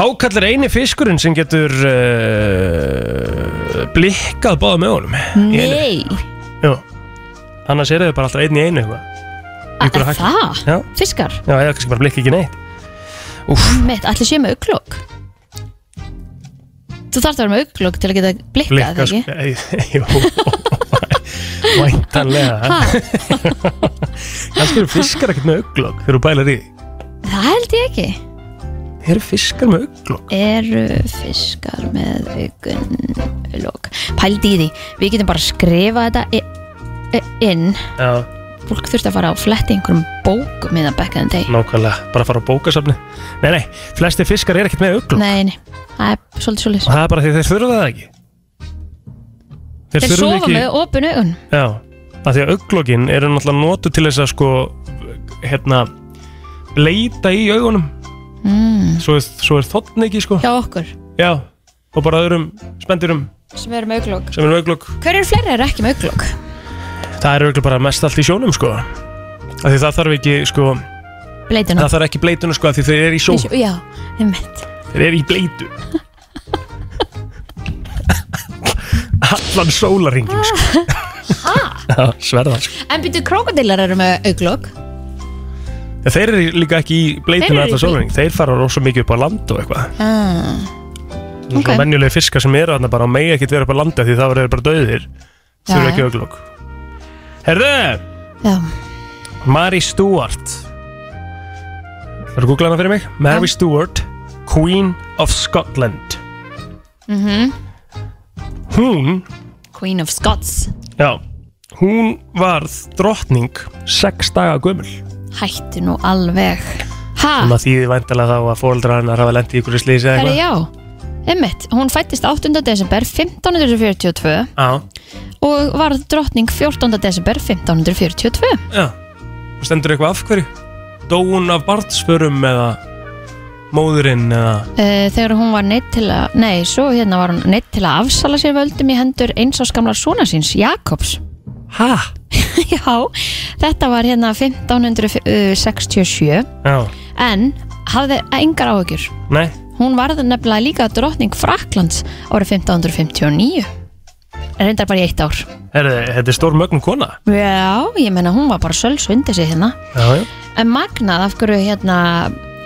Speaker 1: Hákall er eini fiskurinn sem getur uh, blikkað báða með honum í einu.
Speaker 3: Nei,
Speaker 1: Jú. Annars eru þau bara alltaf einn í einu eitthvað
Speaker 3: að
Speaker 1: Ykkur að
Speaker 3: að
Speaker 1: hagga.
Speaker 3: það?
Speaker 1: Já,
Speaker 3: Fiskar?
Speaker 1: já, eða kannski bara blikka ekki neitt Úf,
Speaker 3: Mitt, allir séu með auglokk Þú þarft að vera með auglokk til að geta blikkað,
Speaker 1: blikka
Speaker 3: ekki?
Speaker 1: sko- Jú, væntanlega
Speaker 3: Ha,
Speaker 1: Kannski eru fiskar ekkert með auglokk þegar þú bælar í því.
Speaker 3: það held ég ekki
Speaker 1: Eru fiskar með auglokk?
Speaker 3: Eru fiskar með augunlokk Pældi í því, við getum bara að skrifa þetta i- i- inn
Speaker 1: Já,
Speaker 3: Fólk þurfti að fara á fletti einhverjum bókum hérna í það bekkaðan deg
Speaker 1: nákvæmlega, bara fara á bókasafni Nei, nei, flesti fiskar er ekkert með auglokk
Speaker 3: Nei, nei, það er svolítið svolítið
Speaker 1: Og það er bara því þeir þurfa það ekki Þeir,
Speaker 3: Þeir
Speaker 1: þurfa
Speaker 3: sofa
Speaker 1: ekki
Speaker 3: með opin augun
Speaker 1: Já, af því að auglokkin eru náttúrulega notu til þess að sko hérna, leita í augunum
Speaker 3: mm.
Speaker 1: svo er, svo er þotn ekki sko
Speaker 3: Hjá okkur
Speaker 1: Já, og bara öðrum spendurum
Speaker 3: sem eru með auglokk
Speaker 1: sem er auglokk
Speaker 3: Hver eru fleiri er ekki með auglokk?
Speaker 1: Það er auglokk bara mest allt í sjónum sko af því það þarf ekki sko
Speaker 3: Bleitina
Speaker 1: það þarf ekki bleituna sko af því þeir eru í sjó
Speaker 3: Já, einmitt
Speaker 1: þeir eru í bleitu Allan sólaringin sko Já, Sverða sko
Speaker 3: En byrju, krokodillar eru með auglokk
Speaker 1: Já, Þeir eru líka ekki í
Speaker 3: Þeir
Speaker 1: bleituna
Speaker 3: eru í
Speaker 1: allan sólaring Þeir fara rosa mikið upp á land og eitthvað
Speaker 3: ah.
Speaker 1: okay. venjulegi fiskar sem eru þarna bara og megi ekkert vera upp á landa því það verður bara döðir þurfa
Speaker 3: Já,
Speaker 1: ekki
Speaker 3: já.
Speaker 1: auglokk Herðu,
Speaker 3: Já,
Speaker 1: Mary Stuart Það er að googla hana fyrir mig Mary Stuart, Queen of Scotland -hmm. Hún
Speaker 3: Mhm. Queen of Scots
Speaker 1: Já, hún varð drottning sex daga gömul
Speaker 3: Hættu nú alveg Ha,
Speaker 1: sem að þýði væntalega þá að fóreldrar hennar hafa lendið í ykkur slýsi eða
Speaker 3: herri
Speaker 1: eitthvað
Speaker 3: já Einmitt, hún fættist 8. desember 1542
Speaker 1: Já,
Speaker 3: og var drottning 14. desember 1542
Speaker 1: já Og stendur eitthvað af hverju? Dó hún af barnsförum eða móðurinn eða
Speaker 3: Eh, þegar hún var neitt til að nei, svo hérna var hún neitt til að afsala sér völdum í hendur eins ás gamlar svona síns Jakobs
Speaker 1: Hæ?
Speaker 3: Já, þetta var hérna 1567
Speaker 1: Já,
Speaker 3: en hafði engar áhugjur
Speaker 1: nei
Speaker 3: hún varð nefnilega líka drottning Fraklands árið 1559 reyndar bara í eitt ár
Speaker 1: Herðu, þetta er stór mögnum kona
Speaker 3: Já, ég menna hún var bara söls undir sig hérna
Speaker 1: Já, já
Speaker 3: en magnað af hverju hérna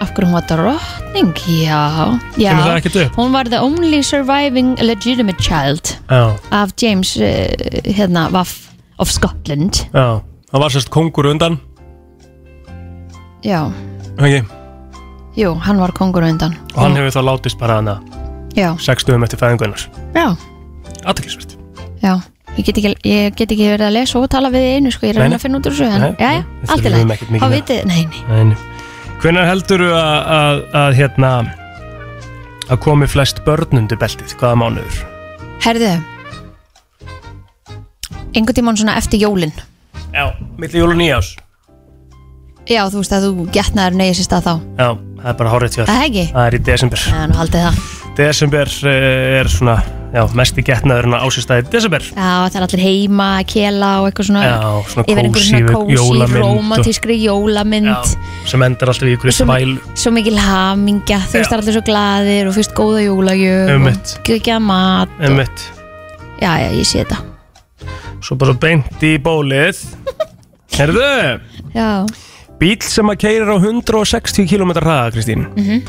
Speaker 3: af hverju hún var drottning Já,
Speaker 1: Kemur það
Speaker 3: já
Speaker 1: ekkert upp?
Speaker 3: hún var the only surviving legitimate child
Speaker 1: Já,
Speaker 3: af James uh, hérna Waff of Scotland
Speaker 1: já Það var sérst kongur undan
Speaker 3: Já,
Speaker 1: okay.
Speaker 3: jú, hann var kongur á undan
Speaker 1: Og hann hefur þá látist bara hana
Speaker 3: Já,
Speaker 1: 60 um eftir fæðingunars
Speaker 3: já,
Speaker 1: Aðteklisvert
Speaker 3: já Ég get, ekki, ég get ekki verið að lesa og tala við í einu sko, ég
Speaker 1: Nei,
Speaker 3: reyna
Speaker 1: nei.
Speaker 3: að finna út úr þessu en,
Speaker 1: Nei,
Speaker 3: já, já,
Speaker 1: nei, við
Speaker 3: allt í
Speaker 1: þurfum ekkert
Speaker 3: lagi,
Speaker 1: mikið
Speaker 3: þá
Speaker 1: með-
Speaker 3: vitið nei, nei,
Speaker 1: Hvenær heldurðu að, að, að hérna að komi flest börn undir beltið hvaða mánuður?
Speaker 3: herðu einhvern tímann svona eftir jólin
Speaker 1: Já, milli jól og nýjás
Speaker 3: já, þú veist að þú getnaður neyja sér stað þá
Speaker 1: Já, það er bara hárið tjóð
Speaker 3: það er ekki,
Speaker 1: Það er í desember
Speaker 3: já, nú haldið það
Speaker 1: Desember eh, er svona, já, mest í getnaðurinn á sér staði desember
Speaker 3: já, það er allir heima, að kela og eitthvað svona
Speaker 1: Já, svona
Speaker 3: yfir einhver
Speaker 1: kósi,
Speaker 3: svona kósi,
Speaker 1: jólamynd og-
Speaker 3: romantískri jólamynd
Speaker 1: Já, sem endar alltaf í ykkur
Speaker 3: Sem-
Speaker 1: svæl
Speaker 3: svo mikil hamingja, þú veist
Speaker 1: Já.
Speaker 3: það er allir svo glaðir og fyrst góða jólagjöf
Speaker 1: Einmitt.
Speaker 3: og ekki að mat og,
Speaker 1: Einmitt
Speaker 3: já, já, ég sé þetta
Speaker 1: Svo bara beint í bólið Herðu,
Speaker 3: já,
Speaker 1: bíl sem að keirir á 160 km hraða, Kristín
Speaker 3: Mhm.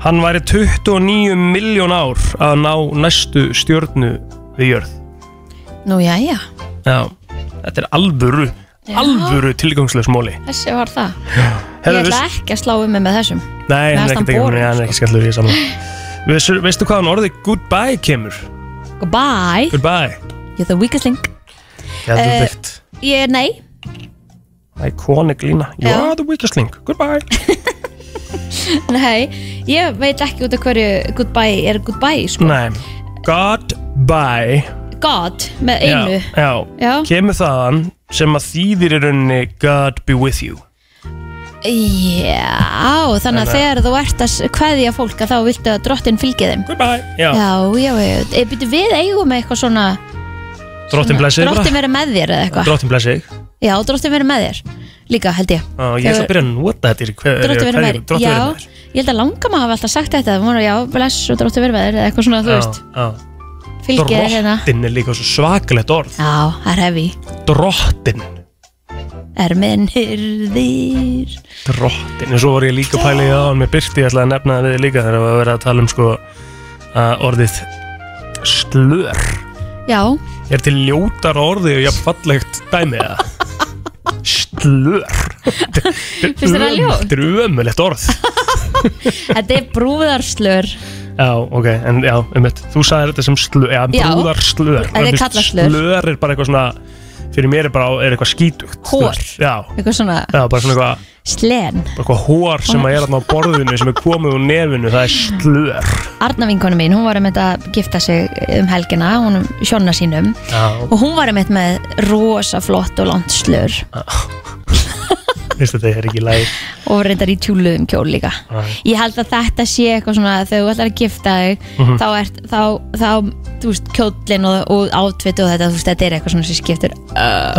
Speaker 1: Hann væri 29 miljón ár að ná næstu stjörnu við jörð
Speaker 3: nú já, já
Speaker 1: Já, þetta er alvöru alvöru tilgangslegs móli
Speaker 3: þessi var það, ég
Speaker 1: Herðu,
Speaker 3: ætla
Speaker 1: veist-
Speaker 3: ekki að slá um mig með þessum
Speaker 1: Nei, hann
Speaker 3: Mér
Speaker 1: er
Speaker 3: fannst
Speaker 1: ekkert
Speaker 3: hann
Speaker 1: ekki,
Speaker 3: boring, sko.
Speaker 1: nei, hann er ekki skellur í saman Veistu, veistu hvaðan orðið goodbye kemur?
Speaker 3: goodbye,
Speaker 1: Goodbye
Speaker 3: ég er það weakest link
Speaker 1: Já, þú
Speaker 3: Eh,
Speaker 1: veikt
Speaker 3: ég er nei,
Speaker 1: Iconic lína You
Speaker 3: Já.
Speaker 1: are the weakest link, goodbye
Speaker 3: nei ég veit ekki út af hverju goodbye er goodbye sko.
Speaker 1: Nei, goodbye
Speaker 3: God með
Speaker 1: já,
Speaker 3: einu
Speaker 1: Mm. já.
Speaker 3: Já.
Speaker 1: Kemur þaðan sem að þýðir í rauninni God be with you
Speaker 3: Já, þannig að þegar þú ert að s- kveðja fólk að þá viltu að drottin fylgi þeim
Speaker 1: Goodbye Já, já.
Speaker 3: Já, já, já, e, byrju, við eigum eitthvað svona
Speaker 1: drottin blessið
Speaker 3: Drottin verið með þér eða eitthvað
Speaker 1: Drottin blessið
Speaker 3: Já, drottin verið með þér Líka, held ég
Speaker 1: Já, Ég er svo að byrja að nota þetta í hver-
Speaker 3: Drottin verið með
Speaker 1: hverju-
Speaker 3: þér
Speaker 1: Drottin
Speaker 3: Já,
Speaker 1: verið með þér
Speaker 3: ég held að langa maður hafa alltaf sagt þetta það voru, Já, bless og drottin verið með þér eða eitthvað svona, þú veist
Speaker 1: já.
Speaker 3: Fylgið þér hérna
Speaker 1: Drottin er líka svo svakalegt orð
Speaker 3: Já, það er hefi
Speaker 1: Drottin
Speaker 3: Er minn hyrðir
Speaker 1: Drottin En svo voru ég líka pælið á hann með Birti Ég ætlaði að nefna það við líka þegar við verið að tala um sko að orðið slör
Speaker 3: Já,
Speaker 1: Er til ljótar orði og jafn fallegt dæmi það Slör
Speaker 3: Finnst þér það ljótt?
Speaker 1: Þetta er ömulegt orð
Speaker 3: þetta er brúðarslör
Speaker 1: Já, ok, en já, einmitt Þú sagðir þetta sem slör, já,
Speaker 3: Já.
Speaker 1: brúðar slör
Speaker 3: Þetta er kallað slör.
Speaker 1: Slör er bara eitthvað svona Fyrir mér er bara, er eitthvað skítugt þú
Speaker 3: Hor.
Speaker 1: veist. Já,
Speaker 3: Eitthvað svona
Speaker 1: já, bara svona eitthvað
Speaker 3: slen
Speaker 1: bara eitthvað hór sem að er þarna á borðinu sem er komið úr nefinu, það er slör
Speaker 3: Arna vinkonu mín, hún var um þetta að gifta sig um helgina, hún um sjónna sínum
Speaker 1: Já,
Speaker 3: og hún var um þetta með rosa flott og langt slör
Speaker 1: veistu þetta er ekki læg
Speaker 3: og reyndar í tjúluðum kjól líka ég held að þetta sé eitthvað svona að þegar þú ætlar að gifta þig þá ert, þá, þá, þú veist, kjólinn og, og átvit og þetta, þú veist, þetta er eitthvað svona sem skiptur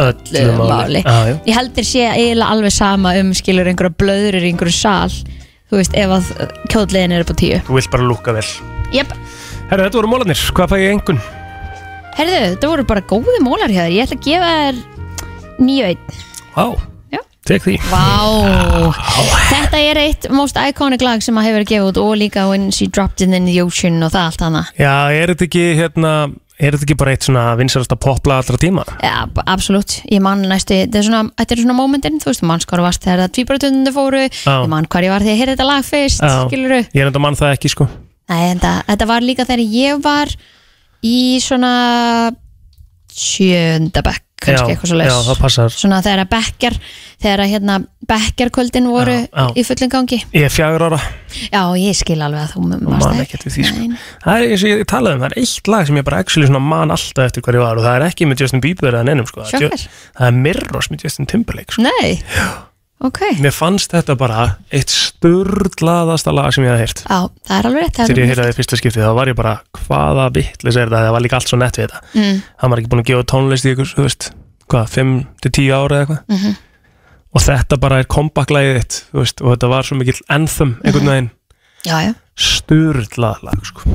Speaker 3: öllu máli
Speaker 1: Já, já,
Speaker 3: ég held þér sé eiginlega alveg sama um skilur einhverja blöðrur í einhverju sal þú veist, ef að kjólinn er upp á tíu
Speaker 1: þú vilt bara lúka vel
Speaker 3: Jep,
Speaker 1: Herra, þetta voru mólarnir, hvað fæ ég engun?
Speaker 3: herðu, þetta voru bara góði mólar hjá þér, ég ætla að gefa þér nýju einn
Speaker 1: Vá,
Speaker 3: Já.
Speaker 1: tek því
Speaker 3: Vá, þetta er eitt most iconic lag sem að hefur verið gefið út og líka When She Dropped It In The Ocean og það allt hana
Speaker 1: Já, er þetta ekki, hérna, er þetta ekki bara eitt svona vinsarasta popla allra tíma?
Speaker 3: Já, b- absolutt, ég man næstu þetta er svona, þetta er svona momentin, þú veist, þú manns hvað varst þegar það tvíbaratöndundu fóru ég man hvað ég var þegar ég heyrði þetta lag fyrst,
Speaker 1: Já.
Speaker 3: skiluru
Speaker 1: Ég er enda mann það ekki, sko
Speaker 3: Nei, þetta, þetta var líka þegar ég var í svona sjöunda bekk, kannski
Speaker 1: Já,
Speaker 3: eitthvað svo leys
Speaker 1: Já, það passar
Speaker 3: svona þegar að bekkjar þegar að hérna bekkjarkvöldin voru
Speaker 1: Já, já.
Speaker 3: í fullum gangi
Speaker 1: Ég er fjagur ára,
Speaker 3: já, ég skil alveg að þú
Speaker 1: man
Speaker 3: manst
Speaker 1: ekkert við því, sko.
Speaker 3: Nei, nei.
Speaker 1: það er eins og ég talaði um, það er eitt lag sem ég bara actually svona man alltaf eftir hverju var og það er ekki með Justin Bieber eða neinum sko,
Speaker 3: Sjokkar.
Speaker 1: það er Mirrors með Justin Timberlake sko.
Speaker 3: Nei, ok
Speaker 1: Mér fannst þetta bara eitt sturdlaðasta lag sem ég hafði heyrt
Speaker 3: Já, það er alveg rétt það er
Speaker 1: Þegar ég
Speaker 3: alveg-
Speaker 1: heyrði það í fyrsta skipti þá var ég bara hvaða vitlis er þetta það var líka allt svo nett við þetta mm. Hann var ekki búin að gefa tónlist í ykkur, þú veist hvað, 5-10 ára eða eitthvað -hmm. og þetta bara er kompaklæðið þitt þú veist, og þetta var svo mikill ennþum einhvern veginn
Speaker 3: Já, já
Speaker 1: sturdlað lag sko.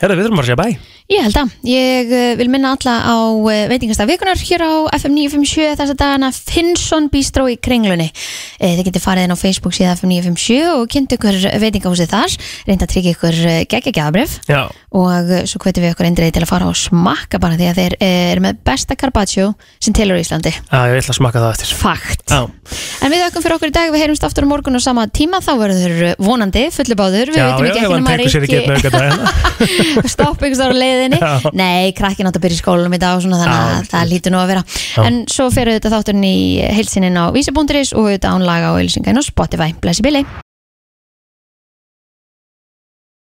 Speaker 1: Herra, við þurfum bara að segja bæ
Speaker 3: Ég held að, ég eh, vil minna alla á eh, veitingastað vikunar hér á FM 957 þessa dagana Finnsson Bístró í Kringlunni. Eh, Þið getur farið inn á Facebook síðan FM 957 og kynnt ykkur eh, veitingahúsið þar, reynda að tryggja ykkur geggjagjafbrif
Speaker 1: Já,
Speaker 3: og eh, svo hvetum við ykkur eindriði til að fara og smakka bara því að þeir eh, eru með besta carpaccio sem telur í Íslandi. Ah.
Speaker 1: já ég ætla að smakka það eftir
Speaker 3: Fakt.
Speaker 1: Já,
Speaker 3: En við þökkum fyrir okkur í dag, við heyrumst aftur á morgun og sama tíma, þá verður eh, vonandi fullubáður, við
Speaker 1: já,
Speaker 3: veitum
Speaker 1: já, ef
Speaker 3: ekki ekki
Speaker 1: hann
Speaker 3: nema
Speaker 1: tekur sér ekki
Speaker 3: Rikki-
Speaker 1: einn hérna. aukadag
Speaker 3: stoppa ykkur á leiðinni
Speaker 1: Já.
Speaker 3: Nei, krakkin átt að byrja í skólanum í dag og svona, þannig
Speaker 1: Já,
Speaker 3: að það lítur nú að vera En svo fer auðvitað þátturinn í heilsininn á vísi.is og auðvitað án laga og auðlýsingarinn á Spotify Blessi Billy